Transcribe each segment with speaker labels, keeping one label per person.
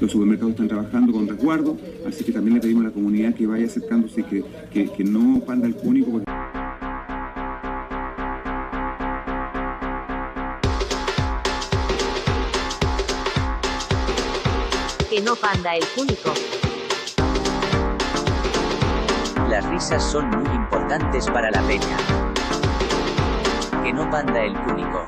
Speaker 1: los supermercados están trabajando con resguardo, así que también le pedimos a la comunidad que vaya acercándose, que, que, que no panda el cúnico. Porque...
Speaker 2: Que no panda el cúnico.
Speaker 3: Las risas son muy importantes para la peña. Que no panda el cúnico.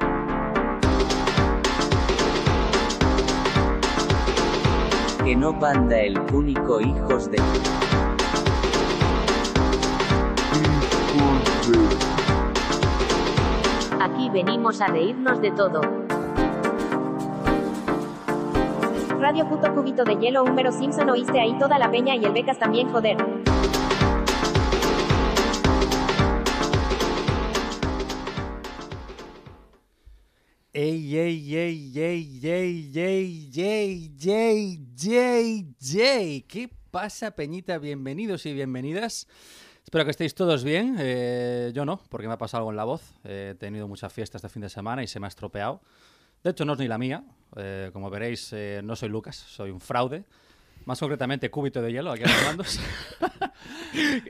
Speaker 3: Que no panda el cúnico, hijos de.
Speaker 2: Aquí venimos a reírnos de todo. Radio puto cubito de hielo húmero Simpson oíste ahí toda la peña y el becas también joder.
Speaker 4: Ey, ey, ey, ey, ey, ey, ey, ey, ey, ey. ¿Qué pasa, Peñita? Bienvenidos y bienvenidas. Espero que estéis todos bien. Eh, yo no, porque me ha pasado algo en la voz. Eh, he tenido mucha fiesta este fin de semana y se me ha estropeado. De hecho, no es ni la mía. Eh, como veréis, eh, no soy Lucas, soy un fraude. Más concretamente, cúbito de hielo, aquí hablando.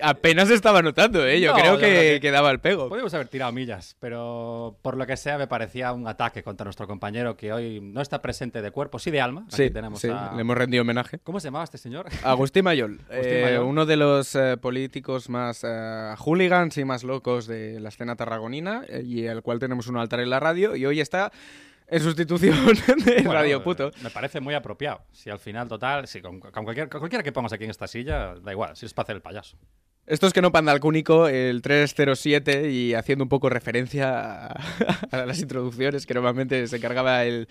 Speaker 5: Apenas estaba notando, ¿eh? Yo
Speaker 4: No,
Speaker 5: creo
Speaker 4: yo
Speaker 5: que,
Speaker 4: creo que- Pues,
Speaker 5: que daba el pego.
Speaker 4: Podríamos haber tirado millas, pero por lo que sea me parecía un ataque contra nuestro compañero que hoy no está presente de cuerpo, sí de alma. Aquí
Speaker 5: Sí,
Speaker 4: tenemos
Speaker 5: sí,
Speaker 4: a-
Speaker 5: le hemos rendido homenaje.
Speaker 4: ¿Cómo se llamaba este señor?
Speaker 5: Agustín Mayol, eh,
Speaker 4: Mayol.
Speaker 5: uno de los eh, políticos más eh, hooligans y más locos de la escena tarragonina, eh, y al cual tenemos un altar en la radio, y hoy está en sustitución de
Speaker 4: Bueno,
Speaker 5: Radio Puto.
Speaker 4: Me parece muy apropiado. Si al final, total, si con, con cualquier- con cualquiera que pongas aquí en esta silla, da igual, si es para hacer el payaso.
Speaker 5: Esto es que no panda al cúnico, el 307, y haciendo un poco referencia a, a las introducciones que normalmente se encargaba el,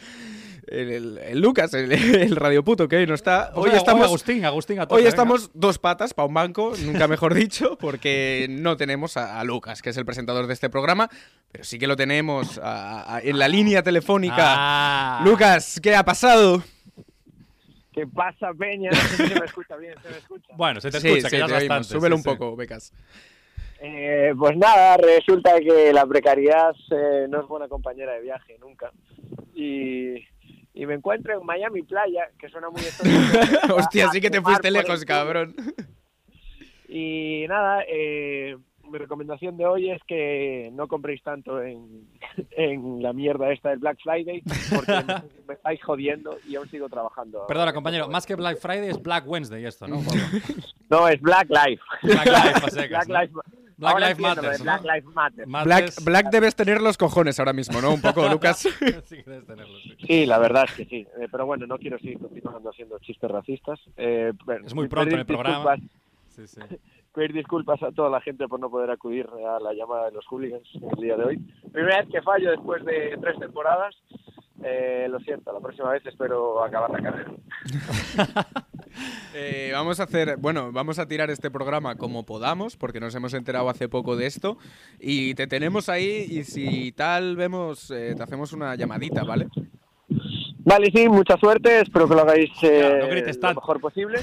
Speaker 5: el- el- el Lucas, el, el Radio Puto, que hoy no está.
Speaker 4: Pues
Speaker 5: Hoy
Speaker 4: venga,
Speaker 5: estamos...
Speaker 4: Agustín, Agustín, a tope,
Speaker 5: Hoy
Speaker 4: venga.
Speaker 5: estamos dos patas para un banco, nunca mejor dicho, porque no tenemos a, a Lucas, que es el presentador de este programa, pero sí que lo tenemos a- a- en la línea telefónica.
Speaker 4: Ah.
Speaker 5: Lucas, ¿qué ha pasado?
Speaker 6: ¿Qué pasa, Peña? No sé si se me escucha bien, se me escucha.
Speaker 4: Bueno, se te
Speaker 5: Sí,
Speaker 4: escucha,
Speaker 5: sí,
Speaker 4: que ya es
Speaker 5: te oímos.
Speaker 4: bastante.
Speaker 5: Súbelo
Speaker 4: sí,
Speaker 5: un
Speaker 4: sí.
Speaker 5: poco, Becas.
Speaker 6: Eh, pues nada, resulta que la precariedad eh, no es buena compañera de viaje nunca. Y, y me encuentro en Miami Playa, que suena muy exótico.
Speaker 5: Hostia,
Speaker 6: A- a
Speaker 5: sí que te
Speaker 6: fumar
Speaker 5: fuiste
Speaker 6: por el
Speaker 5: lejos,
Speaker 6: culo.
Speaker 5: cabrón.
Speaker 6: Y nada, eh, mi recomendación de hoy es que no compréis tanto en, en la mierda esta del Black Friday, porque me, me estáis jodiendo y aún sigo trabajando.
Speaker 4: Perdona, compañero, más que Black Friday es Black Wednesday esto, ¿no?
Speaker 6: No, es Black Life.
Speaker 4: Black Life, a secas,
Speaker 6: Black
Speaker 4: ¿no?
Speaker 6: Life,
Speaker 4: Black
Speaker 6: Ahora
Speaker 4: Life
Speaker 6: entiendo lo de
Speaker 4: Matters, ¿no?
Speaker 6: Black Life Matter.
Speaker 4: Mates-
Speaker 5: Black, Black debes tener los cojones ahora mismo, ¿no? Un poco, Lucas.
Speaker 4: Sí, debes tenerlo, sí.
Speaker 6: Sí, la verdad es que sí. Eh, pero bueno, no quiero seguir continuando haciendo chistes racistas. Eh, bueno,
Speaker 4: Es muy pronto en el
Speaker 6: pedir
Speaker 4: programa.
Speaker 6: disculpas-
Speaker 4: Sí, sí.
Speaker 6: pedir disculpas a toda la gente por no poder acudir a la llamada de los hooligans el día de hoy. Primera vez que fallo después de tres temporadas. Eh, lo siento, la próxima vez espero acabar la carrera.
Speaker 5: Eh, vamos a hacer, bueno, vamos a tirar este programa como podamos, porque nos hemos enterado hace poco de esto. Y te tenemos ahí, y si tal, vemos, eh, te hacemos una llamadita, ¿vale?
Speaker 6: Vale, sí, mucha suerte. Espero que lo hagáis eh,
Speaker 4: Ya, no grites
Speaker 6: lo
Speaker 4: tanto.
Speaker 6: mejor posible.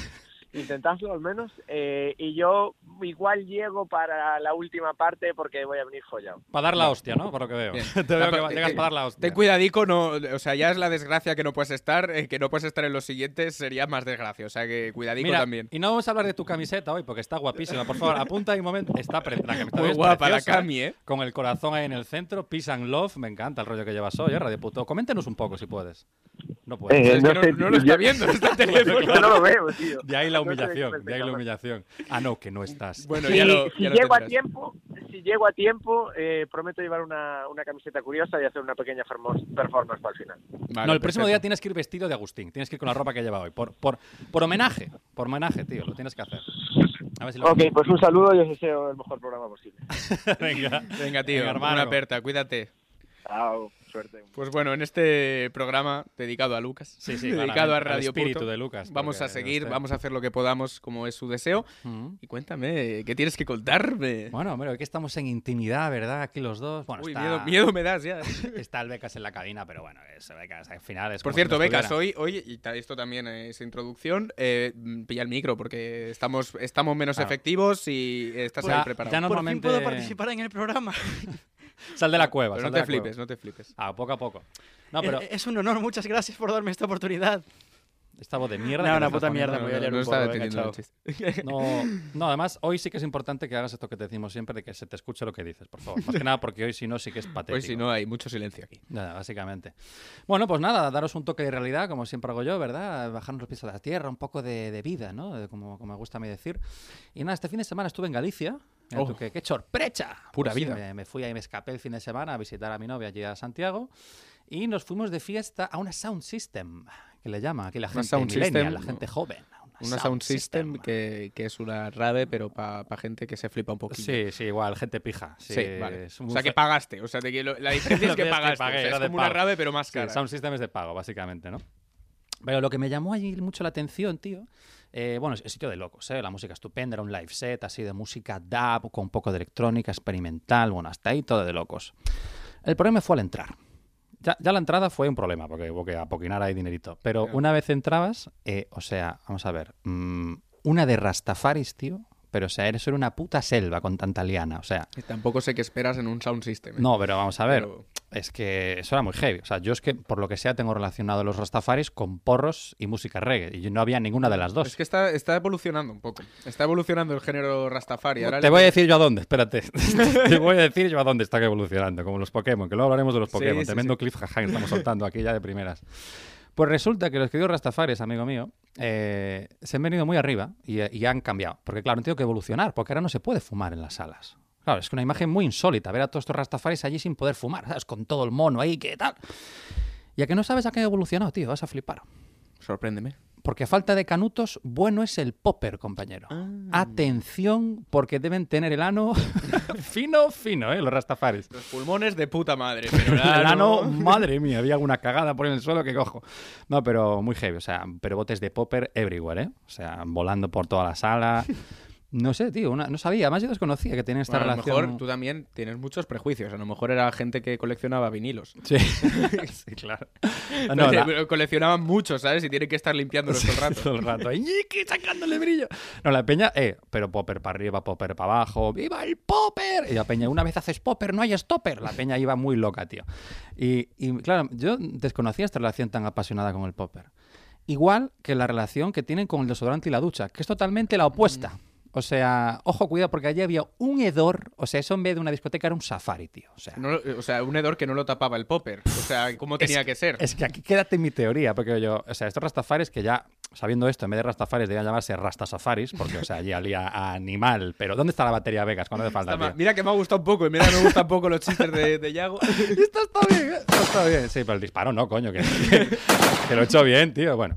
Speaker 6: Intentadlo al menos. Eh, y yo igual llego para la última parte porque voy a venir follado.
Speaker 4: Para dar la hostia, ¿no? Por lo que veo.
Speaker 5: Bien.
Speaker 4: Te veo que va-
Speaker 5: Te-
Speaker 4: llegas
Speaker 5: te-
Speaker 4: para dar la hostia.
Speaker 5: eh, Ten cuidadico, no, o sea, ya es la desgracia que no puedes estar, eh, que no puedes estar en los siguientes sería más desgracia, o sea que cuidadico
Speaker 4: Mira,
Speaker 5: también.
Speaker 4: y no vamos a hablar de tu camiseta hoy porque está guapísima. Por favor, apunta ahí un momento. Está pre- la camiseta
Speaker 5: Muy
Speaker 4: es
Speaker 5: guapa la
Speaker 4: preciosa,
Speaker 5: Cami, ¿eh?
Speaker 4: Con el corazón ahí en el centro, peace and love. Me encanta el rollo que llevas hoy, ¿eh? Radio Puto. Coméntanos un poco si puedes. No puedes.
Speaker 6: Eh,
Speaker 5: Es que no,
Speaker 6: sé,
Speaker 5: no lo está
Speaker 6: yo-
Speaker 5: viendo, no está en teléfono.
Speaker 6: Yo no lo veo, tío.
Speaker 4: De ahí la
Speaker 6: no sé de qué me
Speaker 4: humillación, de ahí la
Speaker 6: pensaba.
Speaker 4: humillación. Ah, no, que no estás.
Speaker 5: Bueno,
Speaker 6: si,
Speaker 5: ya lo,
Speaker 6: si
Speaker 5: ya lo
Speaker 6: llego a
Speaker 5: tendrás.
Speaker 6: tiempo, si llego a tiempo, eh, prometo llevar una, una camiseta curiosa y hacer una pequeña fermo- performance para el final.
Speaker 5: Vale,
Speaker 4: no, el próximo día
Speaker 5: perfecto.
Speaker 4: tienes que ir vestido de Agustín. Tienes que ir con la ropa que lleva hoy. Por, por, por homenaje. Por homenaje, tío. Lo tienes que hacer. A ver si lo
Speaker 6: Ok, pues un saludo y os deseo el mejor programa posible.
Speaker 4: Venga,
Speaker 5: Venga, tío,
Speaker 4: Venga, hermano.
Speaker 5: una aperta, cuídate.
Speaker 6: Chao, suerte.
Speaker 5: Pues bueno, en este programa dedicado a Lucas,
Speaker 4: Sí, sí,
Speaker 5: dedicado
Speaker 4: claramente,
Speaker 5: a
Speaker 4: al
Speaker 5: Radio
Speaker 4: espíritu
Speaker 5: Puto,
Speaker 4: de Lucas,
Speaker 5: Vamos
Speaker 4: porque
Speaker 5: a seguir,
Speaker 4: usted-
Speaker 5: vamos a hacer lo que podamos, como es su deseo.
Speaker 4: Mm.
Speaker 5: Y cuéntame, ¿qué tienes que contarme?
Speaker 4: Bueno, hombre, aquí estamos en intimidad, ¿verdad? Aquí los dos. Bueno,
Speaker 5: Uy,
Speaker 4: está...
Speaker 5: miedo, miedo me das ya.
Speaker 4: Está el Becas en la cabina, pero bueno, ese Becas al final es.
Speaker 5: Por
Speaker 4: como si
Speaker 5: cierto,
Speaker 4: no
Speaker 5: Becas,
Speaker 4: estuviera.
Speaker 5: hoy, hoy, y ta- esto también es introducción, eh, mm, pilla el micro porque estamos, estamos menos
Speaker 4: Claro. Pues
Speaker 5: efectivos y estás
Speaker 4: Ya-
Speaker 5: ahí preparado.
Speaker 4: ya
Speaker 7: Por fin
Speaker 4: normalmente.
Speaker 7: puedo participar en el programa.
Speaker 4: Sal de la cueva,
Speaker 5: Pero
Speaker 4: sal
Speaker 5: no
Speaker 4: de
Speaker 5: te
Speaker 4: la cueva.
Speaker 5: flipes, no te flipes.
Speaker 7: Eh,
Speaker 4: Ah, poco a poco. No, pero.
Speaker 7: Es, es un honor, muchas gracias por darme esta oportunidad.
Speaker 4: Esta voz de mierda.
Speaker 7: No,
Speaker 4: que
Speaker 7: una
Speaker 4: nos
Speaker 7: puta
Speaker 4: estás
Speaker 7: mierda,
Speaker 4: poniendo.
Speaker 7: voy a leer
Speaker 5: no
Speaker 7: un poco.
Speaker 5: estaba
Speaker 7: venga,
Speaker 5: entendiendo el
Speaker 7: chao.
Speaker 5: chiste.
Speaker 4: No, no, además, hoy sí que es importante que hagas esto que te decimos siempre, de que se te escuche lo que dices, por favor. Más que nada, porque hoy si no, sí que es patético.
Speaker 5: Hoy si no hay mucho silencio aquí.
Speaker 4: Nada, básicamente. Bueno, pues nada, daros un toque de realidad, como siempre hago yo, ¿verdad? Bajarnos los pies a la tierra, un poco de, de vida, ¿no? De como, como me gusta a mí decir. Y nada, este fin de semana estuve en Galicia. Mira tú,
Speaker 5: Oh.
Speaker 4: ¡Qué, qué chorprecha!
Speaker 5: Pura
Speaker 4: Pues sí,
Speaker 5: vida.
Speaker 4: me, me fui ahí, me escapé el fin de semana a visitar a mi novia allí a Santiago. Y nos fuimos de fiesta a una Sound System, que le llama aquí la gente
Speaker 5: sound
Speaker 4: millennial,
Speaker 5: system,
Speaker 4: la gente joven.
Speaker 5: Una sound system, Que, que es una rave, pero para gente que se flipa un poquito.
Speaker 4: Sí, sí, igual, gente pija. Sí,
Speaker 5: vale.
Speaker 4: es
Speaker 5: O
Speaker 4: muy
Speaker 5: sea, que
Speaker 4: fe-
Speaker 5: pagaste. O sea, te quiero- la diferencia es que
Speaker 4: Lo que es que
Speaker 5: pagaste.
Speaker 4: pagué,
Speaker 5: o sea,
Speaker 4: era
Speaker 5: es
Speaker 4: de
Speaker 5: como una
Speaker 4: pago.
Speaker 5: rave, pero más
Speaker 4: Sí, el
Speaker 5: cara.
Speaker 4: Sound System es de pago, básicamente, ¿no? Pero lo que me llamó allí mucho la atención, tío, eh, bueno, es un sitio de locos, ¿eh? La música estupenda, era un live set así de música dub, con un poco de electrónica, experimental, bueno, hasta ahí todo de locos. El problema fue al entrar. Ya, ya la entrada fue un problema, porque hubo que apoquinar ahí dinerito. Pero una vez entrabas, eh, o sea, vamos a ver, mm, una de Rastafaris, tío, pero o sea, eres era una puta selva con tanta liana, o sea...
Speaker 5: Que Tampoco sé qué esperas en un sound system. ¿eh?
Speaker 4: No, pero vamos a ver.
Speaker 5: Pero-
Speaker 4: Es que eso era muy heavy. O sea, yo es que, por lo que sea, tengo relacionado los Rastafaris con porros y música reggae. Y no había ninguna de las dos.
Speaker 5: Es que está, está evolucionando un poco. Está evolucionando el género Rastafari. Ahora
Speaker 4: Te
Speaker 5: le-
Speaker 4: voy a decir yo a dónde, espérate. Te voy a decir yo a dónde está evolucionando, como los Pokémon, que luego hablaremos de los
Speaker 5: Sí,
Speaker 4: Pokémon.
Speaker 5: sí,
Speaker 4: Tremendo cliffhanger que estamos soltando aquí ya de primeras. Pues resulta que los queridos Rastafaris, amigo mío, eh, se han venido muy arriba y, y han cambiado. Porque claro, han tenido que evolucionar, porque ahora no se puede fumar en las salas. Claro, es que una imagen muy insólita ver a todos estos Rastafaris allí sin poder fumar, ¿sabes? Con todo el mono ahí, ¿qué tal? Y a que no sabes a qué ha evolucionado, tío, vas a flipar.
Speaker 5: Sorpréndeme.
Speaker 4: Porque a falta de canutos, bueno es el popper, compañero.
Speaker 5: Ah.
Speaker 4: Atención, porque deben tener el ano fino, fino, ¿eh? Los rastafaris.
Speaker 5: Los pulmones de puta madre. Pero
Speaker 4: El
Speaker 5: ahora
Speaker 4: ano,
Speaker 5: no.
Speaker 4: madre mía, había alguna cagada por en el suelo que cojo. No, pero muy heavy, o sea, pero botes de popper everywhere, ¿eh? O sea, volando por toda la sala. No sé, tío, una- no sabía, además yo desconocía que tienen esta
Speaker 5: Bueno, a lo
Speaker 4: relación.
Speaker 5: mejor tú también tienes muchos prejuicios. A lo mejor era gente que coleccionaba vinilos.
Speaker 4: Sí, sí, claro. No,
Speaker 5: Oye,
Speaker 4: la-
Speaker 5: pero coleccionaban muchos, ¿sabes? Y tienen que estar limpiándolos todo el rato.
Speaker 4: Todo el rato. Iñiki sacándole brillo. No, la peña, eh, pero popper para arriba, popper para abajo. ¡Viva el popper! Y la peña, una vez haces popper, no hay stopper. La peña iba muy loca, tío. Y, y, claro, yo desconocía esta relación tan apasionada con el popper. Igual que la relación que tienen con el desodorante y la ducha, que es totalmente la opuesta.
Speaker 5: Mm.
Speaker 4: O sea, ojo, cuidado, porque allí había un hedor. O sea, eso en vez de una discoteca era un safari, tío. O sea,
Speaker 5: No lo- o sea, un hedor que no lo tapaba el popper. O sea, ¿cómo tenía que ser?
Speaker 4: Es que aquí quédate en mi teoría, porque yo, o sea, estos rastafaris que ya, sabiendo esto, en vez de rastafaris debían llamarse rastasafaris, porque, o sea, allí olía a animal. Pero ¿dónde está la batería Vegas cuando hace falta?
Speaker 5: Está ma-
Speaker 4: tío?
Speaker 5: Mira que me ha gustado un poco. Y mira que me gustan un poco los chistes de, de Yago.
Speaker 4: Esto está bien, ¿eh? Esto está bien. Sí, pero el disparo no, coño, que, que- que lo he hecho bien, tío. Bueno.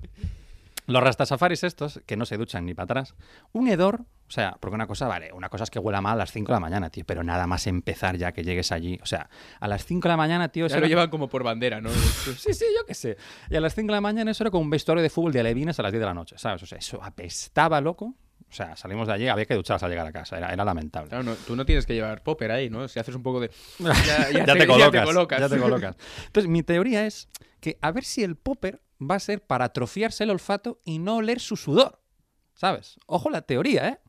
Speaker 4: Los rastasafaris estos, que no se duchan ni para atrás, un hedor, o sea, porque una cosa, vale, una cosa es que huela mal a las 5 de la mañana, tío, pero nada más empezar ya que llegues allí. O sea, a las 5 de la mañana, tío,
Speaker 5: Ya
Speaker 4: eso
Speaker 5: lo
Speaker 4: era-
Speaker 5: llevan como por bandera, ¿no?
Speaker 4: Sí, sí, yo qué sé. Y a las 5 de la mañana eso era como un vestuario de fútbol de alevines a las 10 de la noche, ¿sabes? O sea, eso apestaba, loco. O sea, salimos de allí, había que ducharse al llegar a casa, era, era lamentable.
Speaker 5: Claro, no, tú no tienes que llevar popper ahí, ¿no? Si haces un poco de...
Speaker 4: Ya,
Speaker 5: ya
Speaker 4: te
Speaker 5: te- ya te
Speaker 4: colocas, ya te colocas.
Speaker 5: colocas.
Speaker 4: Entonces, mi teoría es que a ver si el popper va a ser para atrofiarse el olfato y no oler su sudor, ¿sabes? Ojo la teoría, ¿eh?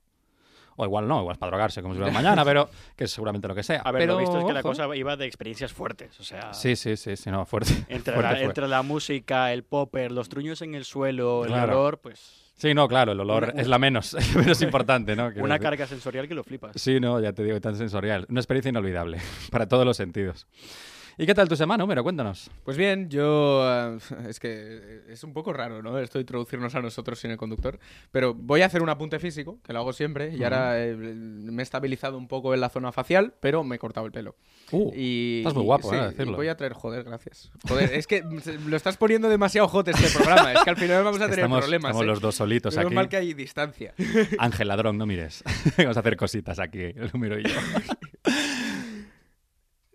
Speaker 4: O igual no, igual es para drogarse como si fuera mañana, pero que es seguramente lo que sea.
Speaker 7: A ver,
Speaker 4: pero,
Speaker 7: lo visto es que la
Speaker 4: ojo.
Speaker 7: cosa iba de experiencias fuertes. O sea,
Speaker 4: Sí, sí, sí, sí, no, fuerte.
Speaker 7: entre,
Speaker 4: fuerte
Speaker 7: la,
Speaker 4: fue.
Speaker 7: entre la música, el popper, los truños en el suelo, el
Speaker 4: Claro.
Speaker 7: olor, pues
Speaker 4: Sí, no, claro, el olor es la menos, menos importante, ¿no? Quiero
Speaker 7: una
Speaker 4: decir.
Speaker 7: carga sensorial que lo flipas.
Speaker 4: Sí, no, ya te digo, tan sensorial. Una experiencia inolvidable, para todos los sentidos. ¿Y qué tal tu semana, Homero? Cuéntanos.
Speaker 5: Pues bien, yo... eh, Es que es un poco raro, ¿no? Esto de introducirnos a nosotros sin el conductor. Pero voy a hacer un apunte físico, que lo hago siempre. Y ahora eh, me he estabilizado un poco en la zona facial, pero me he cortado el pelo.
Speaker 4: Uh,
Speaker 5: y,
Speaker 4: estás muy guapo,
Speaker 5: y-
Speaker 4: eh,
Speaker 5: sí,
Speaker 4: decirlo.
Speaker 5: y voy a traer... Joder, gracias. Joder, es que lo estás poniendo demasiado hot este programa. Es que al final vamos a tener
Speaker 4: estamos,
Speaker 5: problemas.
Speaker 4: estamos
Speaker 5: ¿eh?
Speaker 4: los dos solitos
Speaker 5: Menos
Speaker 4: aquí.
Speaker 5: mal que hay distancia.
Speaker 4: Ángel Ladrón, no mires. Vamos a hacer cositas aquí, el Homero y yo.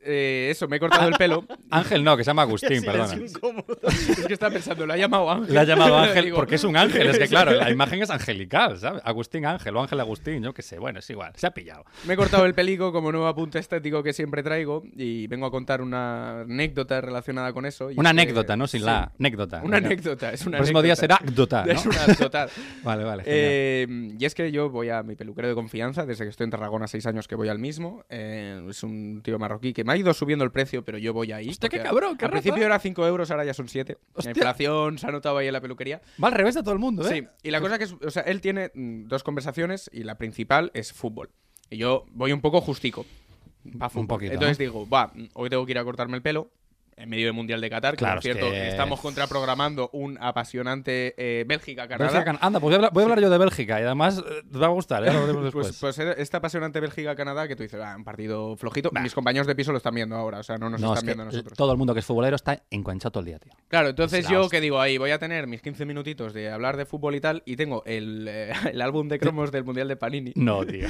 Speaker 5: Eh, eso, me he cortado el pelo.
Speaker 4: Ángel no, que se llama Agustín, perdona.
Speaker 7: Silencio incómodo.
Speaker 5: Es que estaba pensando, lo ha llamado Ángel.
Speaker 4: Le ha llamado Ángel
Speaker 5: Digo,
Speaker 4: porque es un ángel. Es que, claro, la imagen es angelical, ¿sabes? Agustín Ángel o Ángel Agustín, yo qué sé. Bueno, es igual. Se ha pillado.
Speaker 5: Me he cortado el pelico como nuevo apunte estético que siempre traigo y vengo a contar una anécdota relacionada con eso. y
Speaker 4: Una
Speaker 5: es que-
Speaker 4: anécdota, ¿no? Sin
Speaker 5: sí,
Speaker 4: la A. Anécdota.
Speaker 5: Una
Speaker 4: Venga.
Speaker 5: anécdota, es una
Speaker 4: El próximo día será
Speaker 5: anécdota.
Speaker 4: anécdota,
Speaker 5: Es
Speaker 4: ¿no?
Speaker 5: una total.
Speaker 4: Vale, vale. genial.
Speaker 5: Eh, y es que yo voy a mi peluquero de confianza desde que estoy en Tarragona, seis años que voy al mismo. Eh, es un tío marroquí que me ha ha ido subiendo el precio, pero yo voy ahí.
Speaker 4: Hostia, qué
Speaker 5: porque
Speaker 4: cabrón, qué
Speaker 5: Al
Speaker 4: raza.
Speaker 5: principio era 5 euros, ahora ya son 7. La
Speaker 4: Hostia.
Speaker 5: inflación se ha notado ahí en la peluquería.
Speaker 4: Va al revés de todo el mundo, ¿eh?
Speaker 5: Sí, y la cosa que es, o sea, él tiene mm, dos conversaciones y la principal es fútbol. Y yo voy un poco justico. Va a fútbol.
Speaker 4: poquito, ¿no?
Speaker 5: Entonces digo, va, mm, hoy tengo que ir a cortarme el pelo en medio del Mundial de Qatar,
Speaker 4: Claro,
Speaker 5: que
Speaker 4: es
Speaker 5: por cierto,
Speaker 4: que-
Speaker 5: estamos contraprogramando un apasionante eh, Bélgica-Canadá.
Speaker 4: Bélgica, Can- anda, pues voy a hablar, voy a hablar yo de Bélgica y además eh, te va a gustar, ya lo veremos después.
Speaker 5: Pues, pues era- esta apasionante Bélgica-Canadá que tú dices, ah, un partido flojito. Mis compañeros de piso lo están viendo ahora, o sea, no nos
Speaker 4: no, es
Speaker 5: están
Speaker 4: que
Speaker 5: viendo a nosotros.
Speaker 4: todo el mundo que es futbolero está enganchado todo el día, tío.
Speaker 5: Claro, entonces
Speaker 4: la
Speaker 5: yo
Speaker 4: hostia.
Speaker 5: que digo, ahí voy a tener mis 15 minutitos de hablar de fútbol y tal, y tengo el, eh, el álbum de cromos del Mundial de Panini.
Speaker 4: No, tío.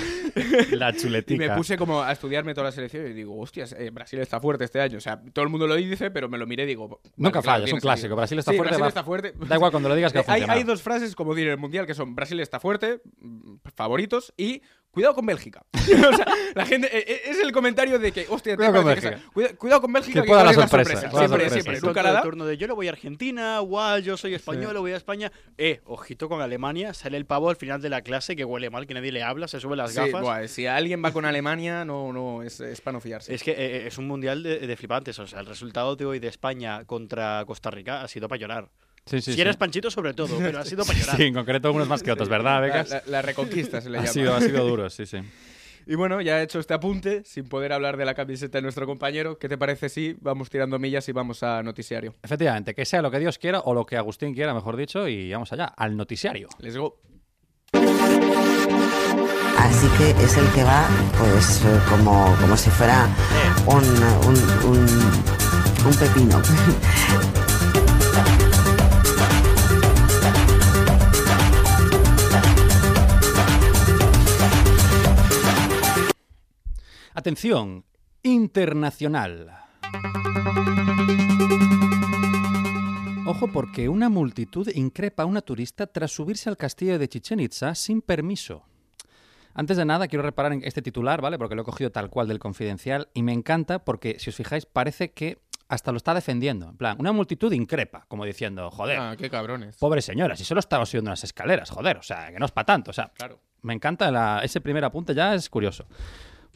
Speaker 4: La
Speaker 5: Y
Speaker 4: chuletica.
Speaker 5: me puse como a estudiarme toda la selección y digo, hostias, eh, Brasil está fuerte este año. O sea, todo el mundo lo dice, pero me lo miré y digo... vale,
Speaker 4: Nunca
Speaker 5: claro,
Speaker 4: falla, es
Speaker 5: tiene
Speaker 4: un clásico.
Speaker 5: sentido.
Speaker 4: Brasil está
Speaker 5: Sí,
Speaker 4: fuerte.
Speaker 5: Brasil
Speaker 4: va-
Speaker 5: está fuerte.
Speaker 4: Da igual cuando lo digas que
Speaker 5: Eh, hay,
Speaker 4: funciona.
Speaker 5: hay dos frases, como diré en el Mundial, que son Brasil está fuerte, mm, favoritos, y cuidado con Bélgica. o sea, la gente... eh, eh, es el comentario de que, hostia,
Speaker 4: Cuidado
Speaker 5: te
Speaker 4: con
Speaker 5: parece que
Speaker 4: Bélgica.
Speaker 5: sea- cuida- cuidado con Bélgica,
Speaker 4: Que
Speaker 5: que
Speaker 4: pueda
Speaker 5: cuál
Speaker 4: la
Speaker 5: es
Speaker 4: sorpresa,
Speaker 5: sorpresa.
Speaker 4: pueda la
Speaker 5: Siempre,
Speaker 4: sorpresa.
Speaker 5: siempre.
Speaker 4: Sí.
Speaker 5: Nunca
Speaker 7: Nunca
Speaker 5: la da.
Speaker 7: turno de yo lo voy a Argentina, guau, yo soy español, lo voy a España. Eh, ojito con Alemania, sale el pavo al final de la clase que huele mal, que nadie le habla, se sube las
Speaker 5: Sí,
Speaker 7: gafas.
Speaker 5: buah, si alguien va con Alemania, no, no, es, es para no fiarse.
Speaker 7: Es que eh, eh, es un mundial de, de flipantes. O sea, el resultado de hoy de España contra Costa Rica ha sido para llorar.
Speaker 4: Sí, sí,
Speaker 7: si
Speaker 4: sí.
Speaker 7: eres panchito, sobre todo, pero ha sido para llorar.
Speaker 4: Sí, en concreto unos más que otros, ¿verdad,
Speaker 5: pues la,
Speaker 4: Becas?
Speaker 5: la- la reconquista se le
Speaker 4: ha,
Speaker 5: llama.
Speaker 4: sido, ha sido duro, sí, sí.
Speaker 5: Y bueno, ya he hecho este apunte, sin poder hablar de la camiseta de nuestro compañero. ¿Qué te parece si vamos tirando millas y vamos a noticiario?
Speaker 4: Efectivamente, que sea lo que Dios quiera o lo que Agustín quiera, mejor dicho, y vamos allá, al noticiario.
Speaker 5: Let's go.
Speaker 8: Así que es el que va, pues, eh, como, como si fuera un, un- un- un pepino.
Speaker 4: Atención, internacional. Ojo porque una multitud increpa a una turista tras subirse al castillo de Chichen Itza sin permiso. Antes de nada, quiero reparar en este titular, ¿vale? Porque lo he cogido tal cual del confidencial y me encanta porque, si os fijáis, parece que hasta lo está defendiendo. En plan, una multitud increpa, como diciendo, joder,
Speaker 5: Ah, qué cabrones.
Speaker 4: Pobre señora, si solo estaba subiendo unas escaleras, joder, o sea, que no es para tanto, o sea,
Speaker 5: Claro.
Speaker 4: me encanta la- ese primer apunte, ya es curioso.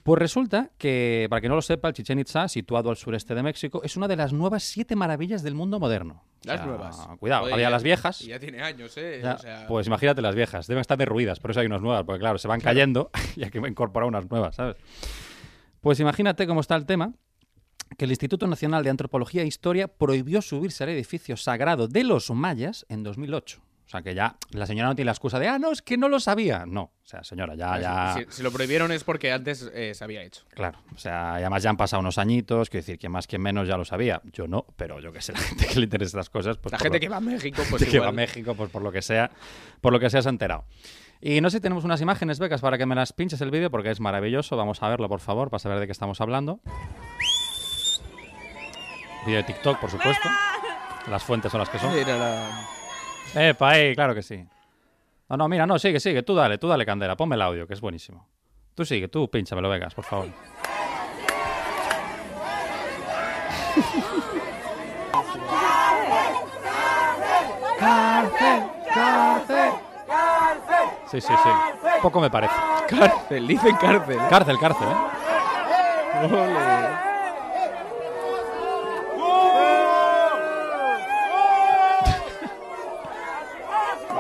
Speaker 4: Pues resulta que, para que no lo sepa, el Chichen Itza, situado al sureste de México, es una de las nuevas siete maravillas del mundo moderno. O
Speaker 5: Las
Speaker 4: sea,
Speaker 5: nuevas.
Speaker 4: Cuidado,
Speaker 5: Joder,
Speaker 4: había
Speaker 5: ya-
Speaker 4: las viejas.
Speaker 5: y Ya tiene años, ¿eh?
Speaker 4: ya,
Speaker 5: O sea,
Speaker 4: Pues imagínate las viejas, deben estar derruidas, por eso hay unas nuevas, porque claro, se van cayendo y hay que incorporar unas nuevas, ¿sabes? Pues imagínate cómo está el tema, que el Instituto Nacional de Antropología e Historia prohibió subirse al edificio sagrado de los mayas en 2008. O sea que ya la señora no tiene la excusa de, ah, no, es que no lo sabía. No, o sea, señora, ya, ya...
Speaker 5: Si, si lo prohibieron es porque antes eh, se había hecho.
Speaker 4: Claro, o sea, y además ya han pasado unos añitos, quiero decir que más que menos ya lo sabía. Yo no, pero yo que sé, la gente que le interesa estas cosas, pues
Speaker 5: La
Speaker 4: por
Speaker 5: gente
Speaker 4: lo-
Speaker 5: que va a México, pues
Speaker 4: de que va a
Speaker 5: igual.
Speaker 4: México, pues por lo que sea, por lo que sea se ha enterado. Y no sé si tenemos unas imágenes, Becas, para que me las pinches el vídeo, porque es maravilloso. Vamos a verlo, por favor, para saber de qué estamos hablando. Vídeo de TikTok, por supuesto. Las fuentes son las que son.
Speaker 5: Era la-
Speaker 4: Epa, ahí, claro que sí. No, no, mira, no, sigue, sigue. Tú dale, tú dale, Candela. Ponme el audio, que es buenísimo. Tú sigue, tú pínchamelo, Vegas, por favor. ¡Cárcel! ¡Cárcel! Sí, sí, sí. Poco me parece.
Speaker 5: Cárcel, dicen cárcel.
Speaker 4: Cárcel, cárcel, ¿eh?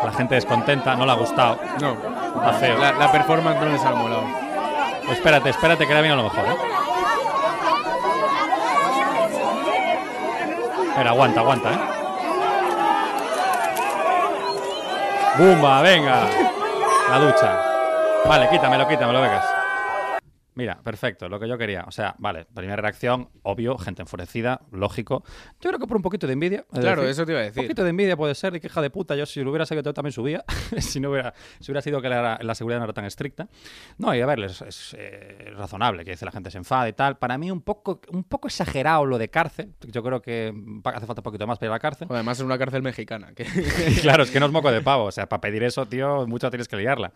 Speaker 4: La gente descontenta, no le ha gustado.
Speaker 5: No,
Speaker 4: Está feo.
Speaker 5: la, la performance no les ha molado.
Speaker 4: Pues Espérate, espérate, que ahora viene a lo mejor, ¿eh? Espera, aguanta, aguanta, ¿eh? ¡Bumba, venga! La ducha. Vale, quítamelo, quítamelo, Vegas. Mira, perfecto, lo que yo quería. O sea, vale, primera reacción, obvio, gente enfurecida, lógico. Yo creo que por un poquito de envidia. he de
Speaker 5: Claro,
Speaker 4: decir.
Speaker 5: eso te iba a
Speaker 4: Un
Speaker 5: decir.
Speaker 4: poquito de envidia puede ser, de queja de puta. Yo si lo hubiera sabido yo también subía, si no hubiera, si hubiera sido que la, la seguridad no era tan estricta. No, y a ver, es, es, eh, razonable que dice la gente se enfada y tal. Para mí un poco, un poco exagerado lo de cárcel. Yo creo que mm, hace falta un poquito más para ir a la cárcel.
Speaker 5: Joder, Además es una cárcel mexicana. que-
Speaker 4: claro, es que no es moco de pavo. O sea, para pedir eso, tío, mucho tienes que liarla.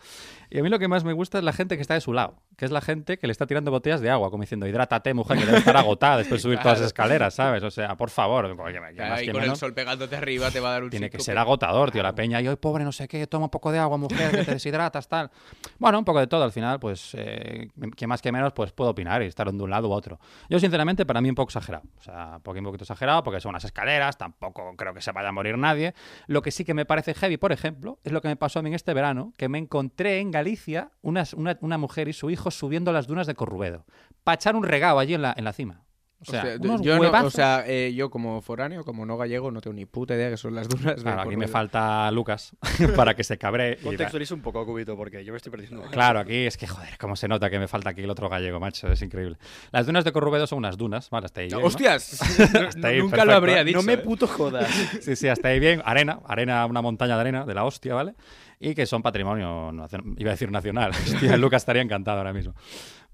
Speaker 4: Y a mí lo que más me gusta es la gente que está de su lado, que es la gente que le le está tirando botellas de agua, como diciendo, hidrátate, mujer, que debe estar agotada después de subir todas las escaleras, ¿sabes? O sea, por favor, oye, ya
Speaker 5: Claro,
Speaker 4: más
Speaker 5: y
Speaker 4: que
Speaker 5: con el
Speaker 4: menos,
Speaker 5: sol pegándote arriba te va a dar un
Speaker 4: tiene que
Speaker 5: síncope.
Speaker 4: ser agotador, tío, la peña. Y hoy, pobre, no sé qué, toma un poco de agua, mujer, que te deshidratas, tal. Bueno, un poco de todo, al final, pues, eh, que más que menos, pues puedo opinar y estar de un lado u otro. Yo, sinceramente, para mí un poco exagerado. O sea, un poquito un poquito exagerado, porque son unas escaleras, tampoco creo que se vaya a morir nadie. Lo que sí que me parece heavy, por ejemplo, es lo que me pasó a mí en este verano, que me encontré en Galicia unas- una, una mujer y su hijo subiendo las dunas de Corrubedo, para echar un regao allí en la, en la cima. O sea,
Speaker 5: Hostia,
Speaker 4: unos
Speaker 5: yo, no- o
Speaker 4: huevazos.
Speaker 5: sea, eh, yo como foráneo, como no gallego, no tengo ni puta idea que son las dunas. de
Speaker 4: Claro, aquí me
Speaker 5: Cornualla.
Speaker 4: falta Lucas para que se cabre. y da-
Speaker 7: Contextualiza un poco, Cubito, porque yo me estoy perdiendo.
Speaker 4: Claro, aquí es que, joder, cómo se nota que me falta aquí el otro gallego, macho, es increíble. Las dunas de Corrubedo son unas dunas, vale, hasta ahí. bien, ¿no?
Speaker 5: ¡Hostias!
Speaker 4: Hasta ahí,
Speaker 5: nunca
Speaker 4: perfecto.
Speaker 5: lo habría dicho.
Speaker 7: No me
Speaker 5: ¿eh?
Speaker 7: puto jodas.
Speaker 4: Sí, sí, hasta ahí bien. Arena, arena, una montaña de arena de la hostia, ¿vale? Y que son patrimonio, nacion- iba a decir nacional. Hostia, Lucas estaría encantado ahora mismo.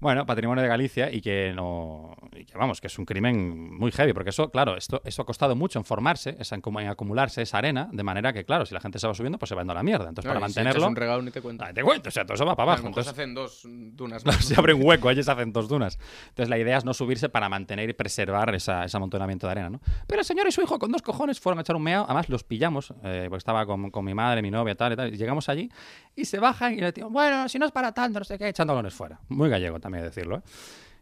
Speaker 4: Bueno, patrimonio de Galicia y que no. y que, vamos, que es un crimen muy heavy, porque eso, claro, esto, eso ha costado mucho en formarse, esa- en acumularse esa arena, de manera que, claro, si la gente se va subiendo, pues se va yendo a la mierda. Entonces,
Speaker 5: No,
Speaker 4: para
Speaker 5: y si echas
Speaker 4: mantenerlo.
Speaker 5: un regalo ni te cuento.
Speaker 4: Ah, te cuento, o sea, todo eso va para
Speaker 5: A
Speaker 4: abajo.
Speaker 5: lo mejor se
Speaker 4: Entonces,
Speaker 5: hacen dos dunas.
Speaker 4: Claro,
Speaker 5: más.
Speaker 4: se abre un hueco, allí se hacen dos dunas. Entonces la idea es no subirse para mantener y preservar esa, ese amontonamiento de arena, ¿no? Pero el señor y su hijo con dos cojones fueron a echar un meao, además los pillamos, eh, porque estaba con, con mi madre, mi novia, tal y tal, y llegamos allí y se bajan y le digo, bueno, si no es para tanto, no sé qué, echando balones fuera. Muy gallego también decirlo, ¿eh?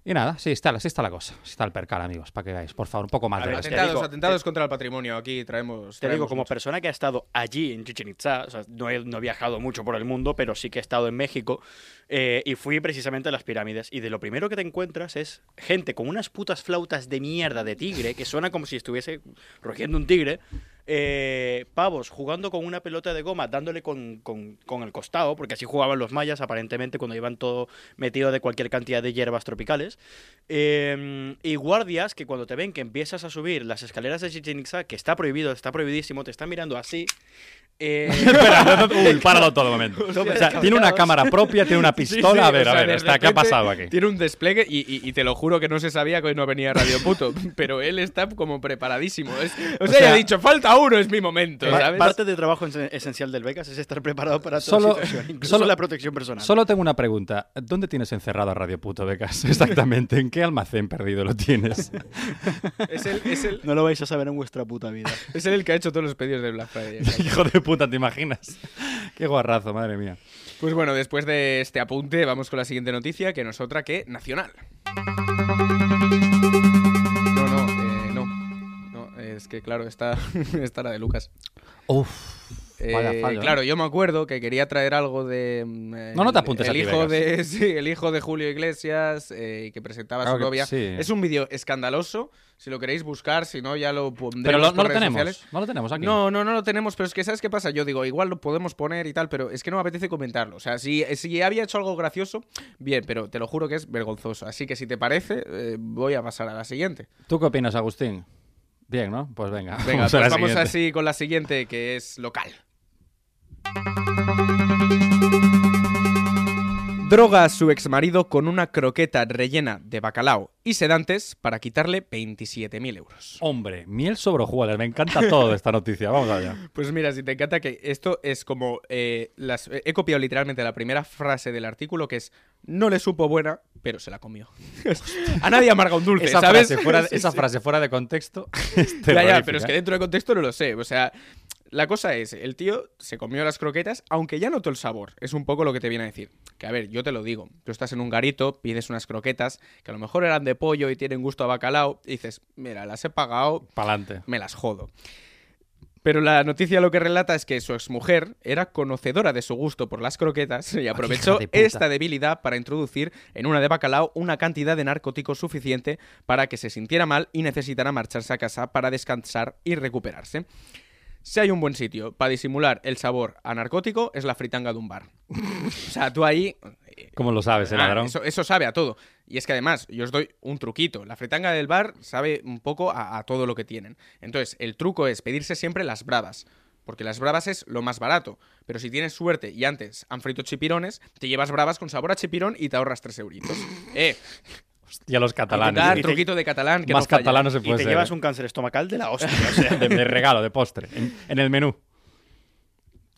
Speaker 4: Y nada, sí está, sí está la cosa, sí está el percal, amigos, para que veáis, por favor, un poco más
Speaker 7: A
Speaker 4: de
Speaker 7: ver,
Speaker 4: respeto.
Speaker 7: te digo,
Speaker 5: Atentados,
Speaker 4: eh,
Speaker 5: atentados contra el patrimonio. Aquí traemos.
Speaker 7: Te digo,
Speaker 5: traemos
Speaker 7: como
Speaker 5: mucho.
Speaker 7: persona que ha estado allí en Chichen Itza, o sea, no, he, no he viajado mucho por el mundo, pero sí que he estado en México, eh, y fui precisamente a las pirámides, y de lo primero que te encuentras es gente con unas putas flautas de mierda de tigre, que suena como si estuviese rugiendo un tigre, eh, pavos jugando con una pelota de goma, dándole con, con- con el costado, porque así jugaban los mayas aparentemente cuando iban todo metido de cualquier cantidad de hierbas tropicales, eh, y guardias que cuando te ven que empiezas a subir las escaleras de Chichen Itza, que está prohibido, está prohibidísimo, te están mirando así. eh,
Speaker 4: Espera, no, no, uy, páralo todo un momento. O sea, tiene una cámara propia, tiene una
Speaker 5: Sí, sí,
Speaker 4: pistola. a ver,
Speaker 5: o sea,
Speaker 4: a ver,
Speaker 5: de
Speaker 4: está, ¿qué ha
Speaker 5: repente
Speaker 4: pasado aquí?
Speaker 5: Tiene un despliegue y, y- y te lo juro que no se sabía que hoy no venía Radio Puto, pero él está como preparadísimo. es- o, sea, ya
Speaker 4: sea-
Speaker 5: ha dicho, falta uno, es mi momento,
Speaker 7: pa-
Speaker 5: ¿sabes?
Speaker 7: Parte del trabajo esen- esencial del Becas es estar preparado para toda
Speaker 4: Solo-
Speaker 7: situación, incluso
Speaker 4: solo-
Speaker 7: la protección personal.
Speaker 4: Solo tengo una pregunta. ¿Dónde tienes encerrado a Radio Puto Becas? Exactamente. ¿En qué almacén perdido lo tienes?
Speaker 5: Es él, es él-
Speaker 7: No lo vais a saber en vuestra puta vida.
Speaker 5: es él el que ha hecho todos los pedidos de Black Friday.
Speaker 4: Hijo de puta, ¿te imaginas? Qué guarrazo, madre mía.
Speaker 5: Pues bueno, después de este apunte, vamos con la siguiente noticia, que no es otra que Nacional. No, no, eh, no. No, es que claro, está, está la de Lucas.
Speaker 4: Uf.
Speaker 5: Eh,
Speaker 4: Vaya fallo, ¿eh?
Speaker 5: claro, yo me acuerdo que quería traer algo de. mm, eh,
Speaker 4: No, no te apuntes
Speaker 5: el
Speaker 4: aquí,
Speaker 5: hijo
Speaker 4: Vegas.
Speaker 5: de sí, El hijo de Julio Iglesias eh, que presentaba a
Speaker 4: Claro
Speaker 5: su
Speaker 4: que-
Speaker 5: novia.
Speaker 4: sí.
Speaker 5: Es un vídeo escandaloso. Si lo queréis buscar, si no, ya lo pondremos
Speaker 4: Pero lo-
Speaker 5: por
Speaker 4: no lo
Speaker 5: redes
Speaker 4: tenemos.
Speaker 5: sociales.
Speaker 4: No lo tenemos aquí.
Speaker 5: No, no, no lo tenemos, pero es que ¿sabes qué pasa? Yo digo, igual lo podemos poner y tal, pero es que no me apetece comentarlo. O sea, si, eh, si había hecho algo gracioso, bien, pero te lo juro que es vergonzoso. Así que si te parece, eh, voy a pasar a la siguiente.
Speaker 4: ¿Tú qué opinas, Agustín? Bien, ¿no? Pues venga.
Speaker 5: Venga,
Speaker 4: a la
Speaker 5: pues vamos
Speaker 4: siguiente.
Speaker 5: así con la siguiente, que es local. Droga a su exmarido con una croqueta rellena de bacalao y sedantes para quitarle 27.000 euros.
Speaker 4: Hombre, miel sobre hojuelas. Me encanta todo de esta noticia. Vamos allá.
Speaker 5: Pues mira, si te encanta que esto es como... eh, las, he copiado literalmente la primera frase del artículo que es no le supo buena, pero se la comió. a nadie amarga un dulce,
Speaker 4: Esa,
Speaker 5: ¿sabes?
Speaker 4: frase fuera, de-
Speaker 5: Sí,
Speaker 4: esa
Speaker 5: sí.
Speaker 4: frase fuera de contexto. es
Speaker 5: Ya, ya,
Speaker 4: terrorífica,
Speaker 5: pero es que
Speaker 4: ¿eh?
Speaker 5: dentro de contexto no lo sé. O sea, la cosa es, el tío se comió las croquetas, aunque ya notó el sabor. Es un poco lo que te viene a decir. Que a ver, yo te lo digo. Tú estás en un garito, pides unas croquetas, que a lo mejor eran de pollo y tienen gusto a bacalao, y dices, mira, las he pagado,
Speaker 4: Pa'lante.
Speaker 5: me las jodo. Pero la noticia lo que relata es que su exmujer era conocedora de su gusto por las croquetas y aprovechó
Speaker 4: hija de puta.
Speaker 5: esta debilidad para introducir en una de bacalao una cantidad de narcóticos suficiente para que se sintiera mal y necesitara marcharse a casa para descansar y recuperarse. Si hay un buen sitio para disimular el sabor a narcótico es la fritanga de un bar. O sea, tú ahí
Speaker 4: ¿Cómo lo sabes, el
Speaker 5: Ah,
Speaker 4: ladrón?
Speaker 5: Eso, eso sabe a todo. Y es que además, yo os doy un truquito. La fritanga del bar sabe un poco a, a todo lo que tienen. Entonces, el truco es pedirse siempre las bravas. Porque las bravas es lo más barato. Pero si tienes suerte y antes han frito chipirones, te llevas bravas con sabor a chipirón y te ahorras tres euritos. eh,
Speaker 4: Y a los catalanes.
Speaker 5: intentar
Speaker 7: y te-
Speaker 5: truquito de catalán que
Speaker 4: ¿eh? Más
Speaker 5: no falla.
Speaker 4: catalano se
Speaker 7: Y
Speaker 4: puede
Speaker 7: te
Speaker 4: ser,
Speaker 7: llevas
Speaker 4: ¿eh?
Speaker 7: un cáncer estomacal de la hostia. o sea.
Speaker 4: de, de regalo, de postre, en, en el menú.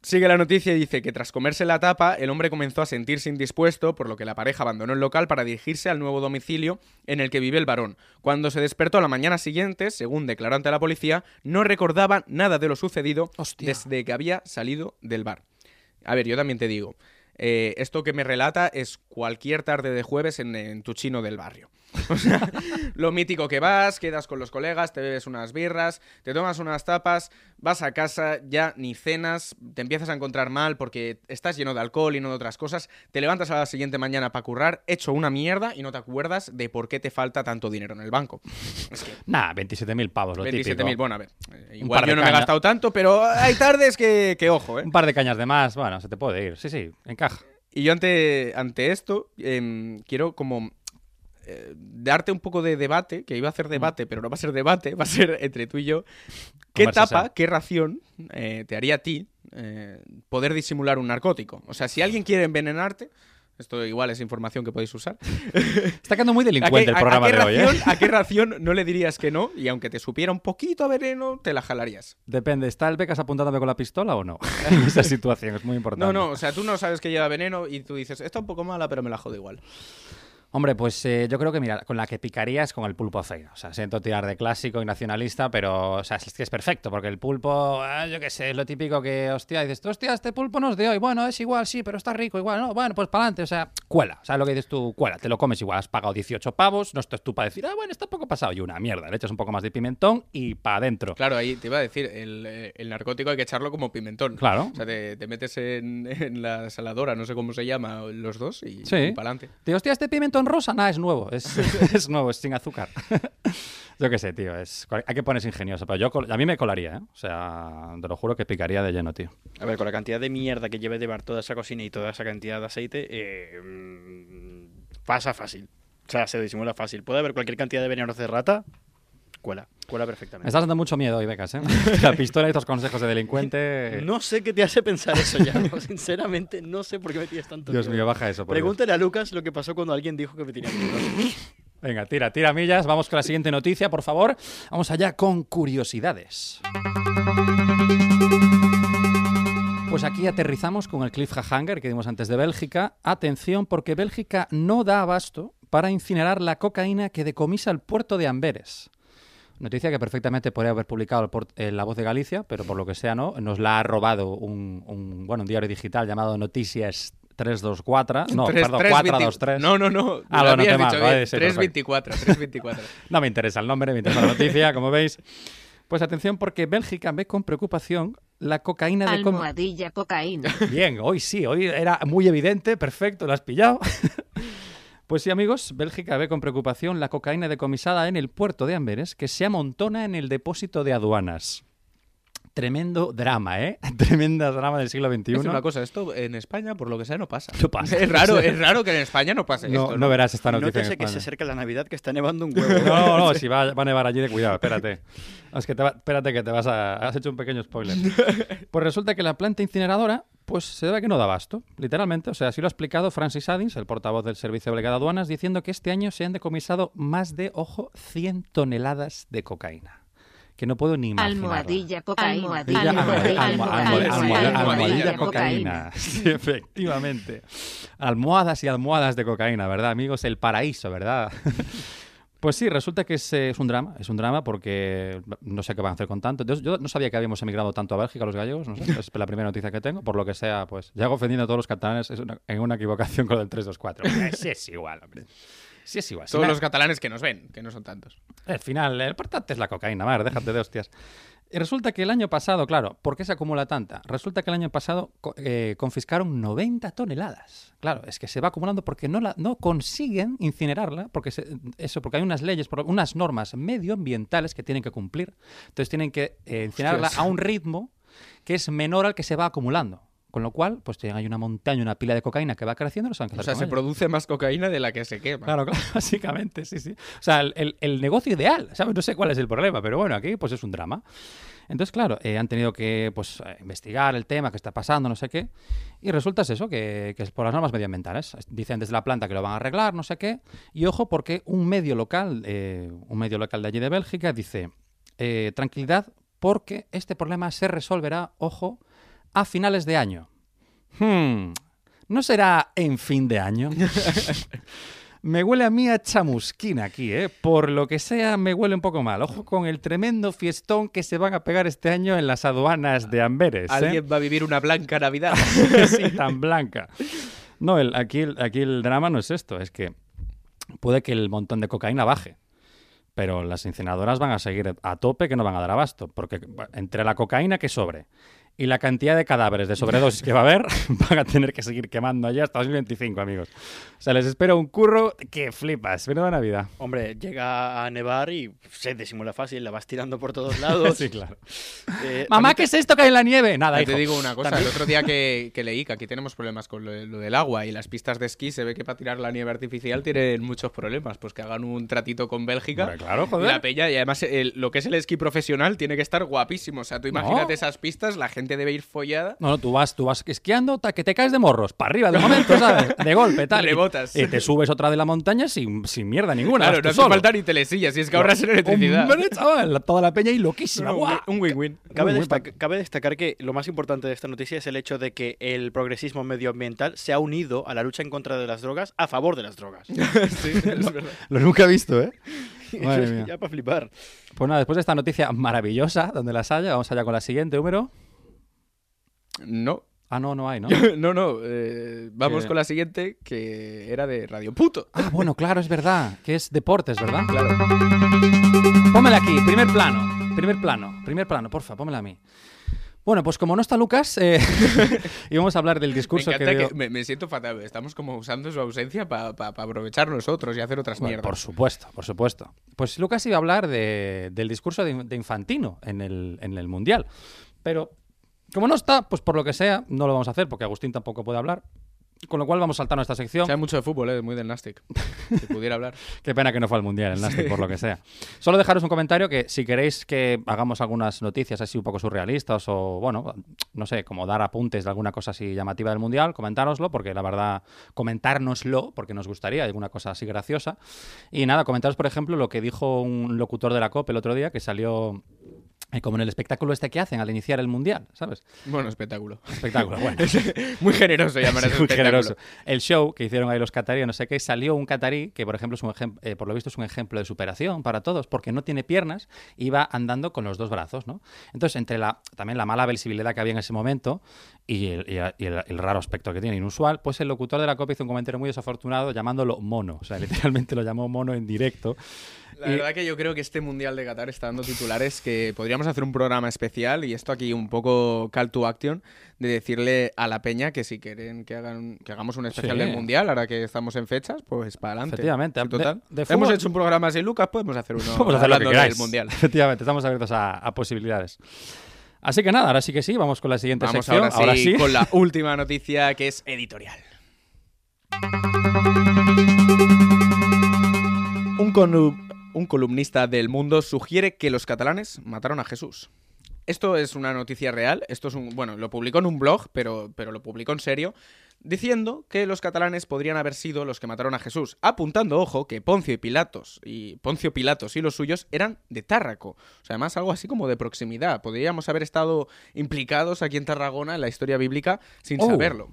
Speaker 5: Sigue la noticia y dice que tras comerse la tapa, el hombre comenzó a sentirse indispuesto, por lo que la pareja abandonó el local para dirigirse al nuevo domicilio en el que vive el varón. Cuando se despertó a la mañana siguiente, según declaró ante la policía, no recordaba nada de lo sucedido
Speaker 4: Hostia.
Speaker 5: desde que había salido del bar. A ver, yo también te digo, eh, esto que me relata es cualquier tarde de jueves en, en tu chino del barrio. O sea, lo mítico que vas, quedas con los colegas, te bebes unas birras, te tomas unas tapas, vas a casa, ya ni cenas, te empiezas a encontrar mal porque estás lleno de alcohol y no de otras cosas, te levantas a la siguiente mañana para currar, hecho una mierda y no te acuerdas de por qué te falta tanto dinero en el banco.
Speaker 4: Nah, 27.000 pavos, lo
Speaker 5: 27.000,
Speaker 4: típico.
Speaker 5: bueno, a ver, eh,
Speaker 4: par
Speaker 5: igual
Speaker 4: de
Speaker 5: yo no me he
Speaker 4: caña.
Speaker 5: gastado tanto, pero hay tardes que, que ojo, ¿eh?
Speaker 4: Un par de cañas de más, bueno, se te puede ir. Sí, sí, encaja.
Speaker 5: Y yo ante, ante esto em, quiero como eh, darte un poco de debate, que iba a hacer debate, pero no va a ser debate, va a ser entre tú y yo. ¿Qué
Speaker 4: Conversación.
Speaker 5: tapa, qué ración eh, te haría a ti eh, poder disimular un narcótico? O sea, si alguien quiere envenenarte, esto igual es información que podéis usar.
Speaker 4: Está quedando muy
Speaker 5: ¿A qué,
Speaker 4: delincuente el
Speaker 5: a- a
Speaker 4: programa
Speaker 5: qué
Speaker 4: de hoy, ¿eh?
Speaker 5: ración, ¿A qué ración no le dirías que no? Y aunque te supiera un poquito a veneno, te la jalarías.
Speaker 4: Depende, ¿está el Becas apuntándome con la pistola o no? En esa situación es muy importante.
Speaker 5: No, no, o sea, tú no sabes que lleva veneno y tú dices, está un poco mala, pero me la jodo igual.
Speaker 4: Hombre, pues eh, yo creo que, mira, con la que picaría es con el pulpo aceiro. O sea, siento tirar de clásico y nacionalista, pero, o sea, es que es perfecto, porque el pulpo, ah, yo qué sé, es lo típico que, hostia, dices, tú, hostia, este pulpo no es de hoy. Bueno, es igual, sí, pero está rico, igual, no, bueno, pues para adelante, o sea, cuela. O sea, lo que dices tú, cuela, te lo comes igual, has pagado 18 pavos, no estás tú para decir, ah, bueno, está poco pasado, y una mierda, le echas un poco más de pimentón y para adentro.
Speaker 5: Claro, ahí te iba a decir, el, eh, el narcótico hay que echarlo como pimentón.
Speaker 4: Claro.
Speaker 5: O sea, te, te metes en, en la saladora, no sé cómo se llama, los dos y,
Speaker 4: Sí.
Speaker 5: para adelante.
Speaker 4: Tío, hostia, este pimentón rosa, nada, es nuevo, es, es nuevo, es sin azúcar. yo qué sé, tío, es, hay que ponerse ingenioso, pero yo, col- a mí me colaría, ¿eh? O sea, te lo juro que picaría de lleno, tío.
Speaker 7: A ver, con la cantidad de mierda que lleves de bar toda esa cocina y toda esa cantidad de aceite, eh, mm, pasa fácil. O sea, se disimula fácil. Puede haber cualquier cantidad de veneno de rata, cuela, cuela
Speaker 4: Me
Speaker 7: perfectamente.
Speaker 4: estás dando mucho miedo hoy, Becas, ¿eh? La pistola y estos consejos de delincuente...
Speaker 7: No sé qué te hace pensar eso ya. Sinceramente, no sé por qué me tienes tanto
Speaker 4: Dios mío,
Speaker 7: miedo.
Speaker 4: baja eso, por Dios.
Speaker 7: Pregúntale a Lucas lo que pasó cuando alguien dijo que me tenía miedo.
Speaker 4: Venga, tira, tira millas, vamos con la siguiente noticia, por favor. Vamos allá con curiosidades. Pues aquí aterrizamos con el cliffhanger que dimos antes de Bélgica. Atención, porque Bélgica no da abasto para incinerar la cocaína que decomisa el puerto de Amberes. Noticia que perfectamente podría haber publicado el por- eh, La Voz de Galicia, pero por lo que sea no, nos la ha robado un, un, bueno, un diario digital llamado Noticias 324. No,
Speaker 5: Tres-
Speaker 4: perdón,
Speaker 5: tres
Speaker 4: 423.
Speaker 5: veinti- No, no, no.
Speaker 4: Ah,
Speaker 5: lo
Speaker 4: bueno,
Speaker 5: habías
Speaker 4: qué mal,
Speaker 5: dicho eh,
Speaker 4: vale,
Speaker 5: bien.
Speaker 4: sí,
Speaker 5: 324, 324.
Speaker 4: No me interesa el nombre, me interesa la noticia, como veis. Pues atención, porque Bélgica ve con preocupación la cocaína de com-
Speaker 2: Almohadilla cocaína.
Speaker 4: Bien, hoy sí, hoy era muy evidente, perfecto, lo has pillado. Pues sí, amigos, Bélgica ve con preocupación la cocaína decomisada en el puerto de Amberes que se amontona en el depósito de aduanas. Tremendo drama, ¿eh? Tremenda drama del siglo XXI.
Speaker 5: Es una cosa, esto en España, por lo que sea, no pasa.
Speaker 4: No pasa.
Speaker 5: Es raro, es raro que en España no pase
Speaker 4: No,
Speaker 5: esto.
Speaker 4: no verás esta noticia. en
Speaker 7: Nótese que
Speaker 4: España.
Speaker 7: se acerca la Navidad que está nevando un huevo.
Speaker 4: No, no, no, si va, va a nevar allí, de cuidado, espérate. Es que te va- espérate que te vas a... Has hecho un pequeño spoiler. Pues resulta que la planta incineradora, pues se debe a que no da abasto, literalmente. O sea, así lo ha explicado Francis Addins, el portavoz del Servicio Belga de Aduanas, diciendo que este año se han decomisado más de, ojo, 100 toneladas de cocaína. Que no puedo ni imaginar.
Speaker 2: Almohadilla cocaína.
Speaker 4: Almohadilla,
Speaker 2: Almohadilla,
Speaker 4: almo-
Speaker 2: almohadilla,
Speaker 4: almo- almo-
Speaker 2: almohadilla,
Speaker 4: almohadilla cocaína.
Speaker 2: cocaína.
Speaker 4: Sí, efectivamente. Almohadas y almohadas de cocaína, ¿verdad, amigos? El paraíso, ¿verdad? Pues sí, resulta que es, eh, es un drama, es un drama porque no sé qué van a hacer con tanto. Yo, yo no sabía que habíamos emigrado tanto a Bélgica los gallegos, no sé, es la primera noticia que tengo, por lo que sea, pues ya ofendiendo a todos los catalanes es una, en una equivocación con el 324. Hombre, Sí es igual, hombre. Sí es igual. Si
Speaker 5: Todos
Speaker 4: na-
Speaker 5: los catalanes que nos ven, que no son tantos.
Speaker 4: al final, el importante es la cocaína, Mar, déjate de hostias. Y resulta que el año pasado, claro, ¿por qué se acumula tanta? Resulta que el año pasado co- eh, confiscaron 90 toneladas. Claro, es que se va acumulando porque no, la, no consiguen incinerarla, porque se- eso, porque hay unas leyes, por- unas normas medioambientales que tienen que cumplir. Entonces tienen que eh, incinerarla a un ritmo que es menor al que se va acumulando. Con lo cual, pues tienen ahí una montaña, una pila de cocaína que va creciendo, no saben qué
Speaker 5: O
Speaker 4: hacer
Speaker 5: sea,
Speaker 4: con
Speaker 5: se
Speaker 4: ella.
Speaker 5: produce más cocaína de la que se quema.
Speaker 4: Claro, claro, básicamente, sí, sí. O sea, el, el- el negocio ideal, ¿sabes? No sé cuál es el problema, pero bueno, aquí pues es un drama. Entonces, claro, eh, han tenido que pues, eh, investigar el tema, qué está pasando, no sé qué. Y resulta es eso, que, que es por las normas medioambientales. Dicen desde la planta que lo van a arreglar, no sé qué. Y ojo, porque un medio local, eh, un medio local de allí de Bélgica, dice, eh, tranquilidad, porque este problema se resolverá, ojo, a finales de año. Hmm, ¿no será en fin de año? me huele a mí a chamusquina aquí, ¿eh? Por lo que sea, me huele un poco mal. Ojo con el tremendo fiestón que se van a pegar este año en las aduanas de Amberes. ¿eh?
Speaker 5: Alguien va a vivir una blanca Navidad.
Speaker 4: Sí, tan blanca. No, el, aquí, el- aquí el drama no es esto, es que puede que el montón de cocaína baje, pero las incineradoras van a seguir a tope que no van a dar abasto, porque bueno, entre la cocaína que sobre y la cantidad de cadáveres de sobredosis que va a haber, van a tener que seguir quemando allá hasta 2025, amigos. O sea, les espera un curro que flipas, menuda Navidad.
Speaker 7: Hombre, llega a nevar y se disimula fácil, la vas tirando por todos lados.
Speaker 4: Sí, claro.
Speaker 7: Eh,
Speaker 4: Mamá,
Speaker 7: también
Speaker 4: ¿qué es esto que hay en la nieve? Nada,
Speaker 5: Ya
Speaker 4: hijo.
Speaker 5: te digo una cosa, el
Speaker 4: También-
Speaker 5: otro día que, que leí que aquí tenemos problemas con lo, lo del agua y las pistas de esquí se ve que para tirar la nieve artificial tienen muchos problemas, pues que hagan un tratito con Bélgica.
Speaker 4: Hombre, claro,
Speaker 5: y
Speaker 4: joder.
Speaker 5: la peña, y además el- lo que es el esquí profesional tiene que estar guapísimo. O sea, tú imagínate esas pistas, la gente debe ir follada.
Speaker 4: No, no, tú vas, tú vas esquiando, ta, que te caes de morros, para arriba de momento, ¿sabes? De golpe, tal. y-
Speaker 5: Rebotas.
Speaker 4: Y, te subes otra de la montaña sin, sin mierda ninguna.
Speaker 5: Claro,
Speaker 4: vas tú
Speaker 5: no hace
Speaker 4: solo.
Speaker 5: falta ni telesillas, y es que ahorras en electricidad.
Speaker 4: Hombre, chaval, la- toda la peña y loquísima.
Speaker 5: No,
Speaker 4: guau.
Speaker 5: un win-win.
Speaker 7: Cabe,
Speaker 4: Muy
Speaker 7: destac- cabe destacar que lo más importante de esta noticia es el hecho de que el progresismo medioambiental se ha unido a la lucha en contra de las drogas a favor de las drogas.
Speaker 5: Sí, es verdad.
Speaker 4: Lo nunca he visto, ¿eh? Madre mía.
Speaker 7: ya para flipar.
Speaker 4: Pues nada, después de esta noticia maravillosa, donde las haya, vamos allá con la siguiente número.
Speaker 5: No,
Speaker 4: Ah, no, no hay, ¿no?
Speaker 5: no, no. eh, vamos
Speaker 4: Que-
Speaker 5: con la siguiente, que era de Radio Puto.
Speaker 4: Ah, bueno, claro, es verdad, que es deportes, ¿verdad?
Speaker 5: Claro.
Speaker 4: Pónmela aquí, primer plano, primer plano, primer plano, porfa, pónmela a mí. Bueno, pues como no está Lucas, eh, íbamos a hablar del discurso
Speaker 5: me
Speaker 4: que
Speaker 5: encanta
Speaker 4: dio-
Speaker 5: que me, me siento fatal. Estamos como usando su ausencia para aprovechar nosotros y hacer otras
Speaker 4: Bueno,
Speaker 5: mierdas.
Speaker 4: por supuesto, por supuesto. Pues Lucas iba a hablar de- del discurso de, de Infantino en el, en el Mundial. Pero como no está, pues por lo que sea, no lo vamos a hacer porque Agustín tampoco puede hablar. Con lo cual vamos a saltar nuestra sección.
Speaker 5: Sabe mucho de fútbol, ¿eh? muy del Nastic. Si pudiera hablar.
Speaker 4: Qué pena que no fue al Mundial el Nastic, por lo que sea. Solo dejaros un comentario que si queréis que hagamos algunas noticias así un poco surrealistas o, bueno, no sé, como dar apuntes de alguna cosa así llamativa del Mundial, comentároslo, porque la verdad, comentárnoslo, porque nos gustaría alguna cosa así graciosa. Y nada, comentaros, por ejemplo, lo que dijo un locutor de la COP el otro día, que salió eh, como en el espectáculo este que hacen al iniciar el Mundial, ¿sabes?
Speaker 5: Bueno, espectáculo.
Speaker 4: Espectáculo, bueno.
Speaker 5: Muy generoso llamar a
Speaker 4: Sí,
Speaker 5: ese
Speaker 4: muy
Speaker 5: espectáculo.
Speaker 4: generoso. El show que hicieron ahí los cataríes, no sé qué, salió un catarí que, por ejemplo, es un ejem- eh, por lo visto es un ejemplo de superación para todos, porque no tiene piernas y va andando con los dos brazos, ¿no? Entonces, entre la, también la mala visibilidad que había en ese momento y el, y el- y el- el raro aspecto que tiene, inusual, pues el locutor de la copia hizo un comentario muy desafortunado llamándolo mono. O sea, literalmente lo llamó mono en directo.
Speaker 5: La verdad que yo creo que este Mundial de Qatar está dando titulares que podríamos hacer un programa especial y esto aquí un poco call to action de decirle a la peña que si quieren que hagan que hagamos un especial
Speaker 4: Sí.
Speaker 5: del Mundial ahora que estamos en fechas, pues para adelante.
Speaker 4: Efectivamente.
Speaker 5: Sí, total.
Speaker 4: De- de
Speaker 5: Hemos
Speaker 4: fútbol-
Speaker 5: hecho un programa sin Lucas, podemos hacer uno
Speaker 4: Vamos a hacer lo que
Speaker 5: hablando
Speaker 4: queráis.
Speaker 5: del Mundial.
Speaker 4: Efectivamente, estamos abiertos a, a posibilidades. Así que nada, ahora sí que sí, vamos con la siguiente
Speaker 5: Vamos
Speaker 4: sección.
Speaker 5: ahora sí, con la última noticia que es editorial. Un, conu- un columnista del mundo sugiere que los catalanes mataron a Jesús. Esto es una noticia real, esto es un bueno, lo publicó en un blog, pero, pero lo publicó en serio, diciendo que los catalanes podrían haber sido los que mataron a Jesús, apuntando, ojo, que Poncio y Pilatos y Poncio Pilatos y los suyos eran de Tárraco. O sea, además algo así como de proximidad. Podríamos haber estado implicados aquí en Tarragona en la historia bíblica sin
Speaker 4: Oh.
Speaker 5: saberlo.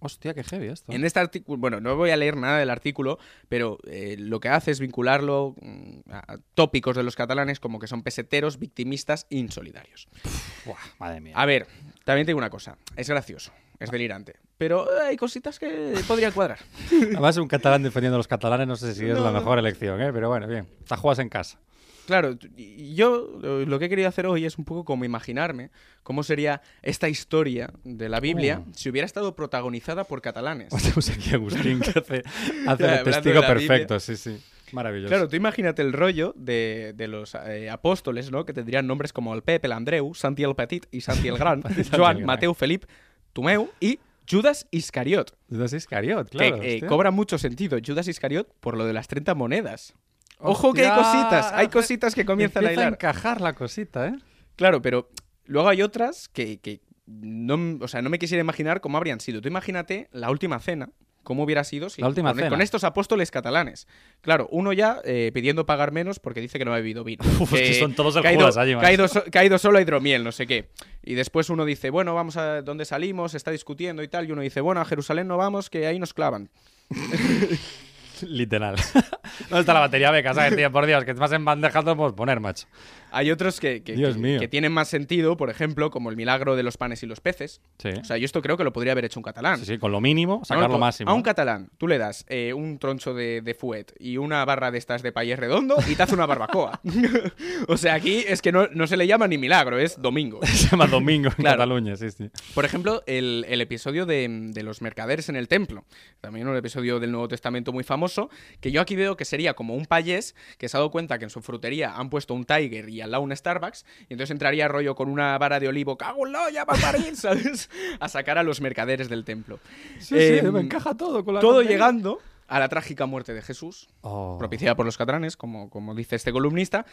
Speaker 4: Hostia, qué heavy esto.
Speaker 5: En este artículo, bueno, no voy a leer nada del artículo, pero eh, lo que hace es vincularlo mm, a a tópicos de los catalanes como que son peseteros, victimistas e insolidarios.
Speaker 4: Buah, madre mía.
Speaker 5: A ver, también te digo una cosa, es gracioso, es delirante, pero eh, hay cositas que podrían cuadrar.
Speaker 4: Además, un catalán defendiendo a los catalanes, no sé si es
Speaker 5: No,
Speaker 4: la
Speaker 5: no.
Speaker 4: mejor elección, ¿eh? pero bueno, bien. Te juegas en casa.
Speaker 5: Claro, t- y yo eh, lo que he querido hacer hoy es un poco como imaginarme cómo sería esta historia de la Biblia
Speaker 4: Uh.
Speaker 5: si hubiera estado protagonizada por catalanes.
Speaker 4: Tenemos aquí a Agustín que hace, hace
Speaker 5: Ya,
Speaker 4: de
Speaker 5: hablando de
Speaker 4: testigo
Speaker 5: la
Speaker 4: perfecto, sí, sí. Maravilloso.
Speaker 5: Claro, tú imagínate el rollo de, de los eh, apóstoles, ¿no? Que tendrían nombres como el Pepe, el Andreu, Santi el Petit y Santi el Gran,
Speaker 4: Santi el
Speaker 5: Joan,
Speaker 4: Gran.
Speaker 5: Mateo, Felip, Tumeu y Judas Iscariot.
Speaker 4: Judas Iscariot, claro.
Speaker 5: que eh,
Speaker 4: hostia.
Speaker 5: cobra mucho sentido Judas Iscariot por lo de las 30 monedas. Ojo que hay
Speaker 4: Hostia,
Speaker 5: cositas, hay cositas que comienzan a
Speaker 4: Empieza
Speaker 5: hilar.
Speaker 4: encajar la cosita, ¿eh?
Speaker 5: Claro, pero luego hay otras que, que no, m- o sea, no me quisiera imaginar cómo habrían sido. Tú imagínate la última cena ¿Cómo hubiera sido si
Speaker 9: La última
Speaker 5: con,
Speaker 9: cena.
Speaker 5: con estos apóstoles catalanes? Claro, uno ya eh, pidiendo pagar menos porque dice que no ha bebido vino.
Speaker 4: Uf, es que son todos del
Speaker 5: que ha ido-
Speaker 4: Judas, allí, man.
Speaker 5: que ha ido so- que ha ido solo a hidromiel, no sé qué. Y después uno dice, bueno, vamos a donde salimos, se está discutiendo y tal. Y uno dice, bueno, a Jerusalén no vamos, que ahí nos clavan.
Speaker 4: Literal. ¿Dónde está la batería de casa, tío? Por Dios, que más en bandeja te lo podemos poner, macho.
Speaker 5: Hay otros que, que-
Speaker 4: Dios
Speaker 5: que-
Speaker 4: mío.
Speaker 5: que tienen más sentido, por ejemplo, como el milagro de los panes y los peces.
Speaker 4: Sí.
Speaker 5: O sea, yo esto creo que lo podría haber hecho un catalán.
Speaker 4: Sí, sí, con lo mínimo, sacar
Speaker 5: No,
Speaker 4: lo
Speaker 5: tú-
Speaker 4: máximo.
Speaker 5: A un catalán, tú le das eh, un troncho de, de fuet y una barra de estas de payés redondo y te hace una barbacoa. o sea, aquí es que no, no se le llama ni milagro, es domingo.
Speaker 4: Se llama Domingo en
Speaker 5: Claro.
Speaker 4: Cataluña, sí, sí.
Speaker 5: Por ejemplo, el, el episodio de, de los mercaderes en el templo. También un episodio del Nuevo Testamento muy famoso, que yo aquí veo que sería como un payés que se ha dado cuenta que en su frutería han puesto un Tiger y al lado un Starbucks, y entonces entraría rollo con una vara de olivo, cago en la, ya va a parir", ¿sabes? A sacar a los mercaderes del templo. Eh,
Speaker 4: todo con
Speaker 5: Todo llegando a la trágica muerte de Jesús,
Speaker 4: Oh.
Speaker 5: propiciada por los catalanes, como, como dice este columnista,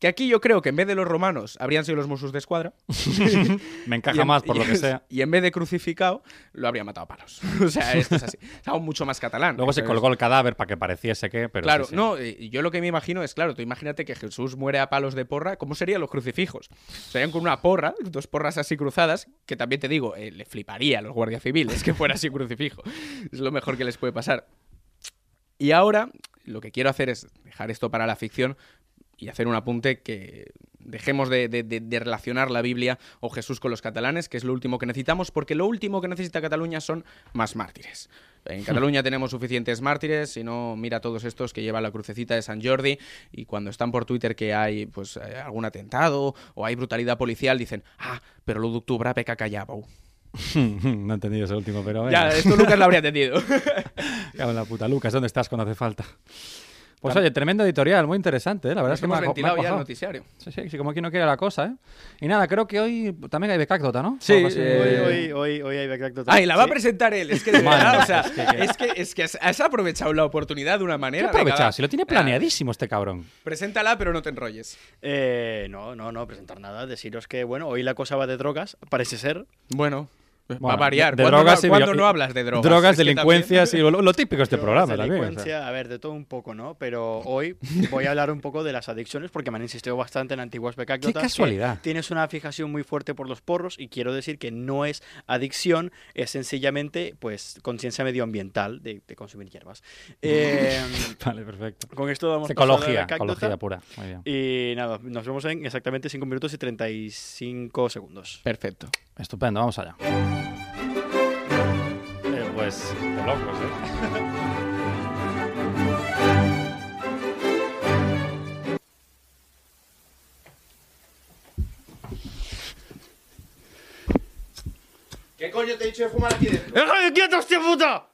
Speaker 5: que aquí yo creo que en vez de los romanos habrían sido los musus de escuadra.
Speaker 4: Me
Speaker 5: Y
Speaker 4: encaja
Speaker 5: en-
Speaker 4: más por lo
Speaker 5: y-
Speaker 4: que sea.
Speaker 5: Y en vez de crucificado, lo habría matado a palos. O sea, esto es así. Es algo mucho más catalán.
Speaker 4: Luego se
Speaker 5: Entonces,
Speaker 4: colgó el cadáver para que pareciese que, pero
Speaker 5: Claro,
Speaker 4: sí, sí.
Speaker 5: no, eh, yo lo que me imagino es, claro, tú imagínate que Jesús muere a palos de porra, ¿cómo serían los crucifijos? Serían con una porra, dos porras así cruzadas, que también te digo, eh, le fliparía a los guardias civiles que fuera así crucifijo. Es lo mejor que les puede pasar. Y ahora, lo que quiero hacer es dejar esto para la ficción y hacer un apunte que dejemos de, de- de- de relacionar la Biblia o Jesús con los catalanes, que es lo último que necesitamos, porque lo último que necesita Cataluña son más mártires. En Cataluña tenemos suficientes mártires, si no, mira todos estos que llevan la crucecita de San Jordi y cuando están por Twitter que hay pues eh, algún atentado o hay brutalidad policial, dicen, ah, pero lo d'octubre peca callabou.
Speaker 4: no he entendido ese último, pero
Speaker 5: Ya,
Speaker 4: venga.
Speaker 5: esto Lucas lo habría entendido.
Speaker 4: Cago en la puta, Lucas, ¿dónde estás cuando hace falta? Pues oye, tremendo editorial, muy interesante, ¿eh? la verdad
Speaker 5: Nos
Speaker 4: es que me
Speaker 5: hemos
Speaker 4: ha- me ha
Speaker 5: ventilado ya el
Speaker 4: cuajado.
Speaker 5: noticiario.
Speaker 4: Sí, sí, sí, como aquí no quiere la cosa, ¿eh? Y nada, creo que hoy también hay becácdota, ¿no?
Speaker 5: Sí,
Speaker 4: Algo así.
Speaker 5: eh,
Speaker 7: Hoy, hoy, hoy, hoy hay anécdota.
Speaker 5: Ay, la va a
Speaker 7: Sí.
Speaker 5: presentar él. Es que de
Speaker 4: Madre
Speaker 5: verdad,
Speaker 4: mía,
Speaker 5: o sea,
Speaker 4: es que-
Speaker 5: es que, es que has, has aprovechado la oportunidad de una
Speaker 4: ¿Qué
Speaker 5: manera.
Speaker 4: aprovechado?
Speaker 5: venga, va.
Speaker 4: Si lo tiene planeadísimo este cabrón.
Speaker 5: Ah, preséntala, pero no te enrolles.
Speaker 7: Eh, no, no, no, presentar nada. Deciros que, bueno, hoy la cosa va de drogas, parece ser.
Speaker 5: Bueno, va a
Speaker 4: Bueno,
Speaker 5: variar.
Speaker 4: de
Speaker 5: ¿Cuándo,
Speaker 4: drogas
Speaker 5: no,
Speaker 4: y
Speaker 5: cuándo
Speaker 4: violen-
Speaker 5: no hablas de drogas?
Speaker 4: Drogas,
Speaker 5: Es que
Speaker 4: delincuencias y lo, lo típico de este programa también. o sea.
Speaker 7: delincuencia, a ver, de todo un poco, ¿no? Pero hoy voy a hablar un poco de las adicciones porque me han insistido bastante en antiguas
Speaker 4: ¡Qué
Speaker 7: becácdotas. que
Speaker 4: casualidad!
Speaker 7: Tienes una fijación muy fuerte por los porros y quiero decir que no es adicción, es sencillamente, pues, conciencia medioambiental de, de consumir hierbas.
Speaker 4: Mm.
Speaker 7: Eh,
Speaker 4: Vale, perfecto.
Speaker 7: con esto vamos pasando a la
Speaker 4: Ecología,
Speaker 7: becácdota.
Speaker 4: ecología pura. Muy bien.
Speaker 7: Y nada, nos vemos en exactamente 5 minutos y 35 segundos.
Speaker 5: también. Perfecto.
Speaker 4: Estupendo, vamos allá. Eh, pues, de locos, ¿eh?
Speaker 5: ¿Qué coño te he dicho de fumar aquí
Speaker 7: ¡Quieto, hostia puta!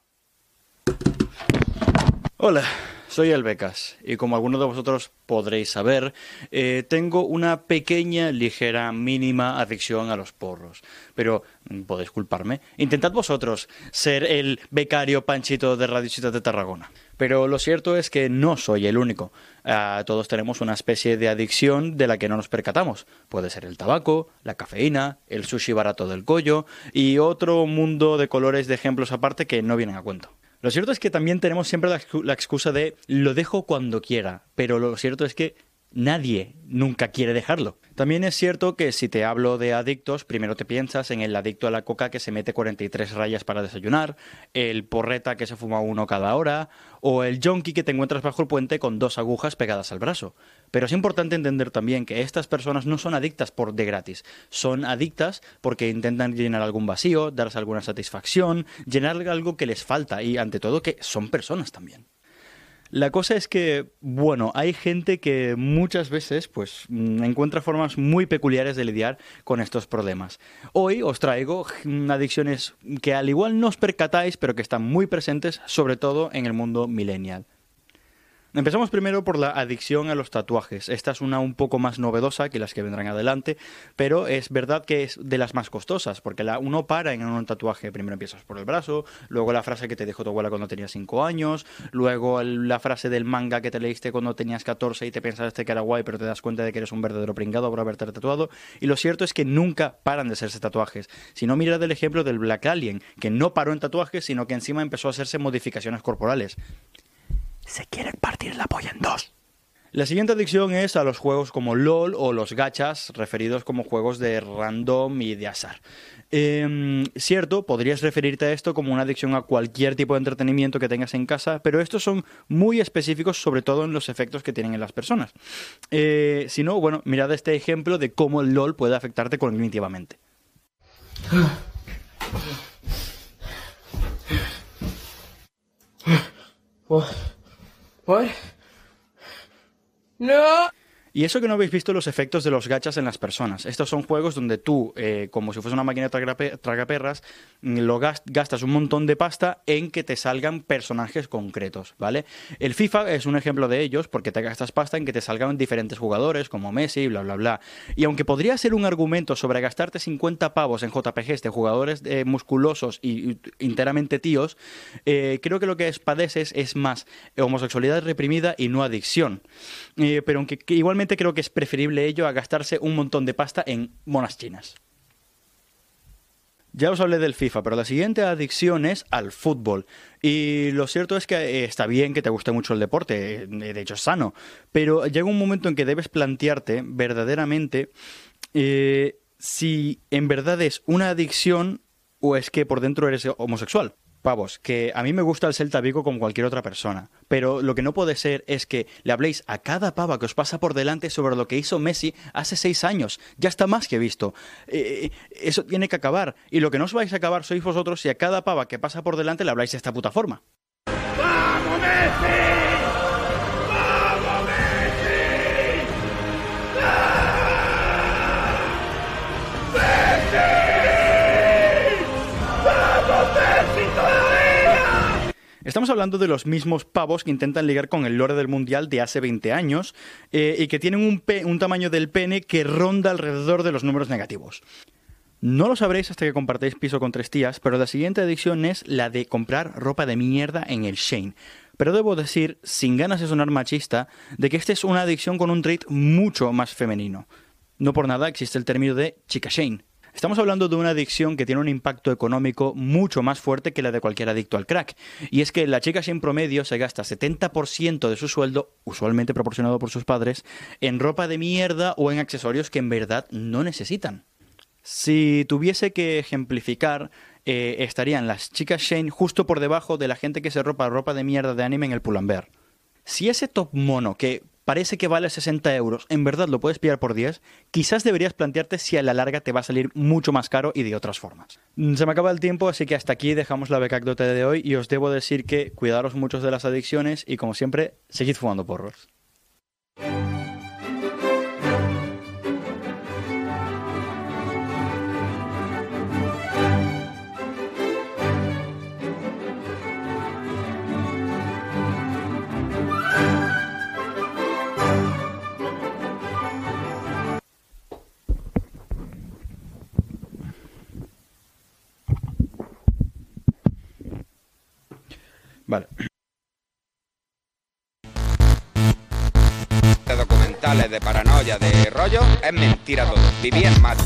Speaker 7: Hola, soy el Becas y como algunos de vosotros podréis saber, eh, tengo una pequeña, ligera, mínima adicción a los porros. Pero mm, podéis culparme. Intentad vosotros ser el becario panchito de Radio Ciudad de Tarragona. Pero lo cierto es que no soy el único. Ah, todos tenemos una especie de adicción de la que no nos percatamos. Puede ser el tabaco, la cafeína, el sushi barato del collo y otro mundo de colores de ejemplos aparte que no vienen a cuento. Lo cierto es que también tenemos siempre la, excu- la excusa de lo dejo cuando quiera, pero lo cierto es que nadie nunca quiere dejarlo. También es cierto que si te hablo de adictos, primero te piensas en el adicto a la coca que se mete 43 rayas para desayunar, el porreta que se fuma uno cada hora, o el junkie que te encuentras bajo el puente con dos agujas pegadas al brazo. Pero es importante entender también que estas personas no son adictas por de gratis, son adictas porque intentan llenar algún vacío, darse alguna satisfacción, llenar algo que les falta y ante todo que son personas también. La cosa es que, bueno, hay gente que muchas veces pues mm, encuentra formas muy peculiares de lidiar con estos problemas. Hoy os traigo mm, adicciones que al igual no os percatáis, pero que están muy presentes, sobre todo en el mundo millennial. Empezamos primero por la adicción a los tatuajes. Esta es una un poco más novedosa que las que vendrán adelante, pero es verdad que es de las más costosas, porque la, uno para en un tatuaje. Primero empiezas por el brazo, luego la frase que te dijo tu abuela cuando tenías 5 años, luego el- la frase del manga que te leíste cuando tenías 14 y te pensaste que era guay, pero te das cuenta de que eres un verdadero pringado por haberte tatuado. Y lo cierto es que nunca paran de hacerse tatuajes. Si no, mirad el ejemplo del Black Alien, que no paró en tatuajes, sino que encima empezó a hacerse modificaciones corporales. Se quiere partir la polla en dos. La siguiente adicción es a los juegos como LOL o los gachas, referidos como juegos de random y de azar. Em, cierto, podrías referirte a esto como una adicción a cualquier tipo de entretenimiento que tengas en casa, pero estos son muy específicos, sobre todo en los efectos que tienen en las personas. Eh, si no, bueno, mirad este ejemplo de cómo el LOL puede afectarte cognitivamente. Y eso que no habéis visto los efectos de los gachas en las personas. Estos son juegos donde tú, eh, como si fuese una máquina de tragape- tragaperras, mm, lo gas- gastas un montón de pasta en que te salgan personajes concretos, ¿vale? El FIFA es un ejemplo de ellos porque te gastas pasta en que te salgan diferentes jugadores como Messi, bla, bla, bla. Y aunque podría ser un argumento sobre gastarte 50 pavos en JPGs de jugadores eh, musculosos y, y enteramente tíos, eh, creo que lo que es- padeces es más homosexualidad reprimida y no adicción. Eh, pero aunque que igualmente creo que es preferible ello a gastarse un montón de pasta en monas chinas. Ya os hablé del FIFA, pero la siguiente adicción es al fútbol. Y lo cierto es que eh, está bien que te guste mucho el deporte, eh, de hecho es sano, pero llega un momento en que debes plantearte verdaderamente eh, si en verdad es una adicción o es que por dentro eres homosexual. Pavos, que a mí me gusta el Celta Vigo como cualquier otra persona, pero lo que no puede ser es que le habléis a cada pava que os pasa por delante sobre lo que hizo Messi hace seis años. Ya está más que visto. Eh, eh, eso tiene que acabar. Y lo que no os vais a acabar sois vosotros si a cada pava que pasa por delante le habláis de esta puta forma. Estamos hablando de los mismos pavos que intentan ligar con el lore del mundial de hace 20 años eh, y que tienen un, pe- un tamaño del pene que ronda alrededor de los números negativos. No lo sabréis hasta que compartáis piso con tres tías, pero la siguiente adicción es la de comprar ropa de mierda en el Shane. Pero debo decir, sin ganas de sonar machista, de que esta es una adicción con un trait mucho más femenino. No por nada existe el término de chica Shane. Estamos hablando de una adicción que tiene un impacto económico mucho más fuerte que la de cualquier adicto al crack. Y es que la chica sin promedio se gasta 70% de su sueldo, usualmente proporcionado por sus padres, en ropa de mierda o en accesorios que en verdad no necesitan. Si tuviese que ejemplificar, eh, estarían las chicas Shane justo por debajo de la gente que se ropa ropa de mierda de anime en el Pull&Bear. Si ese top mono que parece que vale 60 euros, en verdad lo puedes pillar por 10, quizás deberías plantearte si a la larga te va a salir mucho más caro y de otras formas. Mm, Se me acaba el tiempo, así que hasta aquí dejamos la becacdota de hoy y os debo decir que cuidaros muchos de las adicciones y como siempre, seguid fumando porros. Vale.
Speaker 10: de documentales, de paranoia, de rollo, es mentira todo. Viví en Marte.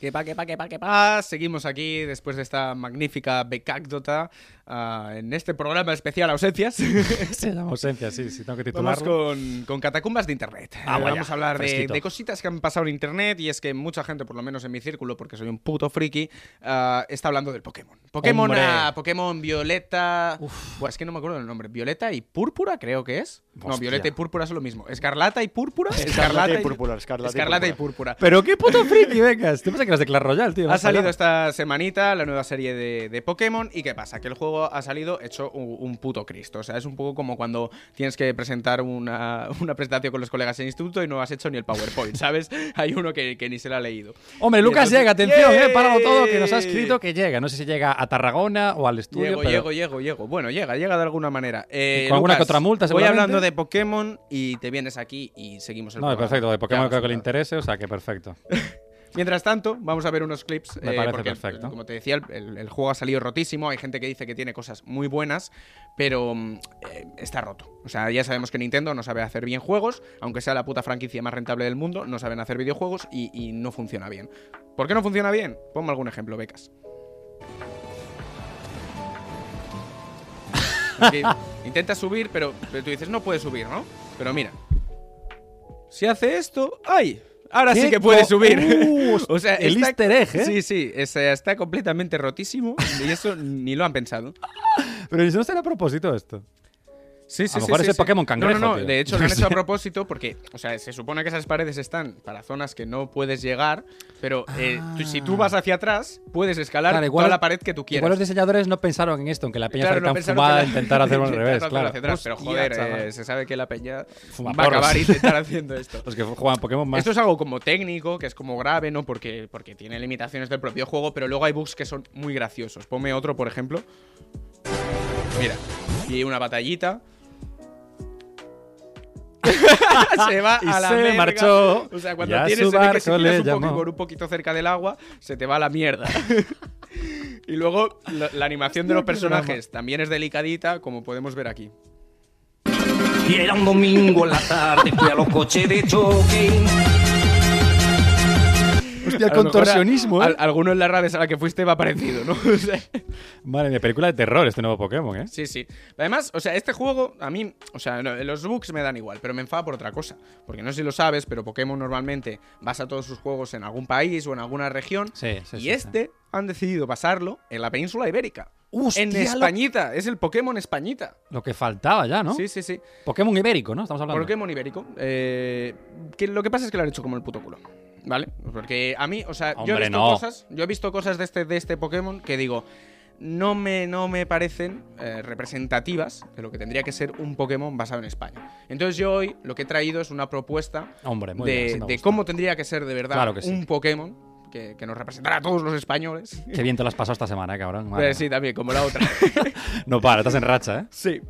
Speaker 5: Que pa, que pa, que pa, que pa. Seguimos aquí después de esta magnífica becácdota ah, en este programa especial Ausencias.
Speaker 4: Se llama ausencia, sí, sí, tengo que
Speaker 5: Vamos
Speaker 4: titularlo.
Speaker 5: con, con catacumbas de Internet.
Speaker 4: Ah,
Speaker 5: Eh,
Speaker 4: vaya,
Speaker 5: Vamos a hablar de,
Speaker 4: fresquito.
Speaker 5: de cositas que han pasado en Internet y es que mucha gente, por lo menos en mi círculo, porque soy un puto friki, ah, está hablando del Pokémon. Pokémon,
Speaker 4: Hombre.
Speaker 5: ah, Pokémon Violeta... Buah, es que no me acuerdo el nombre. Violeta y Púrpura creo que es. No,
Speaker 4: Hostia.
Speaker 5: Violeta y Púrpura es lo mismo. Escarlata y Púrpura.
Speaker 7: Escarlata y Púrpura, Escarlata y
Speaker 5: Escarlata y
Speaker 7: Púrpura.
Speaker 5: Púrpura.
Speaker 4: Pero qué puto friki, vengas. ¿Te pasa que de Clash Royale, tío.
Speaker 5: Ha
Speaker 4: más allá.
Speaker 5: salido esta semanita la nueva serie de, de Pokémon y ¿qué pasa? Que el juego ha salido hecho un, un puto Cristo. O sea, es un poco como cuando tienes que presentar una, una presentación con los colegas en el instituto y no has hecho ni el PowerPoint, ¿sabes? Hay uno que, que ni se la ha leído.
Speaker 4: Hombre,
Speaker 5: Y
Speaker 4: Lucas
Speaker 5: entonces-
Speaker 4: llega, atención,
Speaker 5: ¡Yay!
Speaker 4: eh, páralo todo, que nos ha escrito que llega. No sé si llega a Tarragona o al estudio.
Speaker 5: Llego,
Speaker 4: pero-
Speaker 5: llego, llego, llego. Bueno, llega, llega de alguna manera. Eh,
Speaker 4: ¿Y con alguna
Speaker 5: Lucas,
Speaker 4: que otra multa,
Speaker 5: Voy
Speaker 4: seguramente?
Speaker 5: hablando de Pokémon y te vienes aquí y seguimos el
Speaker 4: No,
Speaker 5: programa.
Speaker 4: perfecto, de Pokémon
Speaker 5: Ya,
Speaker 4: creo que le
Speaker 5: resultado.
Speaker 4: interese, o sea que perfecto.
Speaker 5: Mientras tanto, vamos a ver unos clips. eh,
Speaker 4: Me parece
Speaker 5: porque,
Speaker 4: perfecto.
Speaker 5: Como te decía, el, el- el juego ha salido rotísimo. Hay gente que dice que tiene cosas muy buenas, pero mm, eh, está roto. O sea, ya sabemos que Nintendo no sabe hacer bien juegos, aunque sea la puta franquicia más rentable del mundo, no saben hacer videojuegos y, y no funciona bien. ¿Por qué no funciona bien? Ponme algún ejemplo, becas. Porque intenta subir, pero, pero tú dices, no puede subir, ¿no? Pero mira. Si hace esto, ¡ay! Ahora sí
Speaker 4: ¡Qué
Speaker 5: que puede
Speaker 4: co-
Speaker 5: subir.
Speaker 4: Uh,
Speaker 5: o sea,
Speaker 4: el easter egg, ¿eh?
Speaker 5: Sí, sí, o sea, está completamente rotísimo y eso ni lo han pensado.
Speaker 4: Pero ¿y si no será a propósito esto.
Speaker 5: Sí, sí,
Speaker 4: A lo
Speaker 5: sí,
Speaker 4: mejor
Speaker 5: sí,
Speaker 4: es el
Speaker 5: sí.
Speaker 4: Pokémon cangrejo,
Speaker 5: No, no, no.
Speaker 4: tío.
Speaker 5: De hecho,
Speaker 4: Yo
Speaker 5: lo han
Speaker 4: qué
Speaker 5: hecho a
Speaker 4: sé.
Speaker 5: propósito porque, o sea, se supone que esas paredes están para zonas que no puedes llegar, pero eh, tú- si tú vas hacia atrás, puedes escalar
Speaker 4: Ah. Claro, igual-
Speaker 5: toda la pared que tú quieras.
Speaker 4: Igual los diseñadores no pensaron en esto, aunque la peña
Speaker 5: Claro,
Speaker 4: fuera
Speaker 5: no
Speaker 4: tan
Speaker 5: pensaron
Speaker 4: fumada
Speaker 5: que
Speaker 4: de
Speaker 5: la-
Speaker 4: intentar hacerlo al
Speaker 5: intentar
Speaker 4: revés,
Speaker 5: hacerlo
Speaker 4: claro.
Speaker 5: hacia atrás, pero
Speaker 4: Hostia,
Speaker 5: joder,
Speaker 4: chaval.
Speaker 5: eh, se sabe que la peña va a
Speaker 4: Fumaporros.
Speaker 5: acabar intentar haciendo esto.
Speaker 4: Los que juegan Pokémon más.
Speaker 5: Esto es algo como técnico, que es como grave, ¿no? Porque, porque tiene limitaciones del propio juego, pero luego hay bugs que son muy graciosos. Ponme otro, por ejemplo. Mira, y hay una batallita. se va
Speaker 4: Y
Speaker 5: a la
Speaker 4: se
Speaker 5: verga.
Speaker 4: marchó.
Speaker 5: O sea, cuando
Speaker 4: Y a
Speaker 5: tienes
Speaker 4: su
Speaker 5: en el que si
Speaker 4: barco
Speaker 5: tiras
Speaker 4: le
Speaker 5: un Pokémon
Speaker 4: llamó.
Speaker 5: un poquito cerca del agua, se te va a la mierda. y luego la, la animación de los personajes también es delicadita, como podemos ver aquí.
Speaker 11: Y era un domingo en la tarde, fui a los coches de choque.
Speaker 4: Hostia, el
Speaker 5: A lo mejor a-
Speaker 4: contorsionismo, ¿eh?
Speaker 5: al- alguno en la redes a la que fuiste va parecido, ¿no? O sea,
Speaker 4: Madre mía, película de terror este nuevo Pokémon, ¿eh?
Speaker 5: Sí, sí. Además, o sea, este juego, a mí, o sea, no, los bugs me dan igual, pero me enfada por otra cosa. Porque no sé si lo sabes, pero Pokémon normalmente basa todos sus juegos en algún país o en alguna región.
Speaker 4: Sí, sí,
Speaker 5: y
Speaker 4: sí,
Speaker 5: este han decidido basarlo en la península ibérica.
Speaker 4: Hostia,
Speaker 5: en
Speaker 4: lo-
Speaker 5: Españita, es el Pokémon Españita.
Speaker 4: Lo que faltaba ya, ¿no?
Speaker 5: Sí, sí, sí.
Speaker 4: Pokémon ibérico, ¿no? Estamos hablando.
Speaker 5: Pokémon ibérico. Eh, que lo que pasa es que lo han hecho como el puto culo. ¿Vale? Porque a mí, o sea, yo he
Speaker 4: Hombre,
Speaker 5: visto
Speaker 4: no.
Speaker 5: cosas. Yo he visto cosas de este, de este Pokémon que digo. No me, no me parecen eh, representativas de lo que tendría que ser un Pokémon basado en España. Entonces yo hoy lo que he traído es una propuesta
Speaker 4: Hombre, muy bien,
Speaker 5: de,
Speaker 4: sí me
Speaker 5: de
Speaker 4: gusta.
Speaker 5: cómo tendría que ser de verdad
Speaker 4: Claro que sí.
Speaker 5: un Pokémon que, que nos representara a todos los españoles.
Speaker 4: Qué bien te lo has pasado esta semana, ¿eh, cabrón. Madre
Speaker 5: Pero sí, también, como la otra.
Speaker 4: mía. No para, estás en racha, ¿eh?
Speaker 5: Sí.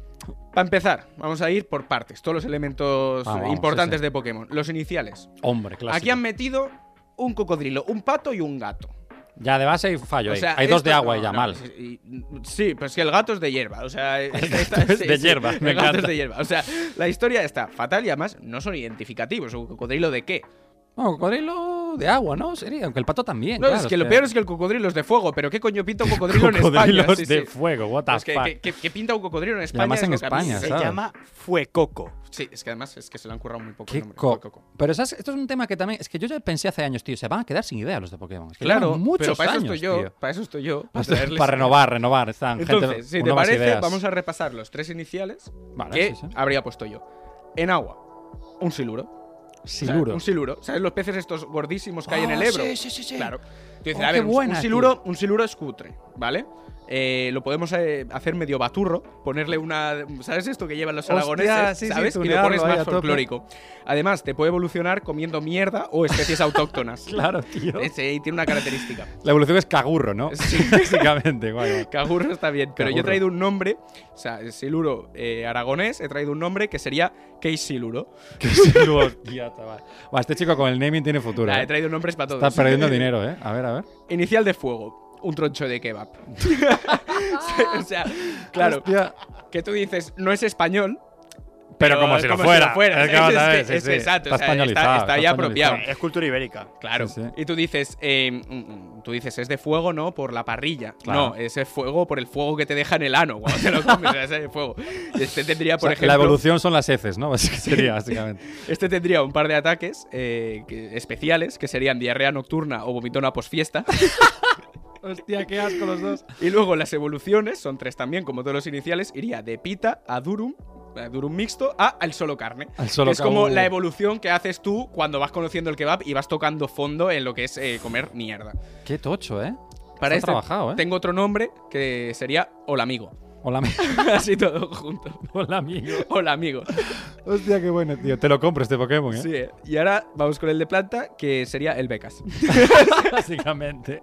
Speaker 5: Para empezar, vamos a ir por partes, todos los elementos
Speaker 4: Ah,
Speaker 5: eh,
Speaker 4: vamos,
Speaker 5: importantes
Speaker 4: sí, sí.
Speaker 5: de Pokémon. Los iniciales.
Speaker 4: Hombre, claro.
Speaker 5: Aquí han metido un cocodrilo, un pato y un gato.
Speaker 4: Ya de base hay fallo
Speaker 5: O
Speaker 4: ahí.
Speaker 5: sea,
Speaker 4: Hay dos
Speaker 5: esto-
Speaker 4: de agua
Speaker 5: no,
Speaker 4: y ya
Speaker 5: no,
Speaker 4: mal.
Speaker 5: sí, y- Sí, pero es que el gato es de hierba. O sea,
Speaker 4: gato es de hierba, me
Speaker 5: el gato
Speaker 4: encanta.
Speaker 5: es de hierba. O sea, la historia está fatal y además no son identificativos. ¿Un cocodrilo de qué?
Speaker 4: No, cocodrilo de agua, ¿no? Sería, aunque el pato también.
Speaker 5: No,
Speaker 4: claro,
Speaker 5: es que lo peor es que el cocodrilo es de fuego, pero ¿qué coño pinta un cocodrilo en España?
Speaker 4: Cocodrilos
Speaker 5: Sí, sí.
Speaker 4: de fuego, what the
Speaker 5: Es que,
Speaker 4: fuck.
Speaker 5: ¿qué- qué, qué pinta un cocodrilo en España?
Speaker 4: además
Speaker 5: Es
Speaker 4: en
Speaker 5: lo que a mí
Speaker 4: España,
Speaker 5: se
Speaker 4: ¿sabes?
Speaker 5: llama-
Speaker 7: Fuecoco.
Speaker 5: Sí, es que además es que se le han currado muy poco.
Speaker 4: Qué
Speaker 5: el nombre,
Speaker 4: co-
Speaker 5: fue Coco.
Speaker 4: Pero ¿sabes? esto es un tema que también. Es que yo ya pensé hace años, tío. Se van a quedar sin idea los de Pokémon. Es que
Speaker 5: Claro,
Speaker 4: llevan muchos
Speaker 5: pero para
Speaker 4: años,
Speaker 5: eso estoy yo,
Speaker 4: tío.
Speaker 5: para eso estoy yo, para
Speaker 4: Para,
Speaker 5: traerles
Speaker 4: renovar, renovar. Están gente,
Speaker 5: Entonces, si
Speaker 4: con
Speaker 5: te
Speaker 4: nuevas
Speaker 5: parece,
Speaker 4: ideas.
Speaker 5: vamos a repasar los tres iniciales
Speaker 4: Vale,
Speaker 5: que
Speaker 4: sí, sí.
Speaker 5: habría puesto yo. En agua, un siluro. O sea,
Speaker 4: Siluro.
Speaker 5: un siluro. ¿Sabes los peces estos gordísimos que hay en el
Speaker 4: Ah,
Speaker 5: Ebro?
Speaker 4: sí, sí, sí, sí.
Speaker 5: Claro. Tú dices,
Speaker 4: Oh,
Speaker 5: a
Speaker 4: qué
Speaker 5: ver, un-
Speaker 4: buena,
Speaker 5: un,
Speaker 4: tío.
Speaker 5: siluro, un siluro es cutre, ¿vale? Eh, lo podemos eh, hacer medio baturro, ponerle una. ¿Sabes esto que llevan los
Speaker 4: Hostia,
Speaker 5: aragoneses?
Speaker 4: sí, sí,
Speaker 5: ¿Sabes? y lo
Speaker 4: tunearlo
Speaker 5: pones
Speaker 4: ahí a
Speaker 5: más
Speaker 4: tope.
Speaker 5: folclórico. Además, te puede evolucionar comiendo mierda o especies autóctonas.
Speaker 4: Claro, tío.
Speaker 5: Ese ahí tiene una característica.
Speaker 4: La evolución es cagurro, ¿no?
Speaker 5: Sí.
Speaker 4: Básicamente, guay. guay.
Speaker 5: Cagurro está bien, pero yo he
Speaker 4: Cagurro.
Speaker 5: traído un nombre, o sea, el siluro eh, aragonés, he traído un nombre que sería Keisiluro.
Speaker 4: Qué siluro, hostia, chaval. Buah, este chico con el naming tiene futuro.
Speaker 5: Ah,
Speaker 4: ¿eh?
Speaker 5: he traído nombres para todos.
Speaker 4: Está perdiendo dinero, ¿eh? A ver, a ver.
Speaker 5: Inicial de fuego, un troncho de kebab. o sea, claro,
Speaker 4: Hostia.
Speaker 5: que tú dices, no es español.
Speaker 4: Pero como si lo fuera. Es que vamos a ver,
Speaker 5: es,
Speaker 4: sí,
Speaker 5: es
Speaker 4: sí.
Speaker 5: exacto,
Speaker 4: Está
Speaker 5: o sea,
Speaker 4: españolizado,
Speaker 5: está, está ahí
Speaker 4: está
Speaker 5: apropiado.
Speaker 4: españolizado.
Speaker 7: Es cultura ibérica.
Speaker 5: Claro.
Speaker 4: Sí, sí.
Speaker 5: Y tú dices, eh, mm, mm, tú dices, es de fuego, ¿no? Por la parrilla.
Speaker 4: Claro.
Speaker 5: No, ese fuego por el fuego que te deja en el ano cuando te lo comes, ese fuego. Este tendría,
Speaker 4: O sea,
Speaker 5: por ejemplo.
Speaker 4: la evolución son las heces, ¿no? Así que sería, básicamente.
Speaker 5: Este tendría un par de ataques eh, que- especiales, que serían diarrea nocturna o vomitona posfiesta.
Speaker 4: Hostia, qué asco los dos.
Speaker 5: y luego las evoluciones, son tres también, como todos los iniciales, iría de pita a durum eh, durum mixto a al solo carne.
Speaker 4: Al solo
Speaker 5: es como
Speaker 4: carne.
Speaker 5: la evolución que haces tú cuando vas conociendo el kebab y vas tocando fondo en lo que es eh, comer mierda.
Speaker 4: Qué tocho, ¿eh? Está
Speaker 5: Para este
Speaker 4: trabajado, ¿eh?
Speaker 5: tengo otro nombre que sería Hola amigo.
Speaker 4: Hola, amigo.
Speaker 5: Así todo junto.
Speaker 4: Hola, amigo.
Speaker 5: Hola amigo.
Speaker 4: Hostia, qué bueno, tío. Te lo compro este Pokémon, ¿eh?
Speaker 5: Sí, eh. y ahora vamos con el de planta, que sería el Becas.
Speaker 4: Básicamente.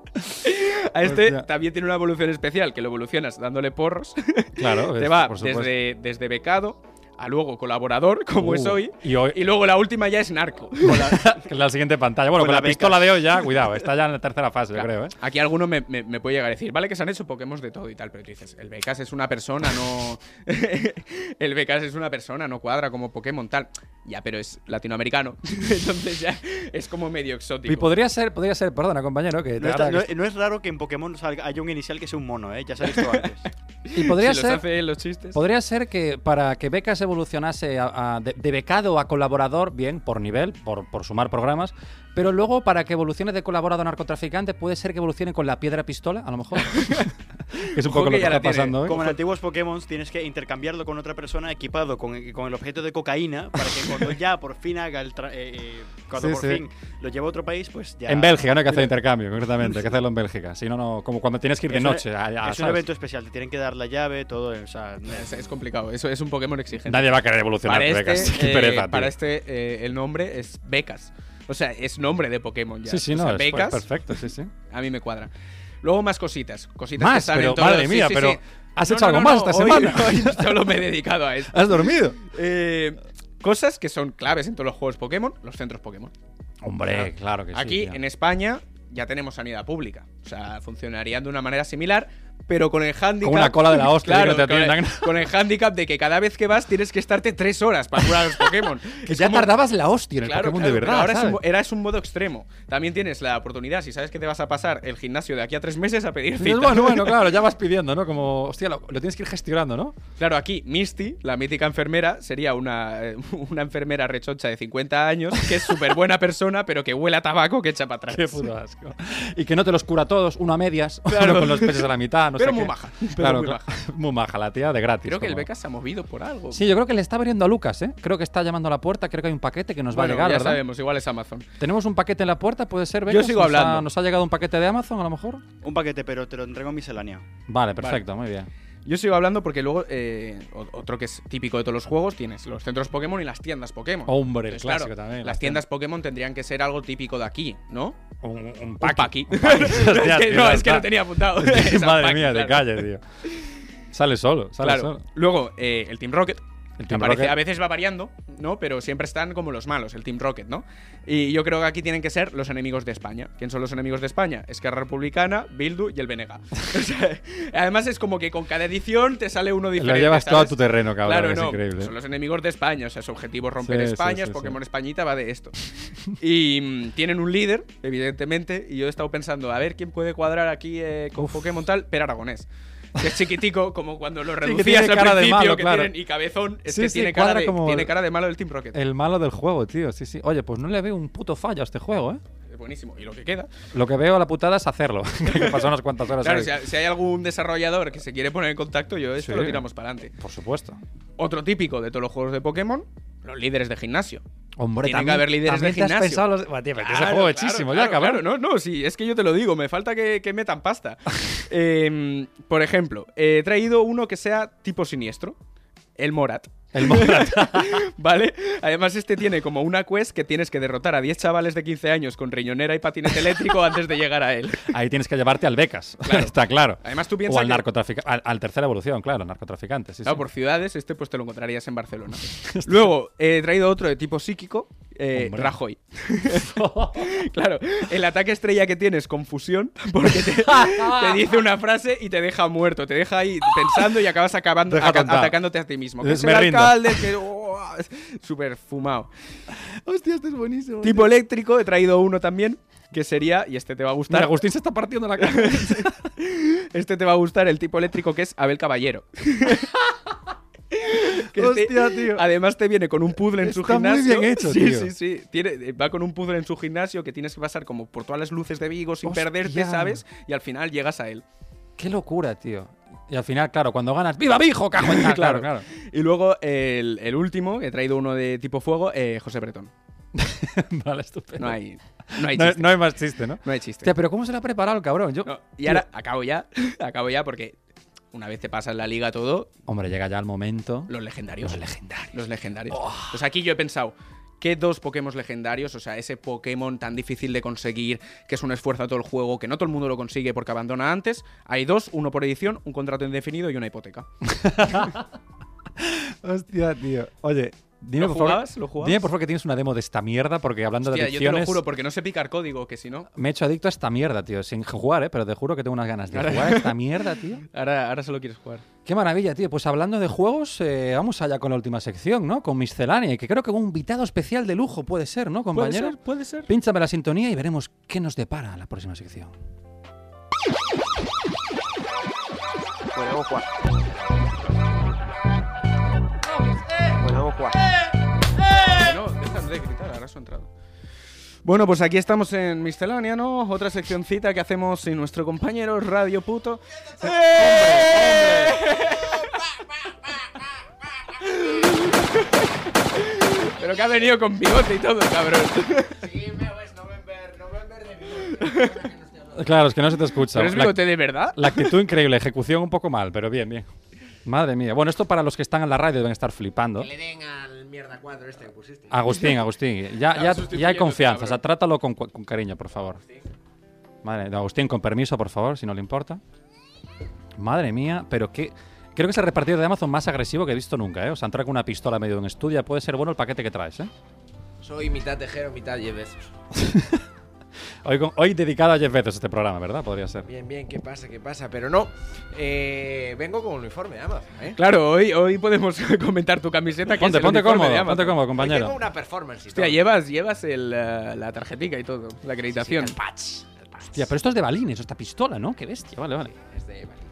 Speaker 5: A este
Speaker 4: Hostia.
Speaker 5: también tiene una evolución especial, que lo evolucionas dándole porros.
Speaker 4: Claro,
Speaker 5: Te
Speaker 4: es-
Speaker 5: va
Speaker 4: Pues, por supuesto.
Speaker 5: desde, desde becado a luego colaborador, como
Speaker 4: Uh, Pues
Speaker 5: es hoy.
Speaker 4: y hoy-
Speaker 5: Y luego la última ya es narco.
Speaker 4: La siguiente pantalla. Bueno,
Speaker 5: Con
Speaker 4: con
Speaker 5: la
Speaker 4: Pues la,
Speaker 5: beca.
Speaker 4: pistola de hoy ya, cuidado, está ya en la tercera fase,
Speaker 5: Claro,
Speaker 4: yo creo, ¿eh?
Speaker 5: Aquí alguno me, me- me puede llegar a decir, vale que se han hecho Pokémon de todo y tal, pero tú dices, el Becas es una persona, no... el Becas es una persona, no cuadra como Pokémon tal. Ya, pero es latinoamericano. Entonces ya es como medio exótico.
Speaker 4: Y podría ser, podría ser, perdona, compañero, que
Speaker 7: No,
Speaker 4: te
Speaker 7: está-
Speaker 4: ahora
Speaker 7: no-
Speaker 4: que-
Speaker 7: no es raro que en Pokémon salga- haya un inicial que sea un mono, ¿eh? Ya sabéis esto antes.
Speaker 4: Y podría
Speaker 5: Si los
Speaker 4: ser.
Speaker 5: hace él los chistes.
Speaker 4: Podría ser que para que Becas evolucionase a- a- de, de becado a colaborador, bien, por nivel, por, por sumar programas, pero luego para que evolucione de colaborador a narcotraficante, puede ser que evolucione con la piedra pistola, a lo mejor. Que es un
Speaker 5: Ojo
Speaker 4: poco
Speaker 5: que
Speaker 4: lo que
Speaker 5: ya la
Speaker 4: está
Speaker 5: tiene.
Speaker 4: pasando hoy.
Speaker 7: Como en antiguos Pokémon, tienes que intercambiarlo con otra persona equipado con, con el objeto de cocaína para que cuando ya por fin haga el. tra- eh, eh, cuando
Speaker 4: Sí,
Speaker 7: por
Speaker 4: sí.
Speaker 7: fin lo lleve a otro país, pues ya.
Speaker 4: En Bélgica no hay que hacer intercambio, concretamente, hay que hacerlo en Bélgica. Si no, no, como cuando tienes que ir de
Speaker 7: Es un-
Speaker 4: noche. a- a-
Speaker 7: es un
Speaker 4: ¿sabes?
Speaker 7: evento especial, te tienen que dar la llave, todo. O sea,
Speaker 12: Pues
Speaker 5: Es, es complicado, eso es un Pokémon exigente.
Speaker 4: Nadie va a querer evolucionar
Speaker 5: Para
Speaker 4: de
Speaker 5: este,
Speaker 4: Becas. Qué
Speaker 5: eh,
Speaker 4: pereza, tío.
Speaker 5: para este eh, el nombre es Becas. O sea, es nombre de Pokémon ya.
Speaker 4: Sí, sí,
Speaker 5: O
Speaker 4: no,
Speaker 5: sea,
Speaker 4: es pues,
Speaker 5: Becas,
Speaker 4: perfecto, sí, sí.
Speaker 5: A mí me cuadra. Luego más cositas. Cositas que
Speaker 4: Más,
Speaker 5: están
Speaker 4: pero
Speaker 5: en todos
Speaker 4: madre
Speaker 5: los-
Speaker 4: mía,
Speaker 5: sí, sí,
Speaker 4: pero
Speaker 5: sí.
Speaker 4: ¿has
Speaker 5: No,
Speaker 4: hecho
Speaker 5: no,
Speaker 4: algo
Speaker 5: no,
Speaker 4: más
Speaker 5: no,
Speaker 4: esta
Speaker 5: hoy-
Speaker 4: semana?
Speaker 5: hoy solo me he dedicado a esto.
Speaker 4: ¿Has dormido?
Speaker 5: Eh, cosas que son claves en todos los juegos Pokémon, los centros Pokémon.
Speaker 4: Hombre, claro que Pues sí.
Speaker 5: Aquí
Speaker 4: tío.
Speaker 5: en España ya tenemos sanidad pública. O sea, funcionarían de una manera similar, pero con el hándicap.
Speaker 4: una cola de la hostia
Speaker 5: Claro,
Speaker 4: que no te
Speaker 5: con, el,
Speaker 4: atiendan.
Speaker 5: con el hándicap de que cada vez que vas tienes que estarte tres horas para curar a los Pokémon.
Speaker 4: Que
Speaker 5: Es
Speaker 4: ya
Speaker 5: como-
Speaker 4: tardabas la hostia en el
Speaker 5: Claro,
Speaker 4: Pokémon
Speaker 5: claro,
Speaker 4: de
Speaker 5: pero
Speaker 4: verdad.
Speaker 5: Ahora es, un,
Speaker 4: ¿sabes?
Speaker 5: mo- era- es un modo extremo. También tienes la oportunidad, si sabes que te vas a pasar el gimnasio de aquí a tres meses, a pedir
Speaker 4: Dices,
Speaker 5: cita.
Speaker 4: Pues bueno, bueno, claro, ya vas pidiendo, ¿no? Como, hostia, lo, lo tienes que ir gestionando, ¿no?
Speaker 5: Claro, aquí Misty, la mítica enfermera, sería una, eh, una enfermera rechoncha de 50 años, que es súper buena persona, pero que huele a tabaco que echa para atrás.
Speaker 4: Qué puto asco. Y que no te los cura todos, uno a medias,
Speaker 5: Claro.
Speaker 4: uno con los peces a la mitad, no
Speaker 5: Pero
Speaker 4: sé
Speaker 5: muy
Speaker 4: qué.
Speaker 5: maja, pero
Speaker 4: Claro,
Speaker 5: muy
Speaker 4: cla- muy maja la tía, de gratis.
Speaker 5: Creo que el
Speaker 4: como-
Speaker 5: Beca se ha movido por algo.
Speaker 4: Sí, yo creo que le está abriendo a Lucas, ¿eh? Creo que está llamando a la puerta, creo que hay un paquete que nos
Speaker 5: Bueno,
Speaker 4: va a llegar,
Speaker 5: ya
Speaker 4: ¿verdad?
Speaker 5: sabemos, igual es Amazon.
Speaker 4: Tenemos un paquete en la puerta, puede ser,
Speaker 5: Yo
Speaker 4: Becas?
Speaker 5: sigo
Speaker 4: Nos ha-
Speaker 5: hablando.
Speaker 4: ¿Nos ha llegado un paquete de Amazon, a lo mejor?
Speaker 7: Un paquete, pero te lo entrego en miscelánea.
Speaker 4: Vale, perfecto, muy bien.
Speaker 5: Yo sigo hablando porque luego eh, o- otro que es típico de todos los juegos tienes los centros Pokémon y las tiendas Pokémon.
Speaker 4: Hombre, el
Speaker 5: claro,
Speaker 4: clásico también,
Speaker 5: Las
Speaker 4: las
Speaker 5: tiendas Pokémon tendrían que ser algo típico de aquí, ¿no?
Speaker 4: Un, un
Speaker 5: Un
Speaker 4: paqui.
Speaker 5: paqui.
Speaker 4: Hostia,
Speaker 5: Es que-
Speaker 4: tío,
Speaker 5: no,
Speaker 4: ya
Speaker 5: es que
Speaker 4: está.
Speaker 5: no tenía apuntado. Es un
Speaker 4: Madre
Speaker 5: paqui,
Speaker 4: mía, de
Speaker 5: claro.
Speaker 4: calle, tío. Sale solo, sale
Speaker 5: Claro.
Speaker 4: solo.
Speaker 5: Luego, eh, el Team Rocket.
Speaker 4: El
Speaker 5: que
Speaker 4: Team
Speaker 5: aparece-
Speaker 4: Rocket.
Speaker 5: A veces va variando, ¿no? Pero siempre están como los malos, el Team Rocket, ¿no? Y yo creo que aquí tienen que ser los enemigos de España. ¿Quién son los enemigos de España? Esquerra Republicana, Bildu y el Venega. O sea, además es como que con cada edición te sale uno diferente.
Speaker 4: llevas todo
Speaker 5: ¿sabes?
Speaker 4: a tu terreno, cabrón,
Speaker 5: Claro,
Speaker 4: es
Speaker 5: no.
Speaker 4: increíble.
Speaker 5: Son los enemigos de España. O sea, su objetivo es romper
Speaker 4: Sí, sí,
Speaker 5: España,
Speaker 4: sí,
Speaker 5: es
Speaker 4: sí.
Speaker 5: Pokémon Españita, va de esto. Y mm, tienen un líder, evidentemente, y yo he estado pensando, a ver quién puede cuadrar aquí eh, con Pokémon tal, pero aragonés. Que es chiquitico, como cuando lo
Speaker 4: que
Speaker 5: reducías
Speaker 4: tiene
Speaker 5: al
Speaker 4: cara de
Speaker 5: principio,
Speaker 4: malo,
Speaker 5: que
Speaker 4: claro.
Speaker 5: tienen- y cabezón, es
Speaker 4: Sí,
Speaker 5: que
Speaker 4: sí,
Speaker 5: tiene, cara
Speaker 4: cuadra
Speaker 5: de,
Speaker 4: como- Eh.
Speaker 5: tiene cara de malo el Team Rocket.
Speaker 4: El malo del juego, tío, sí, sí. Oye, pues no le veo un puto fallo a este juego, ¿eh?
Speaker 5: Es buenísimo. Y lo que queda.
Speaker 4: Lo que veo a la putada es hacerlo. que pasó unas cuantas horas
Speaker 5: Claro,
Speaker 4: ahí.
Speaker 5: si, ha- si hay algún desarrollador que se quiere poner en contacto, yo esto
Speaker 4: Sí.
Speaker 5: lo tiramos para adelante.
Speaker 4: Por supuesto.
Speaker 5: Otro típico de todos los juegos de Pokémon, los líderes de gimnasio.
Speaker 4: Hombre,
Speaker 5: Tiene que
Speaker 4: también,
Speaker 5: haber líderes
Speaker 4: también
Speaker 5: de
Speaker 4: te has
Speaker 5: gimnasio.
Speaker 4: pensado los- Buah, tío, pero ese
Speaker 5: Claro,
Speaker 4: juego es
Speaker 5: claro,
Speaker 4: chísimo,
Speaker 5: claro,
Speaker 4: ya, cabrón.
Speaker 5: claro, no, no, sí, es que yo te lo digo, me falta que, que metan pasta. Eh, por ejemplo, he traído uno que sea tipo siniestro, el Morat.
Speaker 4: El Morat.
Speaker 5: ¿Vale? Además, este tiene como una quest que tienes que derrotar a 10 chavales de 15 años con riñonera y patinete eléctrico antes de llegar a él.
Speaker 4: Ahí tienes que llevarte al becas. Está claro.
Speaker 5: Además, tú
Speaker 4: O
Speaker 5: piensas
Speaker 4: al
Speaker 5: que-
Speaker 4: narcotraficante. Al, al tercera evolución, claro, al narcotraficante. Sí, sí.
Speaker 5: Claro, por ciudades, este pues te lo encontrarías en Barcelona. Luego, he traído otro de tipo psíquico, eh,
Speaker 4: Hombre.
Speaker 5: Rajoy. claro, el ataque estrella que tienes, confusión, porque te, te dice una frase y te deja muerto, te deja ahí pensando y acabas acabando,
Speaker 4: Deja
Speaker 5: aca-
Speaker 4: tonta.
Speaker 5: atacándote a ti mismo. Que
Speaker 4: Me
Speaker 5: es el
Speaker 4: rindo.
Speaker 5: alcalde, que... oh, súper fumado.
Speaker 4: Hostia, este es buenísimo.
Speaker 5: Tipo eléctrico, he traído uno también, que sería, y este te va a
Speaker 4: Mira,
Speaker 5: gustar,
Speaker 4: Agustín se está partiendo la cara.
Speaker 5: este te va a gustar el tipo eléctrico que es Abel Caballero. Que este-
Speaker 4: Hostia, tío.
Speaker 5: Además te viene con un puzzle en su
Speaker 4: Está muy
Speaker 5: gimnasio.
Speaker 4: bien hecho,
Speaker 5: sí,
Speaker 4: tío.
Speaker 5: sí, sí. Tiene- eh, va con un puzzle en su gimnasio que tienes que pasar como por todas las luces de Vigo sin
Speaker 4: Hostia.
Speaker 5: perderte, ¿sabes? Y al final llegas a él. Ah,
Speaker 4: Qué locura, tío. Y al final, claro, cuando ganas, ¡viva mi hijo, cago en tal! claro, claro.
Speaker 5: Y luego el, el último, que he traído uno de tipo fuego, eh, José Bretón.
Speaker 4: vale, estupendo.
Speaker 5: No hay, no hay
Speaker 4: No-
Speaker 5: chiste.
Speaker 4: no hay más chiste, ¿no?
Speaker 5: No hay chiste.
Speaker 4: Hostia, pero ¿cómo se lo ha preparado el cabrón? Yo,
Speaker 5: No, y ahora acabo ya, acabo ya porque una vez te pasa en la liga todo,
Speaker 4: Hombre, llega ya el momento.
Speaker 5: los legendarios.
Speaker 4: Los legendarios. Oh.
Speaker 5: Los legendarios. Pues aquí yo he pensado, ¿qué dos Pokémon legendarios? O sea, ese Pokémon tan difícil de conseguir, que es un esfuerzo a todo el juego, que no todo el mundo lo consigue porque abandona antes. Hay dos, uno por edición, un contrato indefinido y una hipoteca.
Speaker 4: Hostia, tío. Oye, dime
Speaker 5: ¿Lo
Speaker 4: por favor.
Speaker 5: jugabas? ¿Lo jugabas?
Speaker 4: Dime por favor que tienes una demo de esta mierda, porque hablando
Speaker 5: Hostia,
Speaker 4: de
Speaker 5: yo te lo
Speaker 4: adicciones.
Speaker 5: juro, porque no sé picar código, que si no...
Speaker 4: Me he hecho adicto a esta mierda, tío. Sin jugar, ¿eh? Pero te juro que tengo unas ganas de
Speaker 5: Ahora-
Speaker 4: jugar a esta mierda, tío.
Speaker 5: Ahora, ahora solo quieres jugar.
Speaker 4: Qué maravilla, tío. Pues hablando de juegos, eh, vamos allá con la última sección, ¿no? Con Miscelánea, que creo que un invitado especial de lujo puede ser, ¿no, compañero?
Speaker 5: puede ser.
Speaker 4: Pínchame la sintonía y veremos qué nos depara la próxima sección.
Speaker 6: Podemos jugar. Podemos jugar.
Speaker 5: No, dejan de gritar, ahora su entrada. Bueno, pues aquí estamos en Miscelánea, ¿no? Otra seccioncita que hacemos sin nuestro compañero Radio Puto. ¡Eh! Pero que ha venido con bigote y todo, cabrón.
Speaker 4: Claro, es que no se te escucha.
Speaker 5: Pero es
Speaker 4: La-
Speaker 5: bigote de verdad.
Speaker 4: La actitud increíble, ejecución un poco mal, pero bien, bien. Madre mía. Bueno, esto para los que están en la radio deben estar flipando.
Speaker 12: Que le den al mierda 4 este que pusiste.
Speaker 4: Agustín, Agustín, ya, ya, ya hay confianza. O sea, trátalo con, cu- con cariño, por favor. Madre, no, Agustín, con permiso, por favor, si no le importa. Madre mía, pero qué. Creo que es el repartidor de Amazon más agresivo que he visto nunca, ¿eh? O sea, entrar con una pistola en medio de un estudio. Puede ser bueno el paquete que traes, ¿eh?
Speaker 12: Soy mitad tejero, mitad Jeff Bezos.
Speaker 4: Hoy, con- hoy dedicado a Jeff Bezos este programa, ¿verdad? Podría ser.
Speaker 12: Bien, bien, ¿qué pasa? ¿Qué pasa? Pero no, eh, vengo con uniforme de Amazon, ¿eh?
Speaker 5: Claro, hoy, hoy podemos comentar tu camiseta. Que
Speaker 4: Ponte,
Speaker 5: es el
Speaker 4: ponte
Speaker 5: uniforme de
Speaker 4: cómodo,
Speaker 5: Amazon.
Speaker 4: ponte cómodo,
Speaker 12: Hoy
Speaker 4: compañero.
Speaker 12: tengo una performance y
Speaker 5: Hostia,
Speaker 12: todo.
Speaker 5: llevas, llevas el, eh, la tarjetica y todo, la acreditación.
Speaker 12: Sí, el patch. el patch.
Speaker 4: Hostia, pero esto es de balines, esta pistola, ¿no? Qué bestia, vale, vale.
Speaker 12: Es de Balines.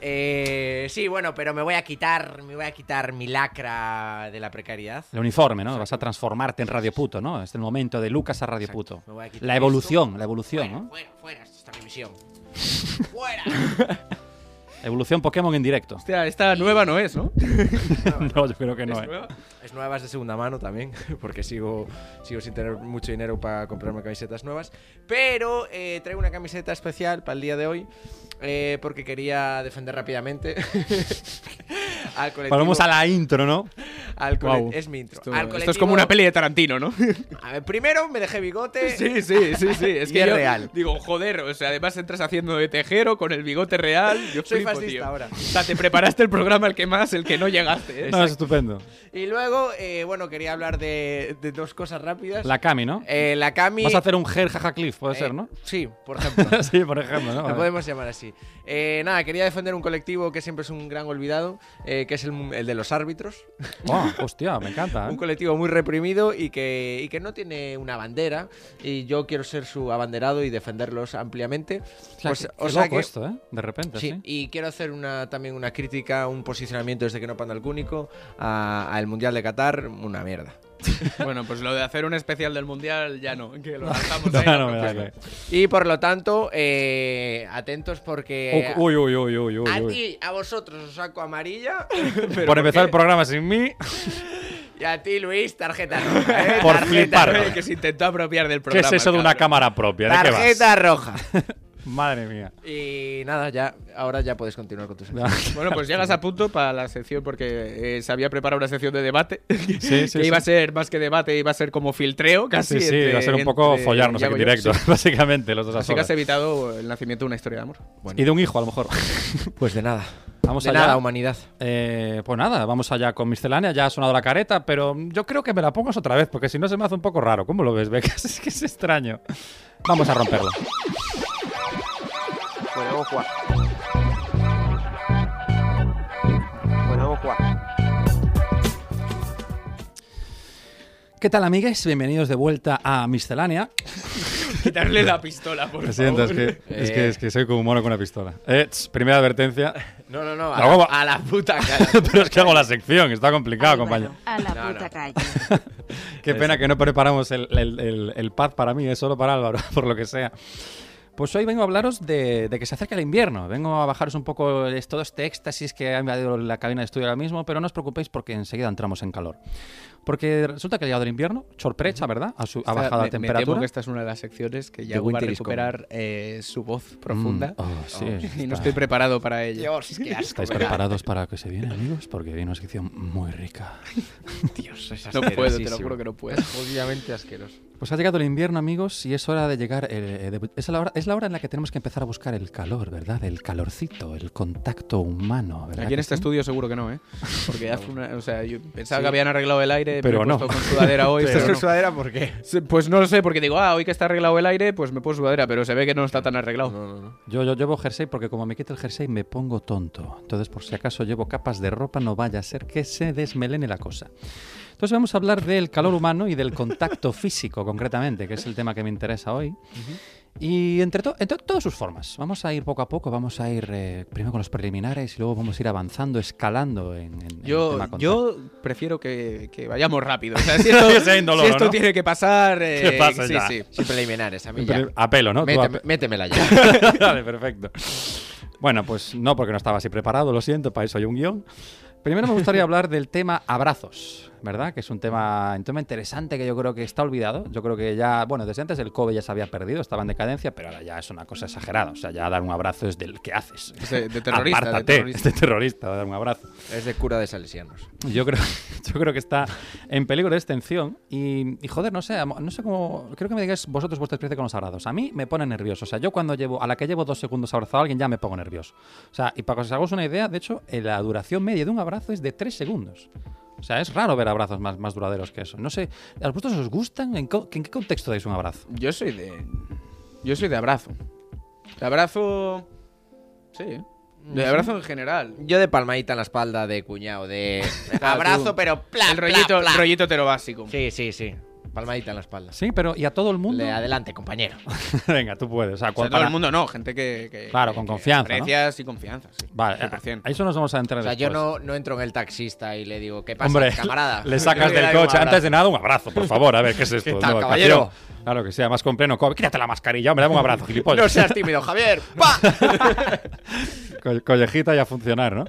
Speaker 12: Eh, sí, bueno, pero me voy a quitar, me voy a quitar mi lacra de la precariedad.
Speaker 4: El uniforme, ¿no? Vas a transformarte en Radio Puto, ¿no? Es el momento de Lucas a Radio Puto.
Speaker 12: Me voy a quitar
Speaker 4: La
Speaker 12: esto.
Speaker 4: evolución, la evolución, ¿no?
Speaker 12: Fuera, fuera, esta es mi misión. ¡Fuera!
Speaker 4: Evolución Pokémon en directo.
Speaker 5: Hostia, esta nueva no es, ¿no?
Speaker 4: No, yo creo que no.
Speaker 12: ¿Es
Speaker 4: ¿eh?
Speaker 12: nueva? Es nueva, es de segunda mano también, porque sigo, sigo sin tener mucho dinero para comprarme camisetas nuevas. Pero eh, traigo una camiseta especial para el día de hoy, eh, porque quería defender rápidamente al colectivo.
Speaker 4: Volvemos a la intro, ¿no?
Speaker 12: al cole-
Speaker 5: Guau.
Speaker 12: Es mi intro.
Speaker 5: Esto,
Speaker 12: Al
Speaker 5: esto es como una peli de Tarantino, ¿no?
Speaker 12: colectivo- A ver, primero me dejé bigote.
Speaker 5: Sí, sí, sí, sí. Es
Speaker 12: Y
Speaker 5: que
Speaker 12: es
Speaker 5: yo
Speaker 12: real.
Speaker 5: Digo, joder, o sea, además entras haciendo de tejero con el bigote real. Yo
Speaker 12: Soy
Speaker 5: flipo,
Speaker 12: fascista
Speaker 5: tío.
Speaker 12: ahora.
Speaker 5: O sea, te preparaste el programa el que más, el que no llegaste. ¿eh?
Speaker 4: No, es estupendo.
Speaker 12: Y luego, eh, bueno, quería hablar de, de dos cosas rápidas.
Speaker 4: La Cami, ¿no?
Speaker 12: Eh, la Cami.
Speaker 4: Vas a hacer un Ger Jaja Cliff, puede
Speaker 12: eh,
Speaker 4: ser, ¿no?
Speaker 12: Sí, por ejemplo.
Speaker 4: sí, por ejemplo, ¿no?
Speaker 12: Lo podemos llamar así. Eh, nada, quería defender un colectivo que siempre es un gran olvidado, eh, que es el, el de los árbitros.
Speaker 4: Oh, hostia, me encanta. ¿eh?
Speaker 12: Un colectivo muy reprimido y que, y que no tiene una bandera. Y yo quiero ser su abanderado y defenderlos ampliamente.
Speaker 4: Hostia,
Speaker 12: Pues,
Speaker 4: qué-
Speaker 12: o
Speaker 4: qué
Speaker 12: sea
Speaker 4: loco
Speaker 12: que-
Speaker 4: esto, ¿eh? De repente,
Speaker 12: Sí,
Speaker 4: sí.
Speaker 12: y quiero hacer una, también una crítica, un posicionamiento desde que no panda el cúnico a- al Mundial de Qatar, una mierda.
Speaker 5: Bueno, pues lo de hacer un especial del mundial ya no. Que lo lanzamos
Speaker 4: No,
Speaker 5: ahí,
Speaker 4: no,
Speaker 5: no,
Speaker 4: me
Speaker 5: pues
Speaker 4: vale.
Speaker 12: Y por lo tanto, eh, atentos porque...
Speaker 4: Uy, uy, uy, uy, uy,
Speaker 12: a
Speaker 4: uy.
Speaker 12: ti, a vosotros os saco amarilla.
Speaker 4: Por empezar el programa sin mí,
Speaker 12: Y a ti, Luis, tarjeta roja. ¿eh?
Speaker 4: Por
Speaker 12: Tarjeta
Speaker 4: flipar.
Speaker 12: roja.
Speaker 5: Eh, Que se intentó apropiar del
Speaker 4: ¿qué
Speaker 5: programa.
Speaker 4: es eso de una
Speaker 5: cabrón.
Speaker 4: cámara propia? ¿De qué vas?
Speaker 12: Tarjeta roja.
Speaker 4: Madre mía.
Speaker 12: Y nada, ya, ahora ya puedes continuar con tus
Speaker 5: Bueno, pues llegas a punto para la sección porque eh, se había preparado una sección de debate.
Speaker 4: Sí, sí,
Speaker 5: que iba a
Speaker 4: sí.
Speaker 5: ser más que debate, iba a ser como filtreo casi.
Speaker 4: Sí, sí, va a ser un poco follarnos aquí en directo, básicamente, los dos a
Speaker 5: Así que has
Speaker 4: solas.
Speaker 5: evitado el nacimiento de una historia de amor.
Speaker 4: Y de un hijo, a lo mejor.
Speaker 12: Pues de nada.
Speaker 4: Vamos
Speaker 12: de
Speaker 4: allá.
Speaker 12: nada, humanidad.
Speaker 4: Eh, pues nada, vamos allá con miscelánea. Ya ha sonado la careta, pero yo creo que me la pongas otra vez, porque si no se me hace un poco raro. ¿Cómo lo ves, Becas? Es que es extraño. Vamos a romperlo.
Speaker 6: Podemos jugar. Podemos jugar.
Speaker 4: ¿Qué tal, amigues? Bienvenidos de vuelta a miscelánea.
Speaker 5: Quitarle la pistola, por
Speaker 4: Lo
Speaker 5: favor.
Speaker 4: siento, es que, es, que, es que soy como un mono con una pistola. Eh, tss, primera advertencia.
Speaker 12: No, no, no. A
Speaker 4: La
Speaker 12: la,
Speaker 4: guapa.
Speaker 12: a la puta cara.
Speaker 4: pero es que hago la sección, está complicado,
Speaker 5: Ah,
Speaker 4: compañero.
Speaker 13: A la
Speaker 12: No, no.
Speaker 13: puta calle.
Speaker 4: Qué pena que no preparamos el, el, el- el pad para mí, es solo para Álvaro, por lo que sea. Pues hoy vengo a hablaros de, de que se acerca el invierno. Vengo a bajaros un poco es- todo este éxtasis que ha invadido la cabina de estudio ahora mismo, pero no os preocupéis porque enseguida entramos en calor. Porque resulta que ha llegado el invierno, sorpresa, ¿verdad? Ha, su- ha
Speaker 5: Esta-
Speaker 4: bajado
Speaker 5: me-
Speaker 4: la
Speaker 5: me temo
Speaker 4: temperatura. Mm,
Speaker 5: que esta es una de las secciones que ya
Speaker 4: The
Speaker 5: va a
Speaker 4: winter is coming.
Speaker 5: recuperar eh, su voz profunda.
Speaker 4: Mm, oh, sí,
Speaker 5: y
Speaker 4: está.
Speaker 5: no estoy preparado para ello.
Speaker 4: ¿Estáis preparados para que se viene, amigos? Porque viene una sección muy rica.
Speaker 12: Dios, es
Speaker 5: No puedo, te lo
Speaker 12: asquerosísimo.
Speaker 5: juro que no puedo.
Speaker 12: Es jodidamente asqueroso.
Speaker 4: Pues ha llegado el invierno, amigos, y es hora de llegar. eh, de- es, la hora, es la hora en la que tenemos que empezar a buscar el calor, ¿verdad? El calorcito, el contacto humano, ¿verdad?
Speaker 5: Aquí en
Speaker 4: que
Speaker 5: este
Speaker 4: sí?
Speaker 5: estudio seguro que no, ¿eh? Porque ya fue una- o sea, yo pensaba
Speaker 4: Sí.
Speaker 5: que habían arreglado el aire,
Speaker 4: Pero
Speaker 5: me he
Speaker 4: no.
Speaker 5: puesto con sudadera hoy.
Speaker 12: ¿Estás
Speaker 5: pero
Speaker 12: con
Speaker 5: no.
Speaker 12: sudadera por qué?
Speaker 5: Sí, Pues no lo sé, porque digo, ah, hoy que está arreglado el aire, pues me pongo sudadera, pero se ve que no está tan arreglado.
Speaker 4: Yo, yo llevo jersey porque como me quito el jersey me pongo tonto. Entonces, por si acaso llevo capas de ropa, no vaya a ser que se desmelene la cosa. Entonces vamos a hablar del calor humano y del contacto físico concretamente, que es el tema que me interesa hoy. Y entre, to- en to- todas sus formas. Vamos a ir poco a poco, vamos a ir eh, primero con los preliminares y luego vamos a ir avanzando, escalando en, en- en el
Speaker 5: Yo,
Speaker 4: tema contacto.
Speaker 5: yo prefiero que, que vayamos rápido. O sea, si esto,
Speaker 4: Que sea
Speaker 5: si
Speaker 4: indoloro,
Speaker 5: esto
Speaker 4: ¿no?
Speaker 5: tiene que pasar. eh,
Speaker 4: Que pase
Speaker 5: sí,
Speaker 4: ya.
Speaker 5: sí.
Speaker 12: Sin preliminares, a mí ya.
Speaker 4: Pero Apelo, ¿no? Tú
Speaker 12: Méteme-
Speaker 4: ape-
Speaker 12: métemela ya.
Speaker 4: vale, perfecto. Bueno, pues no, porque no estaba así preparado, lo siento, para eso hay un guión. Primero me gustaría hablar del tema abrazos, ¿verdad? Que es un tema, un tema interesante que yo creo que está olvidado. Yo creo que ya, bueno, desde antes el COVID ya se había perdido, estaba en decadencia, pero ahora ya es una cosa exagerada. O sea, ya dar un abrazo es del que haces.
Speaker 5: Es de- de terrorista, de
Speaker 4: Apártate,
Speaker 5: terrorista.
Speaker 4: es de terrorista, dar un abrazo.
Speaker 12: Es de cura de salesianos.
Speaker 4: Yo creo, yo creo que está en peligro de extensión. Y, y, joder, no sé, amo- no sé cómo. Creo que me digáis vosotros vuestra experiencia con los abrazos. A mí me pone nervioso. O sea, yo cuando llevo, a la que llevo dos segundos abrazado a alguien ya me pongo nervioso. O sea, y para que os hagáis una idea, de hecho, eh, la duración media de un abrazo es de tres segundos. O sea, es raro ver abrazos más, más duraderos que eso. No sé, ¿a vosotros os gustan? ¿En, co- en qué contexto dais un abrazo?
Speaker 5: Yo soy de. Yo soy de abrazo. De abrazo. Sí. De abrazo en general.
Speaker 12: Yo de palmadita en la espalda de cuñado, de
Speaker 5: tú.
Speaker 12: abrazo, pero pla,
Speaker 5: El rollito- el rollito
Speaker 12: pero básico. Sí, sí, sí. Palmadita en la espalda.
Speaker 4: Sí, pero ¿y a todo el mundo?
Speaker 12: Le adelante, compañero.
Speaker 4: Venga, tú puedes. O sea,
Speaker 5: O sea,
Speaker 4: cua-
Speaker 5: todo
Speaker 4: para-
Speaker 5: el mundo no, gente que. que-
Speaker 4: Claro,
Speaker 5: que-
Speaker 4: con
Speaker 5: que
Speaker 4: confianza, ¿no?
Speaker 5: aprecias y confianza. sí.
Speaker 4: Vale, a,
Speaker 5: 100%.
Speaker 4: a eso nos vamos a entrar
Speaker 12: O sea, yo
Speaker 4: después.
Speaker 12: no, no entro en el taxista y le digo, ¿qué pasa,
Speaker 4: Hombre,
Speaker 12: camarada?
Speaker 4: le sacas
Speaker 12: Yo le
Speaker 4: del
Speaker 12: doy un
Speaker 4: coche.
Speaker 12: abrazo.
Speaker 4: Antes de nada, un abrazo, por favor. A ver, ¿qué es esto?
Speaker 12: ¿Qué tal,
Speaker 4: No,
Speaker 12: caballero?
Speaker 4: canción. Claro que sea, más con pleno COVID. Quítate la mascarilla, hombre, dame un abrazo, gilipollas.
Speaker 12: No seas tímido, Javier. ¡Pa!
Speaker 4: Co- Collejita y a funcionar, ¿no?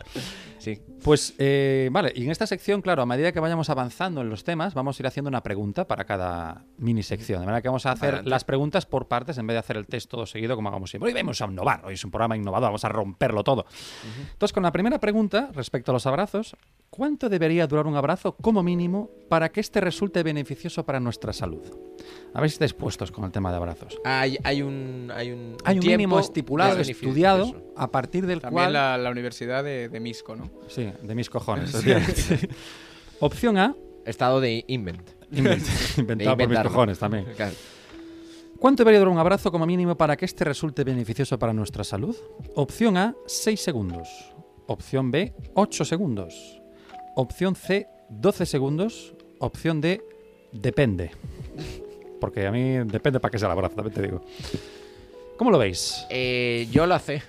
Speaker 12: Sí.
Speaker 4: Pues, eh, vale, y en esta sección, claro, a medida que vayamos avanzando en los temas, vamos a ir haciendo una pregunta para cada mini sección. De manera que vamos a hacer
Speaker 5: Adelante.
Speaker 4: las preguntas por partes en vez de hacer el test todo seguido como hagamos siempre. Hoy vamos a innovar, hoy es un programa innovador, vamos a romperlo todo. Entonces, con la primera pregunta, respecto a los abrazos, ¿cuánto debería durar un abrazo como mínimo para que este resulte beneficioso para nuestra salud? A ver si estáis puestos con el tema de abrazos.
Speaker 12: Hay, hay un, hay un,
Speaker 4: Hay un
Speaker 12: tiempo
Speaker 4: mínimo estipulado,
Speaker 12: de beneficio.
Speaker 4: estudiado,
Speaker 12: Eso.
Speaker 4: a partir del
Speaker 5: También
Speaker 4: cual...
Speaker 5: la, la universidad de, de Misco, ¿no?
Speaker 4: Sí, de mis cojones. efectivamente. Opción A,
Speaker 12: Estado de invent.
Speaker 4: invent- inventado por mis
Speaker 12: inventarlo.
Speaker 4: cojones también.
Speaker 12: Claro.
Speaker 4: ¿Cuánto debería durar un abrazo como mínimo para que este resulte beneficioso para nuestra salud? Opción A, 6 segundos. Opción B, 8 segundos. Opción C, 12 segundos. Opción D, depende. Porque a mí depende para qué sea el abrazo, también te digo. ¿Cómo lo veis?
Speaker 12: Eh, yo lo hace.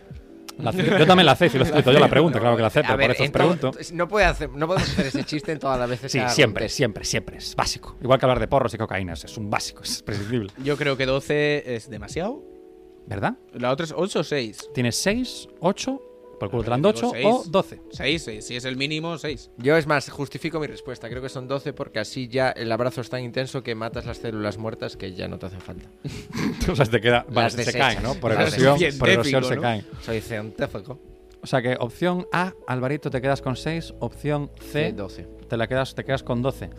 Speaker 4: La C- yo también la acepto, y lo acepto, yo la pregunta, claro que la acepto,
Speaker 12: A
Speaker 4: por
Speaker 12: ver,
Speaker 4: eso os
Speaker 12: en todo-
Speaker 4: pregunto.
Speaker 12: No, puede hacer, no podemos hacer ese chiste en todas las veces.
Speaker 4: Sí,
Speaker 12: que haga
Speaker 4: siempre,
Speaker 12: contexto.
Speaker 4: siempre, siempre. Es básico. Igual que hablar de porros y cocaína, es un básico, es prescindible.
Speaker 5: Yo creo que 12 es demasiado.
Speaker 4: ¿Verdad?
Speaker 5: La otra es 8 o 6.
Speaker 4: Tienes 6, 8, por culo te dan
Speaker 5: Digo
Speaker 4: 8
Speaker 5: seis.
Speaker 4: o 12.
Speaker 5: 6, 6. Si es el mínimo, 6.
Speaker 12: Yo, es más, justifico mi respuesta. Creo que son 12 porque así ya el abrazo es tan intenso que matas las células muertas que ya no te hacen falta.
Speaker 4: O sea, te queda. vale,
Speaker 12: Las
Speaker 4: se
Speaker 12: desechas.
Speaker 4: caen, ¿no? Por
Speaker 12: Las
Speaker 4: erosión,
Speaker 5: desechas.
Speaker 4: por erosión se
Speaker 5: Científico, ¿no?
Speaker 4: caen.
Speaker 12: Soy científico.
Speaker 4: O sea que opción A, Alvarito, te quedas con 6. Opción C,
Speaker 12: Sí, 12.
Speaker 4: Te, la quedas, te quedas con 12.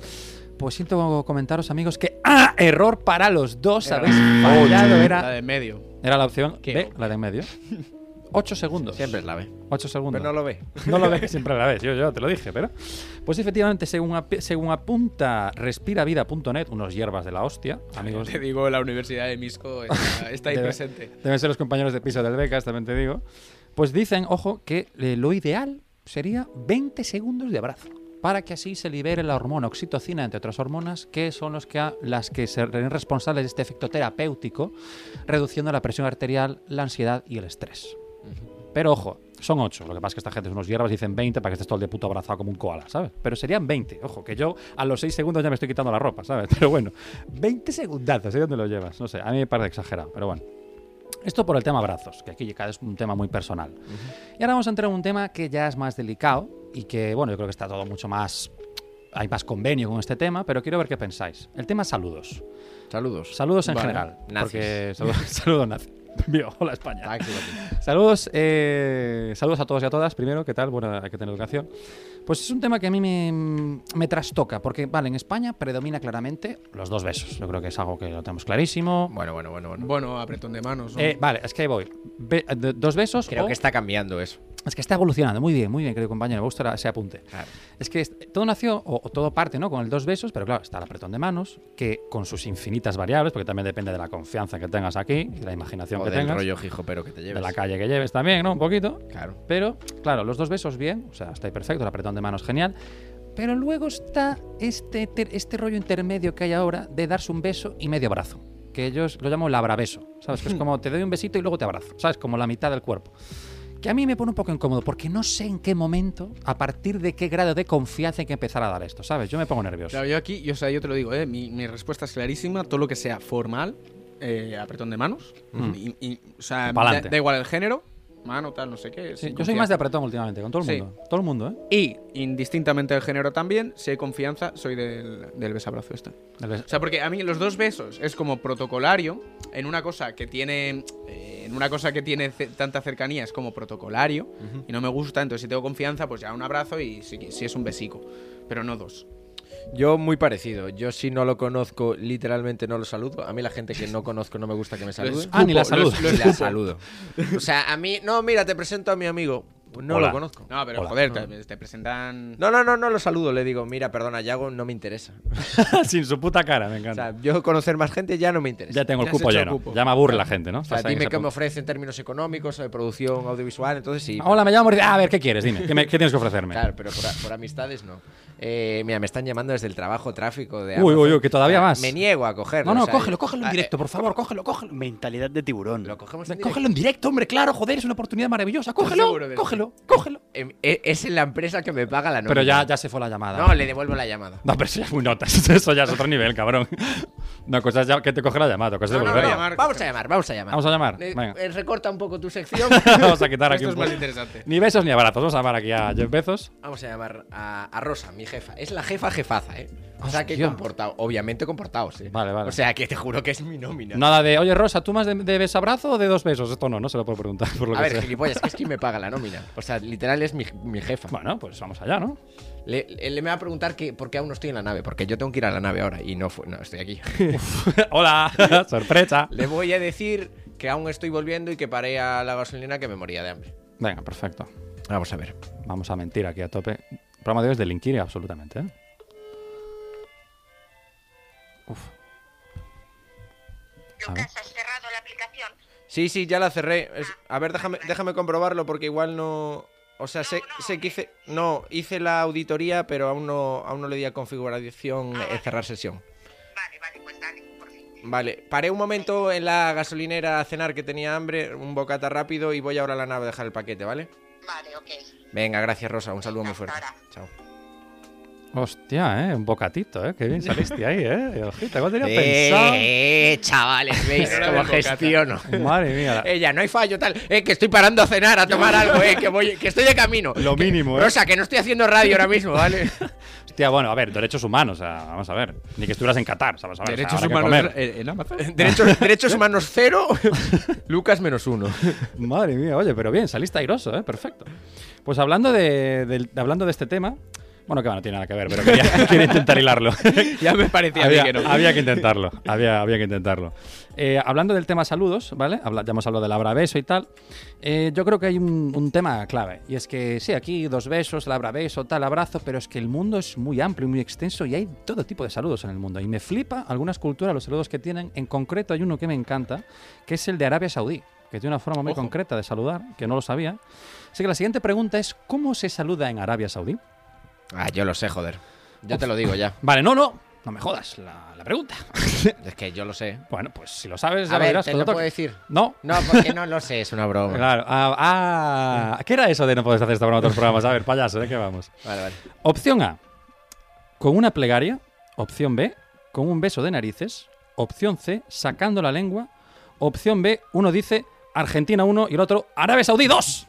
Speaker 4: Pues siento comentaros, amigos, que ¡Ah! Error para los dos. Habéis fallado.
Speaker 5: La
Speaker 4: Era,
Speaker 5: de en medio.
Speaker 4: era la opción
Speaker 5: Qué
Speaker 4: B, la de en medio. 8 segundos.
Speaker 12: Siempre es la B.
Speaker 4: 8 segundos.
Speaker 12: Pero no lo ve.
Speaker 4: No lo ves, siempre la ves, yo, yo te lo dije, pero. Pues efectivamente, según, ap- según apunta respiravida.net, unos hierbas de la hostia, amigos.
Speaker 5: Te digo, la universidad de Misco está, está ahí
Speaker 4: Debe-
Speaker 5: presente.
Speaker 4: Deben ser los compañeros de piso del Becas, también te digo. Pues dicen, ojo, que eh, lo ideal sería 20 segundos de abrazo. Para que así se libere la hormona oxitocina, entre otras hormonas, que son los que ha- las que serán responsables de este efecto terapéutico, reduciendo la presión arterial, la ansiedad y el estrés. Pero ojo, son 8. Lo que pasa es que esta gente es unos hierbas, dicen 20 para que estés todo el día puto abrazado como un koala, ¿sabes? Pero serían 20. Ojo, que yo a los 6 segundos ya me estoy quitando la ropa, ¿sabes? Pero bueno, 20 segundazos, ¿eh? ¿Dónde lo llevas? No sé, a mí me parece exagerado, pero bueno. Esto por el tema brazos, que aquí ya es un tema muy personal. Y ahora vamos a entrar en un tema que ya es más delicado y que, bueno, yo creo que está todo mucho más... Hay más convenio con este tema, pero quiero ver qué pensáis. El tema saludos.
Speaker 5: Saludos.
Speaker 4: Saludos en
Speaker 5: Vale.
Speaker 4: general.
Speaker 5: Nazis.
Speaker 4: Porque saludos, saludos nazis. Mío, hola España. Saludos, eh, saludos a todos y a todas. Primero, ¿qué tal? Bueno, hay que tener educación. Pues es un tema que a mí me, me trastoca, porque, vale, en España predomina claramente los dos besos. Yo creo que es algo que lo tenemos clarísimo.
Speaker 5: Bueno, bueno, bueno, bueno.
Speaker 8: Bueno, apretón de manos. ¿no?
Speaker 4: Eh, vale, es que ahí voy. Be- eh, de- dos besos.
Speaker 5: Creo
Speaker 4: o-
Speaker 5: que está cambiando eso.
Speaker 4: Es que está evolucionando. Muy bien, muy bien, querido compañero. Me gusta la- ese apunte. Es que es- todo nació, o, o todo parte, ¿no? Con el dos besos, pero claro, está el apretón de manos, que con sus infinitas variables, porque también depende de la confianza que tengas aquí y de la imaginación
Speaker 5: O
Speaker 4: que
Speaker 5: del
Speaker 4: tengas.
Speaker 5: rollo hijo, pero que te lleves.
Speaker 4: De la calle que lleves también, ¿no? Un poquito.
Speaker 5: Claro.
Speaker 4: Pero, claro, los dos besos bien, o sea, está ahí perfecto, el apretón de manos genial. Pero luego está este, ter- este rollo intermedio que hay ahora de darse un beso y medio abrazo. Que ellos lo llaman labrabeso, ¿sabes? Que es como te doy un besito y luego te abrazo, ¿sabes? Como la mitad del cuerpo. Que a mí me pone un poco incómodo porque no sé en qué momento, a partir de qué grado de confianza hay que empezar a dar esto, ¿sabes? Yo me pongo nervioso.
Speaker 8: Claro, yo aquí, yo, o sea, yo te lo digo, ¿eh? mi, mi respuesta es clarísima, todo lo que sea formal, eh, apretón de manos,
Speaker 4: Mm.
Speaker 8: y- y- o sea, da,
Speaker 4: Pa'lante.
Speaker 8: da igual el género, mano, tal, no sé qué.
Speaker 4: Sí,
Speaker 8: sin
Speaker 4: yo soy más de
Speaker 8: confianza.
Speaker 4: apretón últimamente, con todo el
Speaker 8: Sí.
Speaker 4: mundo. Todo el mundo, ¿eh?
Speaker 8: Y indistintamente del género también, si hay confianza, soy del, del besabrazo este.
Speaker 4: El beso-
Speaker 8: O sea, porque a mí los dos besos es como protocolario en una cosa que tiene eh, en una cosa que tiene ce- tanta cercanía es como protocolario y no me gusta, entonces si tengo confianza, pues ya un abrazo y si, si es un besico, pero no dos.
Speaker 5: Yo muy parecido. Yo si no lo conozco, literalmente no lo saludo. A mí la gente que no conozco no me gusta que me salude.
Speaker 4: escupo, Ah, ni la lo es- saludas. lo
Speaker 5: Ni la
Speaker 4: escupo.
Speaker 5: saludo. O sea, a mí, no, mira, te presento a mi amigo. No
Speaker 4: Hola.
Speaker 5: lo conozco.
Speaker 8: No, pero
Speaker 4: Hola.
Speaker 8: joder, te, te presentan
Speaker 5: No, no, no, no lo saludo. Le digo, mira, perdona, Yago, no me interesa.
Speaker 4: Sin su puta cara, me encanta.
Speaker 5: O sea, yo conocer más gente ya no me interesa.
Speaker 4: ya tengo el
Speaker 8: ya has
Speaker 4: cupo
Speaker 8: hecho
Speaker 4: lleno.
Speaker 8: cupo.
Speaker 4: Ya me aburre la gente, ¿no?
Speaker 5: O sea,
Speaker 4: Estás ahí en
Speaker 5: dime
Speaker 4: ese
Speaker 5: qué me
Speaker 4: punto.
Speaker 5: ofrece en términos económicos, de producción audiovisual, entonces sí.
Speaker 4: Hola, me llamo. Mauricio. A ver, ¿qué quieres? Dime, ¿qué, me- qué tienes que ofrecerme?
Speaker 5: Claro, pero por, por amistades no. Eh, mira, me están llamando desde el trabajo, tráfico
Speaker 4: Uy,
Speaker 5: de. Amazon.
Speaker 4: uy, uy, que todavía
Speaker 5: O sea,
Speaker 4: más.
Speaker 5: Me niego a cogerlo.
Speaker 4: No, no,
Speaker 5: o sea, eh,
Speaker 4: cógelo, cógelo en directo, por favor, cógelo, cógelo.
Speaker 7: Mentalidad de tiburón.
Speaker 5: Lo cogemos en
Speaker 4: Cógelo en directo, hombre, claro, joder, es una oportunidad maravillosa. Cógelo,
Speaker 5: Pues seguro de eso?
Speaker 4: cógelo, cógelo.
Speaker 5: directo. Eh, Es en la empresa que me paga la nómina.
Speaker 4: Pero ya, ya Pues se fue la llamada.
Speaker 5: No, le devuelvo la llamada.
Speaker 4: No, pero eso ya es muy notas. Eso ya es otro nivel, cabrón. No, cosas ya que te coge la llamada, cosas de
Speaker 5: No, no,
Speaker 4: volverla.
Speaker 5: no, Vamos a llamar, vamos a llamar.
Speaker 4: Vamos a llamar,
Speaker 5: Eh,
Speaker 4: venga.
Speaker 5: eh, recorta un poco tu sección.
Speaker 4: Vamos a quitar aquí
Speaker 8: Esto
Speaker 4: un
Speaker 8: es más
Speaker 4: poco.
Speaker 8: interesante.
Speaker 4: Ni besos ni abrazos. Vamos a llamar aquí a Jeff Bezos.
Speaker 5: vamos a llamar a, a Rosa, mi jefa. Es la jefa jefaza, ¿eh? O sea, que
Speaker 4: Hostia.
Speaker 5: comportado. Obviamente comportados, ¿eh?
Speaker 4: Vale, vale.
Speaker 5: O sea, que te juro que es mi nómina.
Speaker 4: Nada de, oye, Rosa, ¿tú más de, de besabrazo o de dos besos? Esto no, no se lo puedo preguntar, por lo
Speaker 5: a
Speaker 4: que
Speaker 5: ver,
Speaker 4: sea.
Speaker 5: gilipollas, que es quien me paga la nómina. O sea, literal es mi, mi jefa.
Speaker 4: Bueno, pues vamos allá, ¿no?
Speaker 5: Le, le me va a preguntar que, por qué aún no estoy en la nave, porque yo tengo que ir a la nave ahora y no, fu- no estoy aquí.
Speaker 4: Hola, sorpresa.
Speaker 5: le voy a decir que aún estoy volviendo y que paré a la gasolina que me moría de hambre.
Speaker 4: Venga, perfecto.
Speaker 5: Vamos a ver.
Speaker 4: Vamos a mentir aquí a tope. El programa de hoy es delinquir absolutamente. ¿eh? Uf. A ver.
Speaker 5: Sí, sí, ya la cerré. Es- a ver, déjame, déjame comprobarlo porque igual no... O sea, sé, sé que hice... No, hice la auditoría, pero aún no, aún no le di a configuración eh, cerrar sesión. Vale, paré un momento en la gasolinera a cenar que tenía hambre, un bocata rápido y voy ahora a la nave a dejar el paquete, ¿vale?
Speaker 14: Vale, ok.
Speaker 5: Venga, gracias Rosa, un saludo muy fuerte. Chao.
Speaker 4: Hostia, ¿eh? Un bocatito, ¿eh? Qué bien saliste ahí, ¿eh? Ojita, ¿cuál tenía
Speaker 5: Eh, chavales, veis
Speaker 8: Era
Speaker 5: cómo
Speaker 8: del bocata.
Speaker 5: gestiono.
Speaker 4: pensado? Madre mía.
Speaker 5: Ella, no hay fallo tal. Eh, que estoy parando a cenar, a tomar algo, eh, que voy, que estoy de camino.
Speaker 4: Lo mínimo, ¿eh?
Speaker 5: Rosa, que no estoy haciendo radio ahora mismo, ¿vale?
Speaker 4: Hostia, bueno, a ver, derechos humanos, o sea, vamos a ver. Ni que estuvieras en Qatar, ¿sabes? Vamos a ver, o
Speaker 8: Derechos
Speaker 4: sea, habrá que
Speaker 8: humanos
Speaker 4: comer.
Speaker 8: en, en Amazon.
Speaker 5: derechos, derechos humanos cero, Lucas menos uno.
Speaker 4: Madre mía, oye, pero bien, saliste airoso, ¿eh? Perfecto. Pues hablando de, del- de- hablando de este tema, bueno, que va, no tiene nada que ver, pero quería, quería intentar hilarlo.
Speaker 8: Ya me parecía a mí
Speaker 4: había,
Speaker 8: que no.
Speaker 4: había que intentarlo, había, había que intentarlo. Eh, hablando del tema saludos, ¿vale? Habla- ya hemos hablado del abrabeso y tal. eh, yo creo que hay un, un tema clave, y es que sí, aquí dos besos, el abrabeso, tal, abrazo, pero es que el mundo es muy amplio y muy extenso y hay todo tipo de saludos en el mundo. Y me flipa algunas culturas los saludos que tienen. En concreto hay uno que me encanta, que es el de Arabia Saudí, que tiene una forma muy
Speaker 8: Ojo.
Speaker 4: concreta de saludar, que no lo sabía. Así que la siguiente pregunta es, ¿cómo se saluda en Arabia Saudí?
Speaker 5: Ah, yo lo sé, joder. Yo te lo digo ya.
Speaker 4: Vale, no, no, no me jodas la, la pregunta.
Speaker 5: Es que yo lo sé.
Speaker 4: Bueno, pues si lo sabes, ya
Speaker 5: A
Speaker 4: lo
Speaker 5: ver,
Speaker 4: dirás
Speaker 5: te
Speaker 4: cuando
Speaker 5: lo puedo
Speaker 4: toque.
Speaker 5: decir.
Speaker 4: No.
Speaker 5: No, porque no lo sé, es una broma.
Speaker 4: Claro. Ah, ah, ¿qué era eso de no puedes hacer esta broma en otros programas? A ver, payaso, ¿de qué vamos?
Speaker 5: Vale, vale.
Speaker 4: Opción A, con una plegaria. Opción B, con un beso de narices. Opción C, sacando la lengua. Opción B, uno dice, Argentina 1 y el otro Arabia Saudí 2.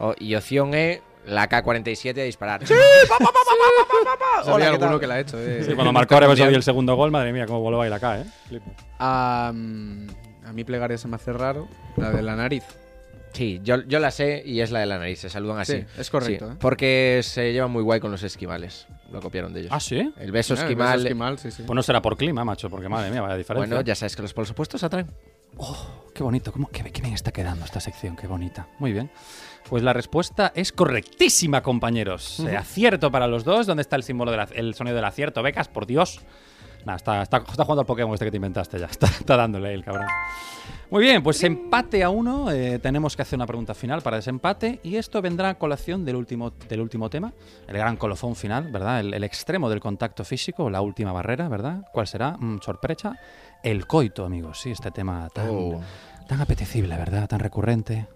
Speaker 5: O- y opción E, la K-47 a disparar.
Speaker 8: Sabía
Speaker 5: Hola, ¿qué
Speaker 8: alguno
Speaker 5: tal?
Speaker 8: que la ha hecho.
Speaker 5: Sí,
Speaker 8: eh.
Speaker 4: Sí, cuando marcó Arabia Saudí el segundo gol, madre mía, cómo voló a ir acá, ¿eh?
Speaker 8: Ah, mm, a mí plegaria se me hace raro. La de la nariz.
Speaker 5: Sí, yo, yo la sé y es la de la nariz, se saludan así.
Speaker 8: Sí, es correcto, ¿eh?
Speaker 5: Porque se llevan muy guay con los esquimales. Lo copiaron de ellos.
Speaker 4: ¿Ah, sí?
Speaker 5: El beso
Speaker 8: Ah, el beso
Speaker 5: esquimal.
Speaker 8: esquimal, sí, sí.
Speaker 4: Pues no será por clima, macho, porque madre mía, vaya diferencia. Oh,
Speaker 5: Bueno, ya sabes que los polos opuestos atraen.
Speaker 4: Qué bonito, cómo, qué, qué bien está quedando esta sección, qué bonita. Muy bien. Pues la respuesta es correctísima, compañeros. Eh,
Speaker 8: Ujú.
Speaker 4: acierto para los dos. ¿Dónde está el símbolo del ac- el sonido del acierto? Becas, por Dios. Nada, está, está- está jugando al Pokémon este que te inventaste ya. Está, está dándole ahí el cabrón. Muy bien, pues empate a uno. Eh, tenemos que hacer una pregunta final para desempate. Y esto vendrá a colación del último, del último tema, el gran colofón final, ¿verdad? El, el extremo del contacto físico, la última barrera, ¿verdad? ¿Cuál será? Mm, sorpresa. El coito, amigos. Sí, este tema tan,
Speaker 5: Oh.
Speaker 4: tan apetecible, ¿verdad? Tan recurrente.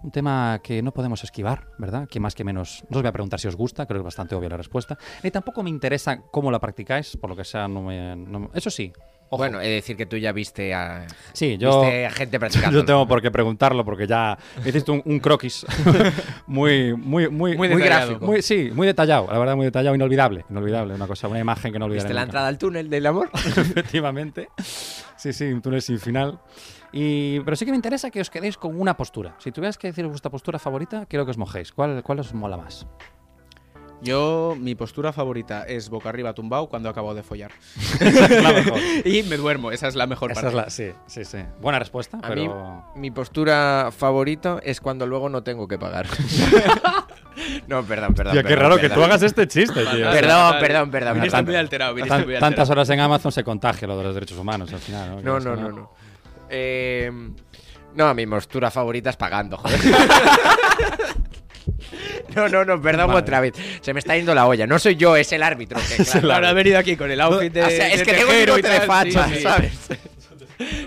Speaker 4: Un tema que no podemos esquivar, ¿verdad? Que más que menos. No os voy a preguntar si os gusta, creo que es bastante obvia la respuesta. Ni tampoco me interesa cómo la practicáis, por lo que sea, no me. no- eso sí. ojo.
Speaker 5: Bueno, es decir que tú ya viste a,
Speaker 4: Sí, yo.
Speaker 5: viste a gente practicando.
Speaker 4: Yo tengo por qué preguntarlo porque ya me hiciste un, un croquis muy, muy, muy,
Speaker 5: Muy detallado.
Speaker 4: Muy- sí, muy detallado, la verdad, muy detallado, inolvidable. Inolvidable, una cosa, una imagen que no olvidaré.
Speaker 5: ¿Viste la
Speaker 4: nunca.
Speaker 5: entrada al túnel del amor?
Speaker 4: Efectivamente. Sí, sí, un túnel sin final. Y, pero sí que me interesa que os quedéis con una postura. Si tuvieras que decir vuestra postura favorita, quiero que os mojéis. ¿Cuál, cuál os mola más?
Speaker 8: Yo, mi postura favorita es boca arriba tumbado cuando acabo de follar.
Speaker 4: La mejor.
Speaker 8: y me duermo, esa es la mejor
Speaker 4: Esa
Speaker 8: parte.
Speaker 4: es la, sí, sí, sí. Buena respuesta,
Speaker 5: A mí,
Speaker 4: pero...
Speaker 5: mi postura favorita es cuando luego no tengo que pagar. no, perdón, perdón.
Speaker 4: Tío, qué
Speaker 5: perdón,
Speaker 4: raro que
Speaker 5: perdón.
Speaker 4: tú hagas este chiste, tío.
Speaker 5: Perdón, perdón, perdón.
Speaker 8: Viniste
Speaker 5: perdón.
Speaker 8: muy alterado, viniste
Speaker 4: Tan-
Speaker 8: muy alterado.
Speaker 4: tantas horas en Amazon se contagia lo de los derechos humanos al final. ¿no?
Speaker 5: No,
Speaker 4: Que
Speaker 5: no,
Speaker 4: eso,
Speaker 5: no, no. Eh, no, mi postura favorita es pagando, joder. No, no, no, perdón
Speaker 4: Vale.
Speaker 5: otra vez. Se me está yendo la olla. No soy yo, es el árbitro. que, claro,
Speaker 8: Claro, habrá venido aquí con el outfit de.
Speaker 5: o sea, es
Speaker 8: de
Speaker 5: que tengo
Speaker 8: tejero
Speaker 5: un
Speaker 8: y tal,
Speaker 5: de facha,
Speaker 8: sí, sí.
Speaker 5: ¿sabes?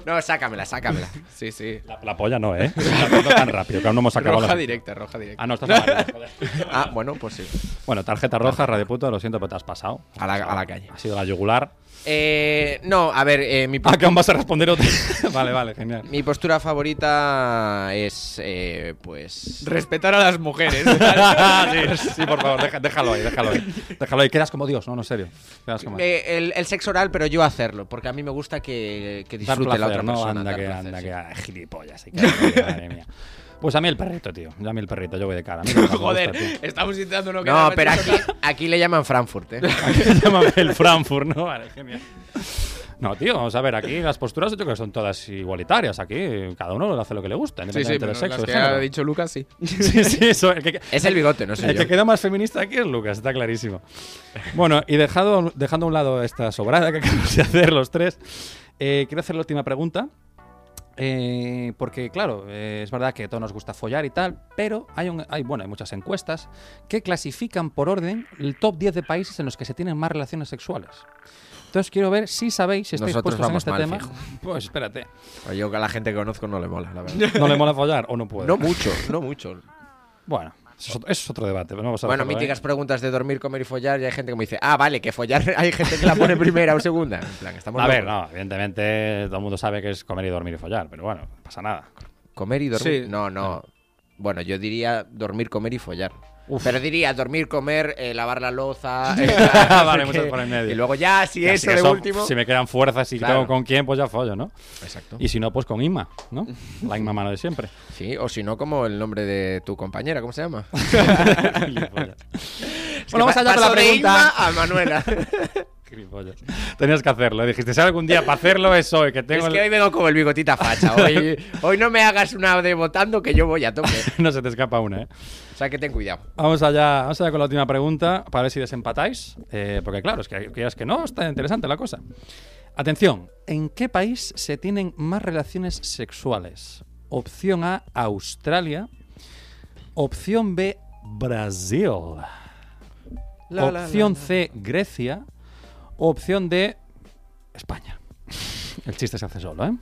Speaker 5: No, sácamela, sácamela.
Speaker 8: Sí, sí.
Speaker 4: La, la polla no, ¿eh? Tampoco tan rápido, que aún no hemos acabado.
Speaker 8: Roja
Speaker 4: la-
Speaker 8: directa, roja directa.
Speaker 4: Ah, no, estás amarilla, joder.
Speaker 5: Ah, bueno, pues sí.
Speaker 4: Bueno, tarjeta roja, radio puto, lo siento, pero te has pasado.
Speaker 5: A la, a la calle.
Speaker 4: Ha sido la yugular.
Speaker 5: Eh, no, a ver, eh, mi,
Speaker 4: Ah, que aún vas a responder otra. vale, vale, genial.
Speaker 5: mi postura favorita es, eh, pues...
Speaker 8: Respetar a las mujeres.
Speaker 4: sí, sí, por favor, deja- déjalo ahí, déjalo ahí. Déjalo ahí, quedas como Dios, no, no, en serio. Quedas como-
Speaker 5: Eh, el, el sexo oral, pero yo hacerlo, porque a mí me gusta que, que
Speaker 4: Dar
Speaker 5: disfrute
Speaker 4: placer,
Speaker 5: la otra
Speaker 4: ¿no?
Speaker 5: persona.
Speaker 4: anda,
Speaker 5: dar
Speaker 4: que,
Speaker 5: placer,
Speaker 4: anda,
Speaker 5: sí.
Speaker 4: que ah, gilipollas. hay que- madre mía. Pues a mí el perrito, tío. Yo a mí el perrito, yo voy de cara. a mí no me gusta,
Speaker 8: Joder,
Speaker 4: tío.
Speaker 8: estamos intentando no
Speaker 5: No,
Speaker 8: quedar
Speaker 5: pero aquí,
Speaker 8: metidos
Speaker 5: aquí le llaman Frankfurt, ¿eh?
Speaker 4: Llámame el Frankfurt, ¿no? Vale, genial. No, tío, vamos a ver, aquí las posturas yo creo que son todas igualitarias. Aquí cada uno hace lo que le gusta,
Speaker 8: Sí, sí,
Speaker 4: independientemente del
Speaker 8: pero las
Speaker 4: sexo.
Speaker 8: que
Speaker 4: del
Speaker 8: ha
Speaker 4: género.
Speaker 8: dicho Lucas, sí.
Speaker 4: Sí, sí, eso. El que,
Speaker 5: Es el bigote, no sé
Speaker 4: el
Speaker 5: yo.
Speaker 4: que queda más feminista aquí es Lucas, está clarísimo. Bueno, y dejado, dejando a un lado esta sobrada que acabamos de hacer los tres, eh, quiero hacer la última pregunta. Eh, porque, claro, eh, es verdad que a todos nos gusta follar y tal, pero hay, un- hay, bueno, hay muchas encuestas que clasifican por orden el top 10 de países en los que se tienen más relaciones sexuales. Entonces quiero ver si sabéis, si estáis
Speaker 5: Nosotros
Speaker 4: puestos en
Speaker 5: vamos
Speaker 4: este
Speaker 5: mal,
Speaker 4: tema.
Speaker 5: fijo.
Speaker 4: Pues espérate.
Speaker 5: O Yo que a la gente que conozco no le mola, la verdad.
Speaker 4: ¿No le mola follar o no puede?
Speaker 5: No mucho, no mucho.
Speaker 4: Bueno, eso es otro, eso es otro debate. Pero no ¿eh? vamos a
Speaker 5: Bueno,
Speaker 4: dejarlo ahí.
Speaker 5: míticas preguntas de dormir, comer y follar, y hay gente que me dice, ah, vale, que follar, hay gente que la pone primera o segunda. En plan, estamos
Speaker 4: A ver,
Speaker 5: locos.
Speaker 4: no, evidentemente todo el mundo sabe que es comer y dormir y follar, pero bueno, no pasa nada.
Speaker 5: ¿Comer y dormir?
Speaker 8: Sí.
Speaker 5: No,
Speaker 4: Ah.
Speaker 5: no. Bueno, yo diría dormir, comer y follar. Pero diría dormir, comer, eh, lavar la loza. eh, tal, no
Speaker 4: Vale,
Speaker 5: sé
Speaker 4: muchas
Speaker 5: qué.
Speaker 4: por en medio.
Speaker 5: Y luego ya, si
Speaker 4: Y así
Speaker 5: eso
Speaker 4: que
Speaker 5: de
Speaker 4: eso,
Speaker 5: último.
Speaker 4: Si me quedan fuerzas y
Speaker 5: Claro.
Speaker 4: tengo con quién, pues ya follo, ¿no?
Speaker 5: Exacto.
Speaker 4: Y si no, pues con Inma, ¿no? La Inma mano de siempre.
Speaker 5: Sí, o si no, como el nombre de tu compañera, ¿cómo se llama?
Speaker 4: Gilipollas. bueno, vamos allá con la pregunta.
Speaker 5: a Manuela.
Speaker 4: Gilipollas. Tenías que hacerlo. Dijiste, si algún día para hacerlo es hoy, que tengo
Speaker 5: es
Speaker 4: el-
Speaker 5: que hoy vengo como el bigotita facha. Hoy, hoy no me hagas una de votando que yo voy a tope.
Speaker 4: No se te escapa una, ¿eh?
Speaker 5: O sea que ten cuidado.
Speaker 4: Vamos allá, vamos allá con la última pregunta para ver si desempatáis. eh, porque claro, es que quieras que no, está interesante la cosa. Atención, ¿en qué país se tienen más relaciones sexuales? Opción A, Australia. Opción B, Brasil. opción C, Grecia. Opción D, España. El chiste se hace solo, ¿eh?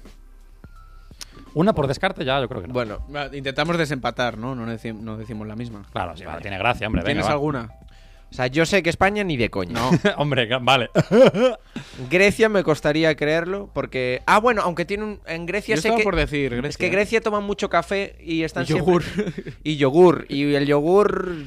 Speaker 4: Una por descarte ya, yo creo que no.
Speaker 8: Bueno, va, intentamos desempatar, ¿no? No, deci- no decimos la misma.
Speaker 4: claro, sí, vale, tiene gracia, hombre. venga,
Speaker 8: ¿Tienes
Speaker 4: va.
Speaker 8: alguna?
Speaker 6: O sea, yo sé que España ni de coña. No.
Speaker 4: Hombre, ca- vale.
Speaker 6: Grecia me costaría creerlo porque. Ah, bueno, aunque tiene un. En Grecia
Speaker 5: Yo
Speaker 6: sé
Speaker 5: estaba
Speaker 6: que.
Speaker 5: por decir
Speaker 6: Es
Speaker 5: Grecia.
Speaker 6: que Grecia toma mucho café y están
Speaker 5: Y
Speaker 6: siempre- y yogur. Y el yogur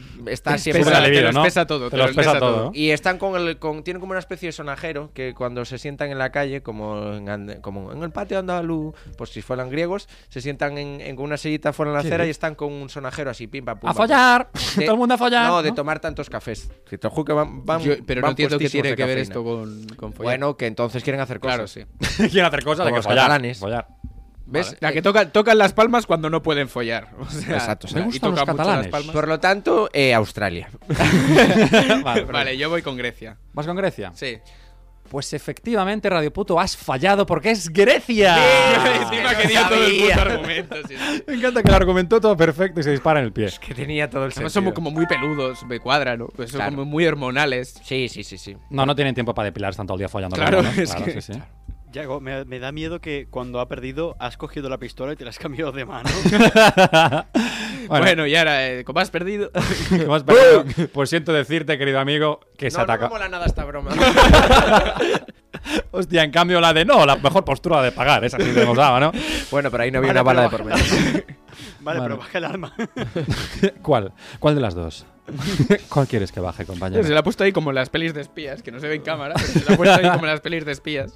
Speaker 6: está
Speaker 5: Te
Speaker 6: siempre.
Speaker 5: espesa la Te lo bebida, ¿no? espesa todo,
Speaker 4: Te lo espesa todo.
Speaker 6: Y están con el. Con, tienen como una especie de sonajero que cuando se sientan en la calle, como en, Ande- como en el patio andaluz, pues si fueran griegos, se sientan en, en- con una sillita fuera en la
Speaker 4: Sí.
Speaker 6: acera y están con un sonajero así, pim, pam, pum.
Speaker 4: ¡A
Speaker 6: pam, pum.
Speaker 4: follar!
Speaker 6: De-
Speaker 4: Todo el mundo a follar.
Speaker 6: No, de tomar tantos cafés. Que te juro que van- van-
Speaker 5: Yo- pero no
Speaker 6: van
Speaker 5: entiendo qué
Speaker 6: puestísimos
Speaker 5: tiene
Speaker 6: de
Speaker 5: que ver
Speaker 6: cafeína.
Speaker 5: esto con, con follar.
Speaker 6: Bueno, que entonces quieren hacer cosas.
Speaker 5: Claro, sí.
Speaker 4: Quieren hacer cosas de
Speaker 6: Como
Speaker 4: que
Speaker 6: los
Speaker 4: follar.
Speaker 6: catalanes.
Speaker 4: follar.
Speaker 6: ¿Ves?
Speaker 5: Vale. La
Speaker 6: eh.
Speaker 5: que tocan, tocan las palmas cuando no pueden follar. O sea,
Speaker 6: Exacto.
Speaker 5: y tocan mucho las palmas.
Speaker 6: Por lo tanto, eh, Australia.
Speaker 5: vale,
Speaker 4: perfecto.
Speaker 5: yo voy con Grecia.
Speaker 4: ¿Vas con Grecia?
Speaker 5: Sí.
Speaker 4: Pues efectivamente, Radio Puto, has fallado porque es
Speaker 6: Ah,
Speaker 4: Grecia.
Speaker 5: Encima que dio todo el puto argumento. sí, sí.
Speaker 4: Me encanta que lo argumentó todo perfecto y se dispara en el pie.
Speaker 6: que tenía todo el
Speaker 5: Además, somos como muy peludos, me cuadra, ¿no? Pues son
Speaker 6: Claro.
Speaker 5: como muy hormonales.
Speaker 6: Sí, sí, sí, sí.
Speaker 4: No, no tienen tiempo para depilarse tanto el día follando.
Speaker 5: Claro,
Speaker 4: los monos,
Speaker 5: es que-
Speaker 4: sí, sí.
Speaker 7: Yago, me, me da miedo que cuando ha perdido has cogido la pistola y te la has cambiado de mano.
Speaker 5: Bueno,
Speaker 4: Bueno.
Speaker 5: y ahora, eh, como has perdido.
Speaker 4: ¿Cómo has perdido? pues siento decirte, querido amigo, que se
Speaker 6: no,
Speaker 4: ataca.
Speaker 6: no me mola nada esta broma.
Speaker 4: Hostia, en cambio la de no, la mejor postura de pagar, esa sí te hemos dado, ¿no?
Speaker 6: bueno, pero ahí no había
Speaker 7: Vale,
Speaker 6: una bala de
Speaker 7: pero
Speaker 6: por medio.
Speaker 7: Vale,
Speaker 4: Vale.
Speaker 7: pero baja el alma.
Speaker 4: ¿Cuál? ¿Cuál de las dos? ¿Cuál quieres que baje, compañero?
Speaker 5: Se la ha puesto ahí como en las pelis de espías, que no se ve en cámara, pero se la ha puesto ahí como en las pelis de espías.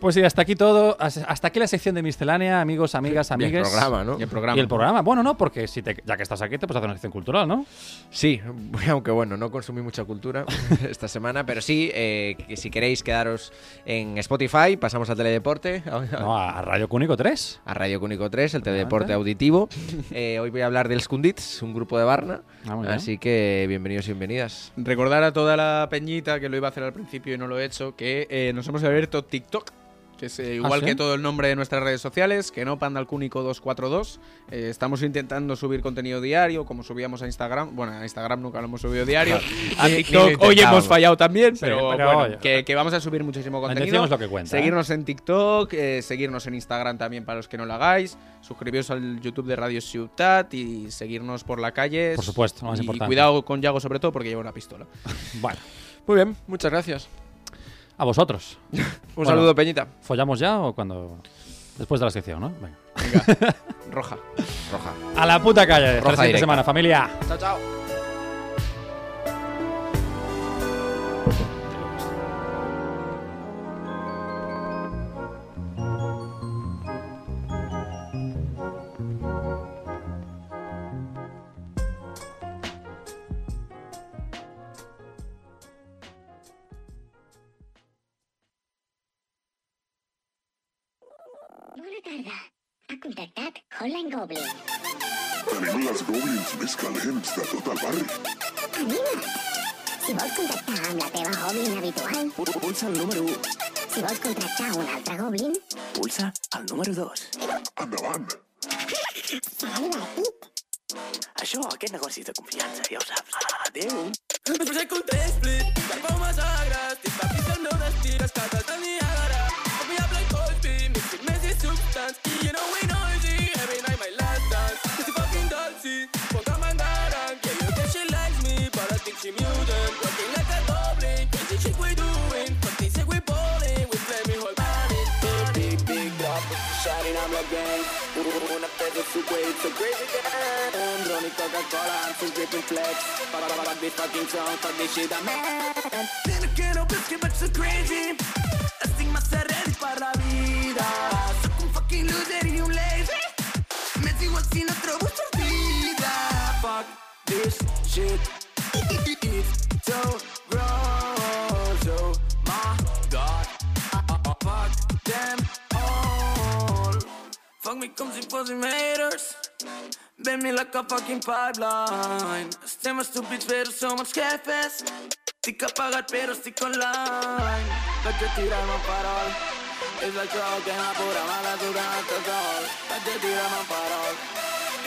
Speaker 4: Pues sí, hasta aquí todo. Has- Hasta aquí la sección de miscelánea, amigos, amigas,
Speaker 6: Y el
Speaker 4: amigues.
Speaker 6: programa, ¿no?
Speaker 5: Y el programa.
Speaker 4: Y el programa. Bueno, no, porque si te- ya que estás aquí te puedes hacer una sección cultural, ¿no?
Speaker 6: Sí, aunque bueno, no consumí mucha cultura esta semana, pero sí, eh, que si queréis quedaros en Spotify, pasamos a Teledeporte.
Speaker 4: No, a a Radio Cúnico 3.
Speaker 6: a Radio Cúnico 3, el teledeporte auditivo. Eh, hoy voy a hablar del Skundits, un grupo de Barna.
Speaker 4: Ah, muy bien.
Speaker 6: así que bienvenidos y bienvenidas.
Speaker 5: Recordar a toda la peñita que lo iba a hacer al principio y no lo he hecho, que eh, nos hemos abierto TikTok. Que es eh, igual
Speaker 4: ¿sí?
Speaker 5: que todo el nombre de nuestras redes sociales, que no Pandalcúnico 242. Eh, estamos intentando subir contenido diario, como subíamos a Instagram. Bueno, a Instagram nunca lo hemos subido diario. a
Speaker 6: Ni- ni lo
Speaker 5: TikTok hoy hemos
Speaker 6: intentábamos.
Speaker 5: fallado también,
Speaker 4: Sí,
Speaker 5: pero,
Speaker 4: pero
Speaker 5: bueno,
Speaker 4: oye.
Speaker 5: que, que vamos a subir muchísimo
Speaker 4: La
Speaker 5: contenido.
Speaker 4: intención es Pues lo que cuenta, ¿eh?
Speaker 5: Seguirnos en TikTok, eh, seguirnos en Instagram también para los que no lo hagáis. Suscribiros al YouTube de Radio Ciutat y seguirnos por la calle.
Speaker 4: Por supuesto, lo más
Speaker 5: y
Speaker 4: importante.
Speaker 5: cuidado con Yago sobre todo porque lleva una pistola.
Speaker 4: Bueno,
Speaker 6: Muy bien, muchas gracias.
Speaker 4: a vosotros.
Speaker 6: Un
Speaker 4: Bueno.
Speaker 6: saludo, Peñita.
Speaker 4: ¿Follamos ya o cuando...? Después de la sección, ¿no? Venga.
Speaker 5: Roja.
Speaker 6: Roja.
Speaker 4: A la puta calle. Hasta
Speaker 6: Roja
Speaker 4: la siguiente
Speaker 6: directa.
Speaker 4: semana, familia.
Speaker 6: Chao, chao.
Speaker 8: Bona tarda. Ha contactat Holland Goblin.
Speaker 15: Tenim les goblins més calents de tot el barri.
Speaker 8: Anima't! Si vols contactar amb la teva Goblin habitual... Pulsa el número 1. Si vols contractar un altre Goblin...
Speaker 15: Pulsa el número 2. Endavant.
Speaker 8: Serà divertit.
Speaker 15: Això, aquest negoci de confiança, ja ho saps. Adéu.
Speaker 3: Després et contempli, per com m'has agrat, i papis el meu destí, rescat el del Niagara. Obviable i colpi, místic, més i substants, i you know we noisy, every night my last dance. Cause you fucking dolcy, poca mandaran, yeah, you know she likes me, but I think she mutant. Working like a goblin, crazy shit we doing, fucking sick we balling, we play me whole body. Big, big, big drop, shining, I'm like gang. Una pedo super, it's a crazy gang. Um, Ronnie Coca-Cola, I'm so dripping flex. Ba- ba- ba- ba- This fucking song, fuck this shit, I'm mad. Tiene que no ves que vaig ser crazy. Estic massa ready per la vida. Soc un fucking loser i un lazy. M'és igual si no trobo sortida. Fuck this shit. It's so gross. Oh my god. Oh, fuck them all. Fuck me com si fossin haters. Venme like a fucking pipeline. Estem estúpids, però som els jefes. Estic apagat, però estic online. Vaig a tirar-me un farol. És el joc que m'apura mal a tocar el sol. Vaig a tirar-me un farol.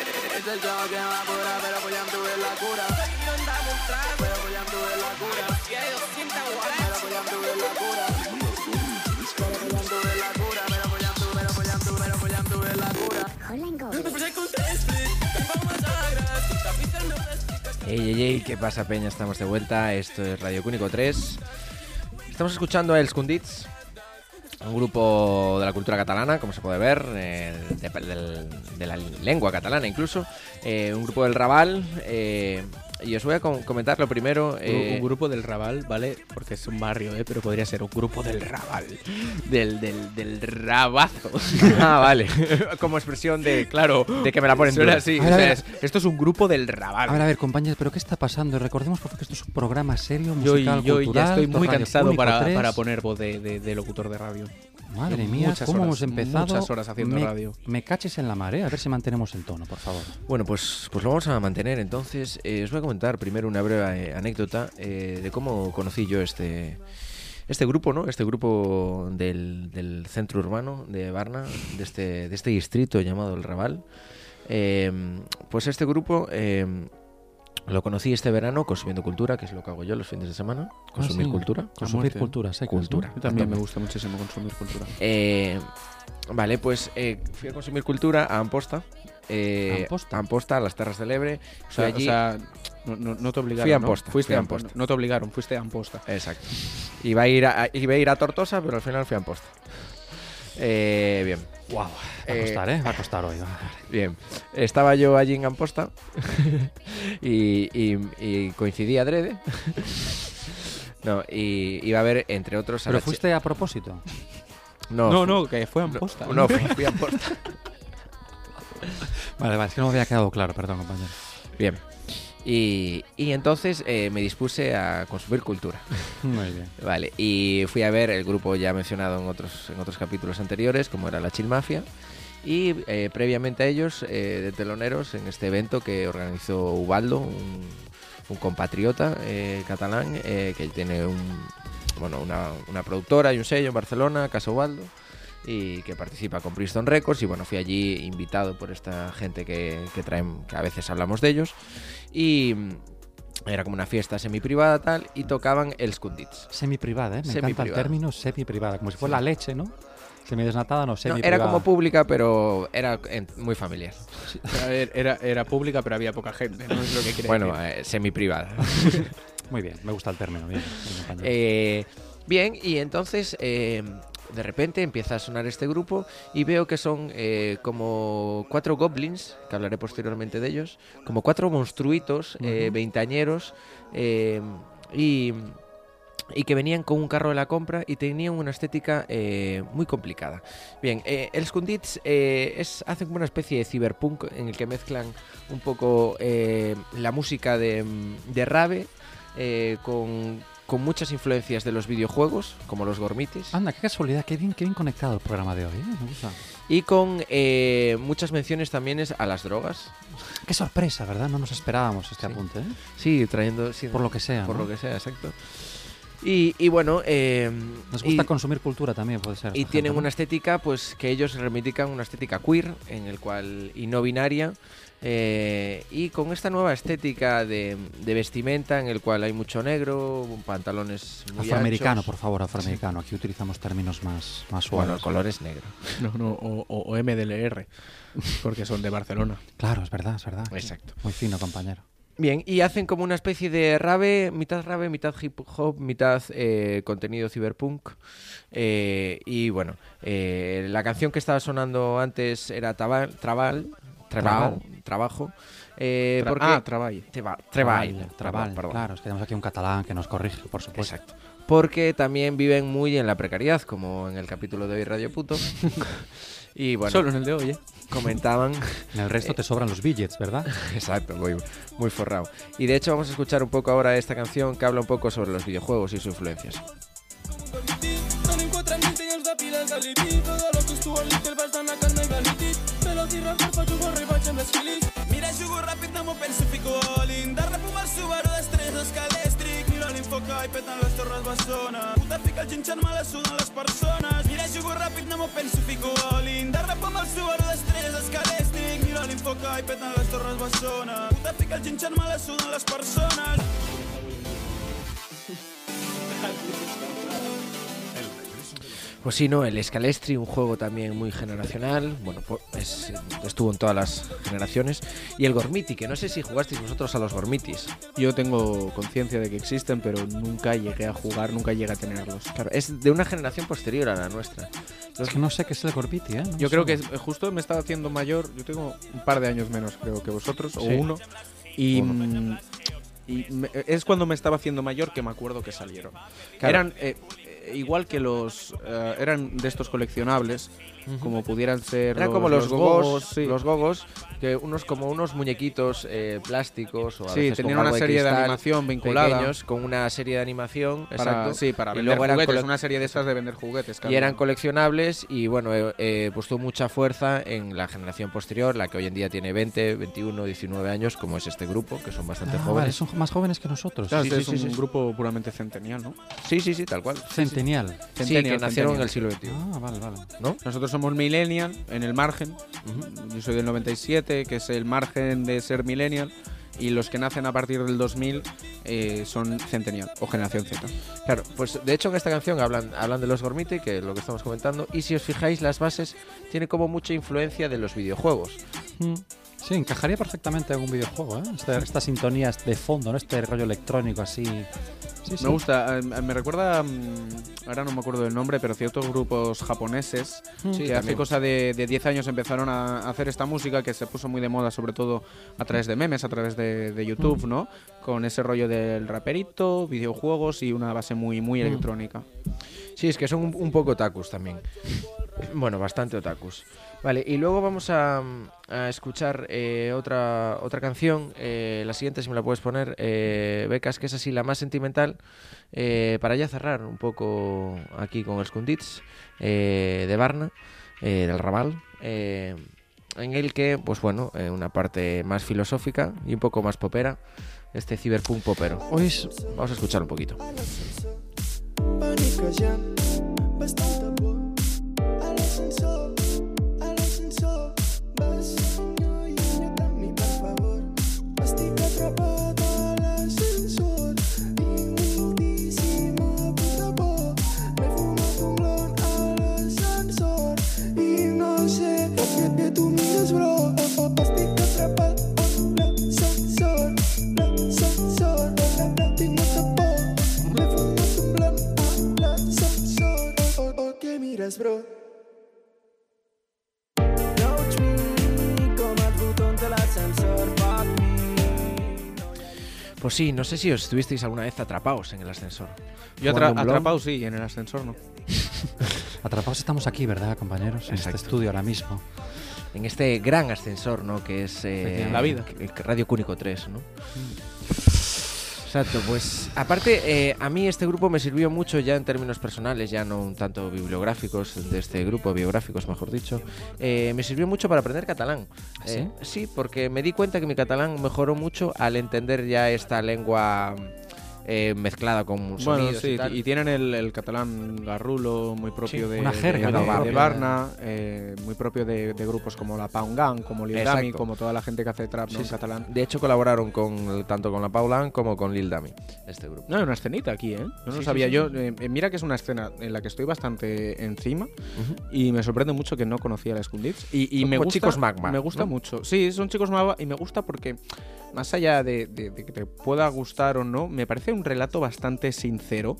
Speaker 3: És el joc que m'apura, però vull amb tu és la cura. Però vull amb tu és la cura. Però vull amb tu és la cura. Però vull amb tu és la cura. Però vull amb tu, però vull amb tu, però vull amb tu és la cura.
Speaker 8: Holland Goblin.
Speaker 3: Empecé con tres, vamos a gratis, tapita no
Speaker 5: Ey, ey, ey, ¿qué pasa, Peña? Estamos de vuelta. Esto es Radio Cúnico 3. Estamos escuchando a Els Kundits, un grupo de la cultura catalana, como se puede ver, eh, de, del- de la lengua catalana incluso. eh, un grupo del Raval. eh, y os voy a com- comentar lo primero. eh,
Speaker 8: un grupo del Raval, ¿vale? Porque es un barrio, ¿eh? Pero podría ser un grupo del Raval. Del, del, del rabazo.
Speaker 5: Ah, vale. Como expresión de, claro, de que me la ponen
Speaker 8: Suena
Speaker 5: dura.
Speaker 8: así.
Speaker 5: A ver,
Speaker 8: o
Speaker 5: a
Speaker 8: sea,
Speaker 5: ver.
Speaker 8: es- esto es un grupo del Raval.
Speaker 4: A ver, a ver, compañeros, ¿pero qué está pasando? Recordemos por favor, que esto es un programa serio,
Speaker 8: yo
Speaker 4: musical,
Speaker 8: yo
Speaker 4: cultural,
Speaker 8: ya estoy
Speaker 4: por
Speaker 8: muy
Speaker 4: Radio
Speaker 8: cansado
Speaker 4: Público
Speaker 8: para,
Speaker 4: 3.
Speaker 8: para poner voz de, de- de locutor de radio.
Speaker 4: Madre
Speaker 8: Yo
Speaker 4: mía,
Speaker 8: muchas
Speaker 4: ¿cómo
Speaker 8: horas,
Speaker 4: hemos empezado?
Speaker 8: Muchas horas haciendo
Speaker 4: me,
Speaker 8: radio.
Speaker 4: Me caches en la marea, a ver si mantenemos el tono, por favor.
Speaker 5: Bueno, pues, pues lo vamos a mantener. Entonces, eh, os voy a comentar primero una breve eh, anécdota eh, de cómo conocí yo este, este grupo, ¿no? Este grupo del, del centro urbano de Varna, de este, de este distrito llamado El Raval. Eh, pues este grupo eh, lo conocí este verano consumiendo cultura, que es lo que hago yo los fines de semana. Consumir
Speaker 8: sí.
Speaker 5: cultura.
Speaker 8: A
Speaker 5: Ah, Consumir
Speaker 8: muerte.
Speaker 5: cultura, secas, ¿no?
Speaker 8: cultura.
Speaker 5: Yo
Speaker 8: también me
Speaker 5: tope.
Speaker 8: gusta muchísimo consumir cultura.
Speaker 5: Eh, vale, pues eh, fui a consumir cultura a Amposta. eh,
Speaker 8: ¿Amposta?
Speaker 5: a a las Terras del Ebre.
Speaker 8: O
Speaker 5: Fui
Speaker 8: sea,
Speaker 5: allí-
Speaker 8: o sea, no, no- no te obligaron.
Speaker 5: Fui a
Speaker 8: ¿no?
Speaker 5: Amposta,
Speaker 8: Fuiste
Speaker 5: fui a
Speaker 8: a Amposta.
Speaker 5: Amposta.
Speaker 8: No te obligaron, fuiste a Amposta.
Speaker 5: Exacto. Iba a ir a, a- iba a ir a Tortosa, pero al final fui a Amposta. Eh, bien.
Speaker 4: Wow, Va a costar, ¿eh? Va a costar hoy. va a costar.
Speaker 5: Bien, estaba yo allí en Amposta y, y- y coincidí adrede. No, y iba a ver, entre otros... a
Speaker 4: ¿Pero
Speaker 5: la chi-
Speaker 4: fuiste a propósito?
Speaker 5: No,
Speaker 8: No,
Speaker 5: fu-
Speaker 8: no, que fue a Amposta.
Speaker 4: ¿eh?
Speaker 5: No, no, fui, fui a Amposta.
Speaker 4: Vale, vale, es que no me había quedado claro, perdón, compañero.
Speaker 5: Bien. Y, y entonces eh, me dispuse a consumir cultura.
Speaker 4: Muy bien.
Speaker 5: Vale, y fui a ver el grupo ya mencionado en otros, en otros capítulos anteriores, como era la Chill Mafia. Y eh, previamente a ellos, eh, de teloneros, en este evento que organizó Ubaldo, un, un compatriota eh, catalán, eh, que tiene un, bueno, una, una productora y un sello en Barcelona, Casa Ubaldo, y que participa con Princeton Records. Y bueno, fui allí invitado por esta gente que, que traen, que a veces hablamos de ellos. Y mm, era como una fiesta semi-privada tal, y tocaban el Skundits.
Speaker 4: Semi-privada, ¿eh? Me encanta el
Speaker 5: Semiprivada.
Speaker 4: término semi-privada, como si fuera
Speaker 5: Sí.
Speaker 4: la leche, ¿no? Semidesnatada, no,
Speaker 5: No,
Speaker 4: semi-privada.
Speaker 5: era como pública, pero era en- muy familiar.
Speaker 8: A ver, era, era pública, pero había poca gente. No es lo que quiere
Speaker 5: Bueno,
Speaker 8: decir.
Speaker 5: eh, semi-privada.
Speaker 4: Muy bien, me gusta el término, bien. bien, compañero.
Speaker 5: Eh, bien, y entonces eh, de repente empieza a sonar este grupo y veo que son eh, como cuatro goblins, que hablaré posteriormente de ellos, como cuatro monstruitos, eh, veintañeros, eh, y, y que venían con un carro de la compra y tenían una estética eh, muy complicada. Bien, eh, el Skundits eh, es, hacen como una especie de cyberpunk en el que mezclan un poco eh, la música de, mm, de Rave eh, con, con muchas influencias de los videojuegos, como los Gormitis.
Speaker 4: Anda, qué casualidad, qué bien, qué bien conectado el programa de hoy, ¿eh? Me gusta.
Speaker 5: Y con eh, muchas menciones también es a las drogas.
Speaker 4: Qué sorpresa, ¿verdad? No nos esperábamos este apunte, ¿eh?
Speaker 5: Sí, trayendo. sí,
Speaker 4: Por lo que sea,
Speaker 5: Por
Speaker 4: ¿no?
Speaker 5: lo que sea, exacto. Y, y bueno. eh,
Speaker 4: Nos gusta
Speaker 5: y-
Speaker 4: consumir cultura también, puede ser.
Speaker 5: Y tienen una estética, pues que ellos reivindican una estética queer, en el cual y no binaria. eh, y con esta nueva estética de, de vestimenta, en el cual hay mucho negro, pantalones muy
Speaker 4: Afroamericano,
Speaker 5: anchos.
Speaker 4: por favor, afroamericano. Aquí utilizamos términos más, más suaves.
Speaker 5: Bueno, el color es negro.
Speaker 8: No, no, o, o- o MDLR, porque son de Barcelona.
Speaker 4: Claro, es verdad, es verdad.
Speaker 5: Exacto.
Speaker 4: Muy fino, compañero.
Speaker 5: Bien, y hacen como una especie de rave, mitad rave, mitad hip hop, mitad eh, contenido cyberpunk. Eh, y bueno, eh, la canción que estaba sonando antes era Tabal, Trabal, Trabal, Trabajo. eh,
Speaker 8: Tra-
Speaker 5: porque,
Speaker 8: ah, Trabail.
Speaker 5: Teba- Trebail,
Speaker 4: Trabail,
Speaker 5: perdón,
Speaker 4: Trabail,
Speaker 5: perdón.
Speaker 4: Claro, es que tenemos aquí un catalán que nos corrige, por supuesto.
Speaker 5: Exacto. Porque también viven muy en la precariedad, como en el capítulo de hoy Radio Puto. y bueno,
Speaker 8: Solo en el de hoy, ¿eh?
Speaker 5: comentaban...
Speaker 4: En el resto
Speaker 5: eh,
Speaker 4: te sobran los billets, ¿verdad?
Speaker 5: Exacto, muy, muy forrado. Y de hecho vamos a escuchar un poco ahora esta canción que habla un poco sobre los videojuegos y sus influencias.
Speaker 7: No encuentren ni senyors de piles de l'IPI Todo lo que estuvo en l'Intel vas d'anar que no hi va líquid Pelo i rock per jugar al ribatge amb les filis Mira, jugo ràpid, no m'ho penso, fico all in De rap el Subaru, després escalèstric Miro l'infoca i peten les torres Bessona Puta, fica el xinxan, me la sudan les persones Mira, jugo ràpid, no m'ho penso, fico all in De rap el Subaru, després escalèstric Miro l'infoca i peten les torres Bessona Puta, fica el xinxan, me la sudan les persones
Speaker 5: Pues sí, no, el Scalestri, un juego también muy generacional. Bueno, pues es- estuvo en todas las generaciones. Y el Gormiti, que no sé si jugasteis vosotros a los Gormitis.
Speaker 7: Yo tengo conciencia de que existen, pero nunca llegué a jugar, nunca llegué a tenerlos.
Speaker 5: Claro, es de una generación posterior a la nuestra.
Speaker 7: Es
Speaker 4: que no sé qué es el Gormiti, ¿eh? No
Speaker 7: Yo
Speaker 4: sé.
Speaker 7: creo que es- justo me estaba haciendo mayor, yo tengo un par de años menos creo que vosotros, o
Speaker 5: Sí.
Speaker 7: uno, y,
Speaker 5: Uno.
Speaker 7: mm, y me- es cuando me estaba haciendo mayor que me acuerdo que salieron.
Speaker 5: Claro.
Speaker 7: Eran eh, eh, igual que los, eh, eran de estos coleccionables,
Speaker 5: Ujú.
Speaker 7: como pudieran ser...
Speaker 5: Eran como los gogos,
Speaker 7: sí.
Speaker 5: los gogos, que unos como unos muñequitos eh, plásticos o a
Speaker 7: Sí,
Speaker 5: veces con
Speaker 7: tenían una
Speaker 5: algo
Speaker 7: serie de
Speaker 5: cristal,
Speaker 7: animación vinculada.
Speaker 5: pequeños, con una serie de animación,
Speaker 7: Para-
Speaker 5: exacto.
Speaker 7: sí, para
Speaker 5: Y
Speaker 7: vender
Speaker 5: luego eran
Speaker 7: juguetes,
Speaker 5: cole-
Speaker 7: una serie de estas de vender juguetes.
Speaker 5: Y
Speaker 7: claro.
Speaker 5: eran coleccionables y bueno, eh, eh, pues tuvo mucha fuerza en la generación posterior, la que hoy en día tiene 20, 21, 19 años, como es este grupo, que son bastante
Speaker 4: Ah, vale,
Speaker 5: jóvenes.
Speaker 4: son más jóvenes que nosotros.
Speaker 7: Claro,
Speaker 5: Sí,
Speaker 7: este
Speaker 5: sí,
Speaker 7: es
Speaker 5: sí,
Speaker 7: un
Speaker 5: sí.
Speaker 7: grupo puramente centenial, ¿no?
Speaker 5: Sí, sí, sí, tal cual. Sí, sí.
Speaker 4: Centennial.
Speaker 5: Sí,
Speaker 7: Centennial,
Speaker 5: que nacieron en el siglo
Speaker 7: centennial.
Speaker 5: XXI.
Speaker 4: Ah, vale, vale.
Speaker 5: ¿No?
Speaker 7: Nosotros somos millennial en el margen. Yo soy del 97, que es el margen de ser millennial. Y los que nacen a partir del 2000 eh, son centennial o generación Z.
Speaker 5: Claro, pues de hecho en esta canción hablan, hablan de los Gormiti, que es lo que estamos comentando, y si os fijáis las bases tiene como mucha influencia de los videojuegos.
Speaker 4: Mm. Sí, encajaría perfectamente en un videojuego, ¿eh? Esta, esta sintonía de fondo, ¿no? Este rollo electrónico así. Sí, sí.
Speaker 7: Me gusta, eh, me recuerda, mm, ahora no me acuerdo del nombre, pero ciertos grupos japoneses
Speaker 4: Mm. Sí,
Speaker 7: que hace
Speaker 4: también.
Speaker 7: cosa de, de 10 años empezaron a hacer esta música que se puso muy de moda, sobre todo a través de memes, a través de, de YouTube,
Speaker 4: Mm.
Speaker 7: ¿no? Con ese rollo del raperito, videojuegos y una base muy, muy
Speaker 5: Mm.
Speaker 7: electrónica.
Speaker 5: Sí, es que son un, un poco otakus también. Bueno, bastante otakus. Vale, y luego vamos a, a escuchar eh, otra, otra canción, eh, la siguiente si me la puedes poner, eh, Becas, que es así la más sentimental, eh, para ya cerrar un poco aquí con el Skundits eh, de Varna, eh, del Raval. eh, en el que, pues bueno, eh, una parte más filosófica y un poco más popera, este ciberpunk popero.
Speaker 4: Hoy es-
Speaker 5: Vamos a escuchar un poquito.
Speaker 8: Van i quejant bastant de por. A l'ascensor, a l'ascensor, vas allunyat de mi, per favor. Estic atrapada a l'ascensor i moridíssima por de por. M'he fumat un blunt a l'ascensor i no sé per què tu mires, bro. Estic atrapat a l'ascensor, l'ascensor. Tinc molta por. M'he fumat un blunt l'ascensor o, o, o què mires, bro? No ets mi com els botons de l'ascensor Fuck
Speaker 5: Pues sí, no sé si os estuvisteis alguna vez atrapados en el ascensor.
Speaker 7: Yo
Speaker 5: Jugando
Speaker 7: atra-
Speaker 5: un blog.
Speaker 7: atrapado sí, y en el ascensor no.
Speaker 4: Atrapados estamos aquí, ¿verdad, compañeros? En este
Speaker 5: Exacto.
Speaker 4: estudio ahora mismo.
Speaker 5: En este gran ascensor, ¿no? Que es eh,
Speaker 4: La vida.
Speaker 5: que- que Radio Cúnico 3, ¿no? Exacto, pues aparte eh, a mí este grupo me sirvió mucho ya en términos personales, ya no un tanto bibliográficos de este grupo, biográficos mejor dicho, Eh, me sirvió mucho para aprender catalán.
Speaker 4: ¿Ah, sí?
Speaker 5: Eh, sí, porque me di cuenta que mi catalán mejoró mucho al entender ya esta lengua eh, mezclada con
Speaker 7: Bueno,
Speaker 5: sonidos
Speaker 7: sí,
Speaker 5: y tal.
Speaker 7: y, tienen el, el catalán garrulo muy propio de,
Speaker 5: una jerga,
Speaker 7: de,
Speaker 5: ¿no?
Speaker 7: de- de
Speaker 5: propia.
Speaker 7: Barna, eh, muy propio de, de grupos como la Paungan, como Lil
Speaker 5: Exacto.
Speaker 7: Dami, como toda la gente que hace trap ¿no?
Speaker 5: Sí,
Speaker 7: en
Speaker 5: sí.
Speaker 7: catalán.
Speaker 5: De hecho, colaboraron con tanto con la Paulan como con Lil Dami, este grupo.
Speaker 7: No, hay una escenita aquí, ¿eh? No
Speaker 5: Sí,
Speaker 7: lo
Speaker 5: sí,
Speaker 7: sabía
Speaker 5: sí,
Speaker 7: yo.
Speaker 5: sí.
Speaker 7: eh, mira que es una escena en la que estoy bastante encima
Speaker 5: Ujú.
Speaker 7: y me sorprende mucho que no conocía la Scundits. Y, y
Speaker 5: Son
Speaker 7: me
Speaker 5: como
Speaker 7: gusta,
Speaker 5: chicos magma,
Speaker 7: Me gusta
Speaker 5: ¿no?
Speaker 7: mucho. Sí, son chicos magma y me gusta porque, más allá de, de- de que te pueda gustar o no, me parece un relato bastante sincero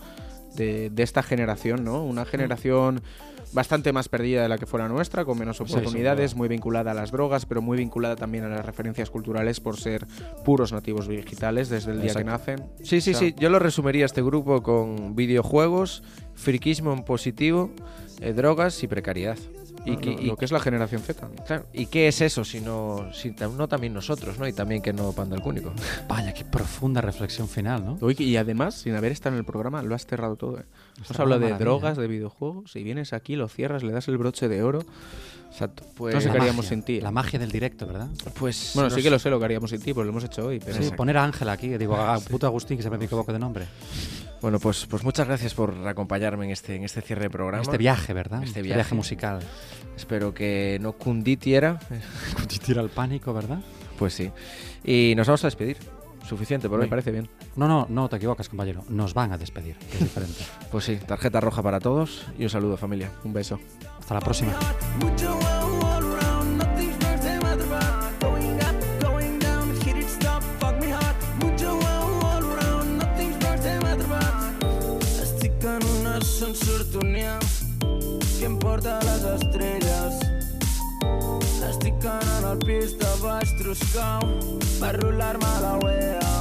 Speaker 7: de, de esta generación, ¿no? Una generación bastante más perdida de la que fuera nuestra, con menos
Speaker 5: Sí, sin
Speaker 7: oportunidades,
Speaker 5: duda.
Speaker 7: muy vinculada a las drogas, pero muy vinculada también a las referencias culturales por ser puros nativos digitales desde el día que
Speaker 5: Exacto.
Speaker 7: nacen.
Speaker 5: Sí, sí,
Speaker 7: O sea,
Speaker 5: sí. Yo lo resumiría este grupo con videojuegos, friquismo en positivo, eh, drogas y precariedad. Y,
Speaker 7: Lo-
Speaker 5: que-
Speaker 7: lo-
Speaker 5: y-
Speaker 7: lo que es la generación Z.
Speaker 5: claro, ¿y qué es eso si no, si tam- no también nosotros, ¿no? Y también que no Panda el Cúnico.
Speaker 4: Vaya, qué profunda reflexión final, ¿no?
Speaker 7: Oye, y además, sin haber estado en el programa, lo has cerrado todo. ¿eh? Hemos
Speaker 4: cerrado
Speaker 7: hablado de
Speaker 4: maravilla.
Speaker 7: drogas, de videojuegos. Si vienes aquí, lo cierras, le das el broche de oro.
Speaker 5: Exacto. Pues,
Speaker 7: no sé
Speaker 4: La
Speaker 7: qué haríamos
Speaker 4: magia,
Speaker 7: sin ti.
Speaker 4: La magia del directo, ¿verdad?
Speaker 5: Pues
Speaker 7: Bueno,
Speaker 5: no
Speaker 7: sí
Speaker 5: sé.
Speaker 7: que lo sé lo que haríamos sin ti, porque lo hemos hecho hoy. Pero
Speaker 4: Sí, poner a Ángela aquí, digo, a puto Agustín, que siempre me equivoco de nombre.
Speaker 5: Bueno, pues, pues muchas gracias por acompañarme en este, en este cierre de programa.
Speaker 4: Este viaje, ¿verdad?
Speaker 5: Este
Speaker 4: Este
Speaker 5: viaje.
Speaker 4: viaje musical.
Speaker 5: Espero que no cunditiera.
Speaker 4: Tira el pánico, ¿verdad?
Speaker 5: Pues sí. Y nos vamos a despedir. Suficiente por
Speaker 7: me
Speaker 5: hoy.
Speaker 7: parece bien.
Speaker 4: No, no, no te equivocas, compañero. Nos van a despedir, que es diferente.
Speaker 12: Pues sí, tarjeta roja para todos y un saludo familia. Un beso.
Speaker 4: Hasta la próxima.
Speaker 8: Mucho wow all around, nothing's worth a matter about. Going up, going down, hit it, stop, fuck me hard. Mucho wow all around, nothing's worth a matter about. Estic en un ascensor tuneat, que em porta a les estrelles. Estic en el pis de baix troscau, per rolar-me a la wea.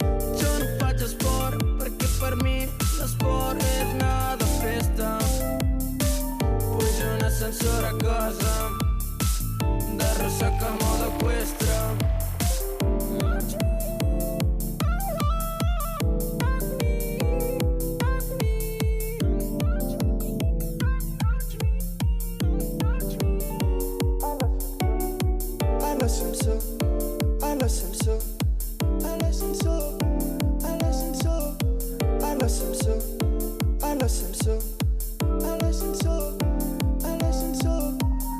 Speaker 8: Jo no faig esport, perquè per mi l'esport és anar de festa. Pujo un ascensor a casa De ressaca a moda eqüestre A l'ascensor, a l'ascensor, a l'ascensor, a l'ascensor, a l'ascensor, a l'ascensor, a l'ascensor. Al ascensor,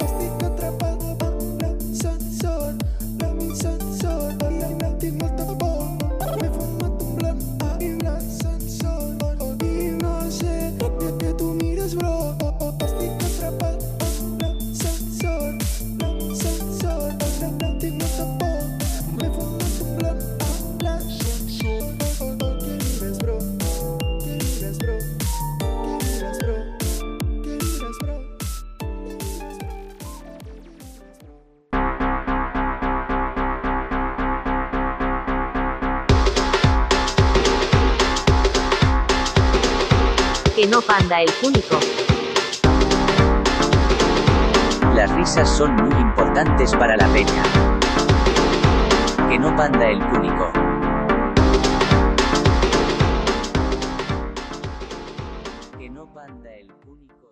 Speaker 8: estic atrapat en l'ascensor, l'ascensor, no tinc molta por. M'he fumat un blanc a l'ascensor, i no sé per què tu mires, bro. Estic atrapat en l'ascensor, l'ascensor, no tinc molta por. M'he fumat un blanc a l'ascensor, que vives, bro, que vives, bro, que vives, bro, que vives, bro.
Speaker 2: Que no panda el público.
Speaker 3: Las risas son muy importantes para la peña. Que no panda el cúnico. Que no panda el cúnico.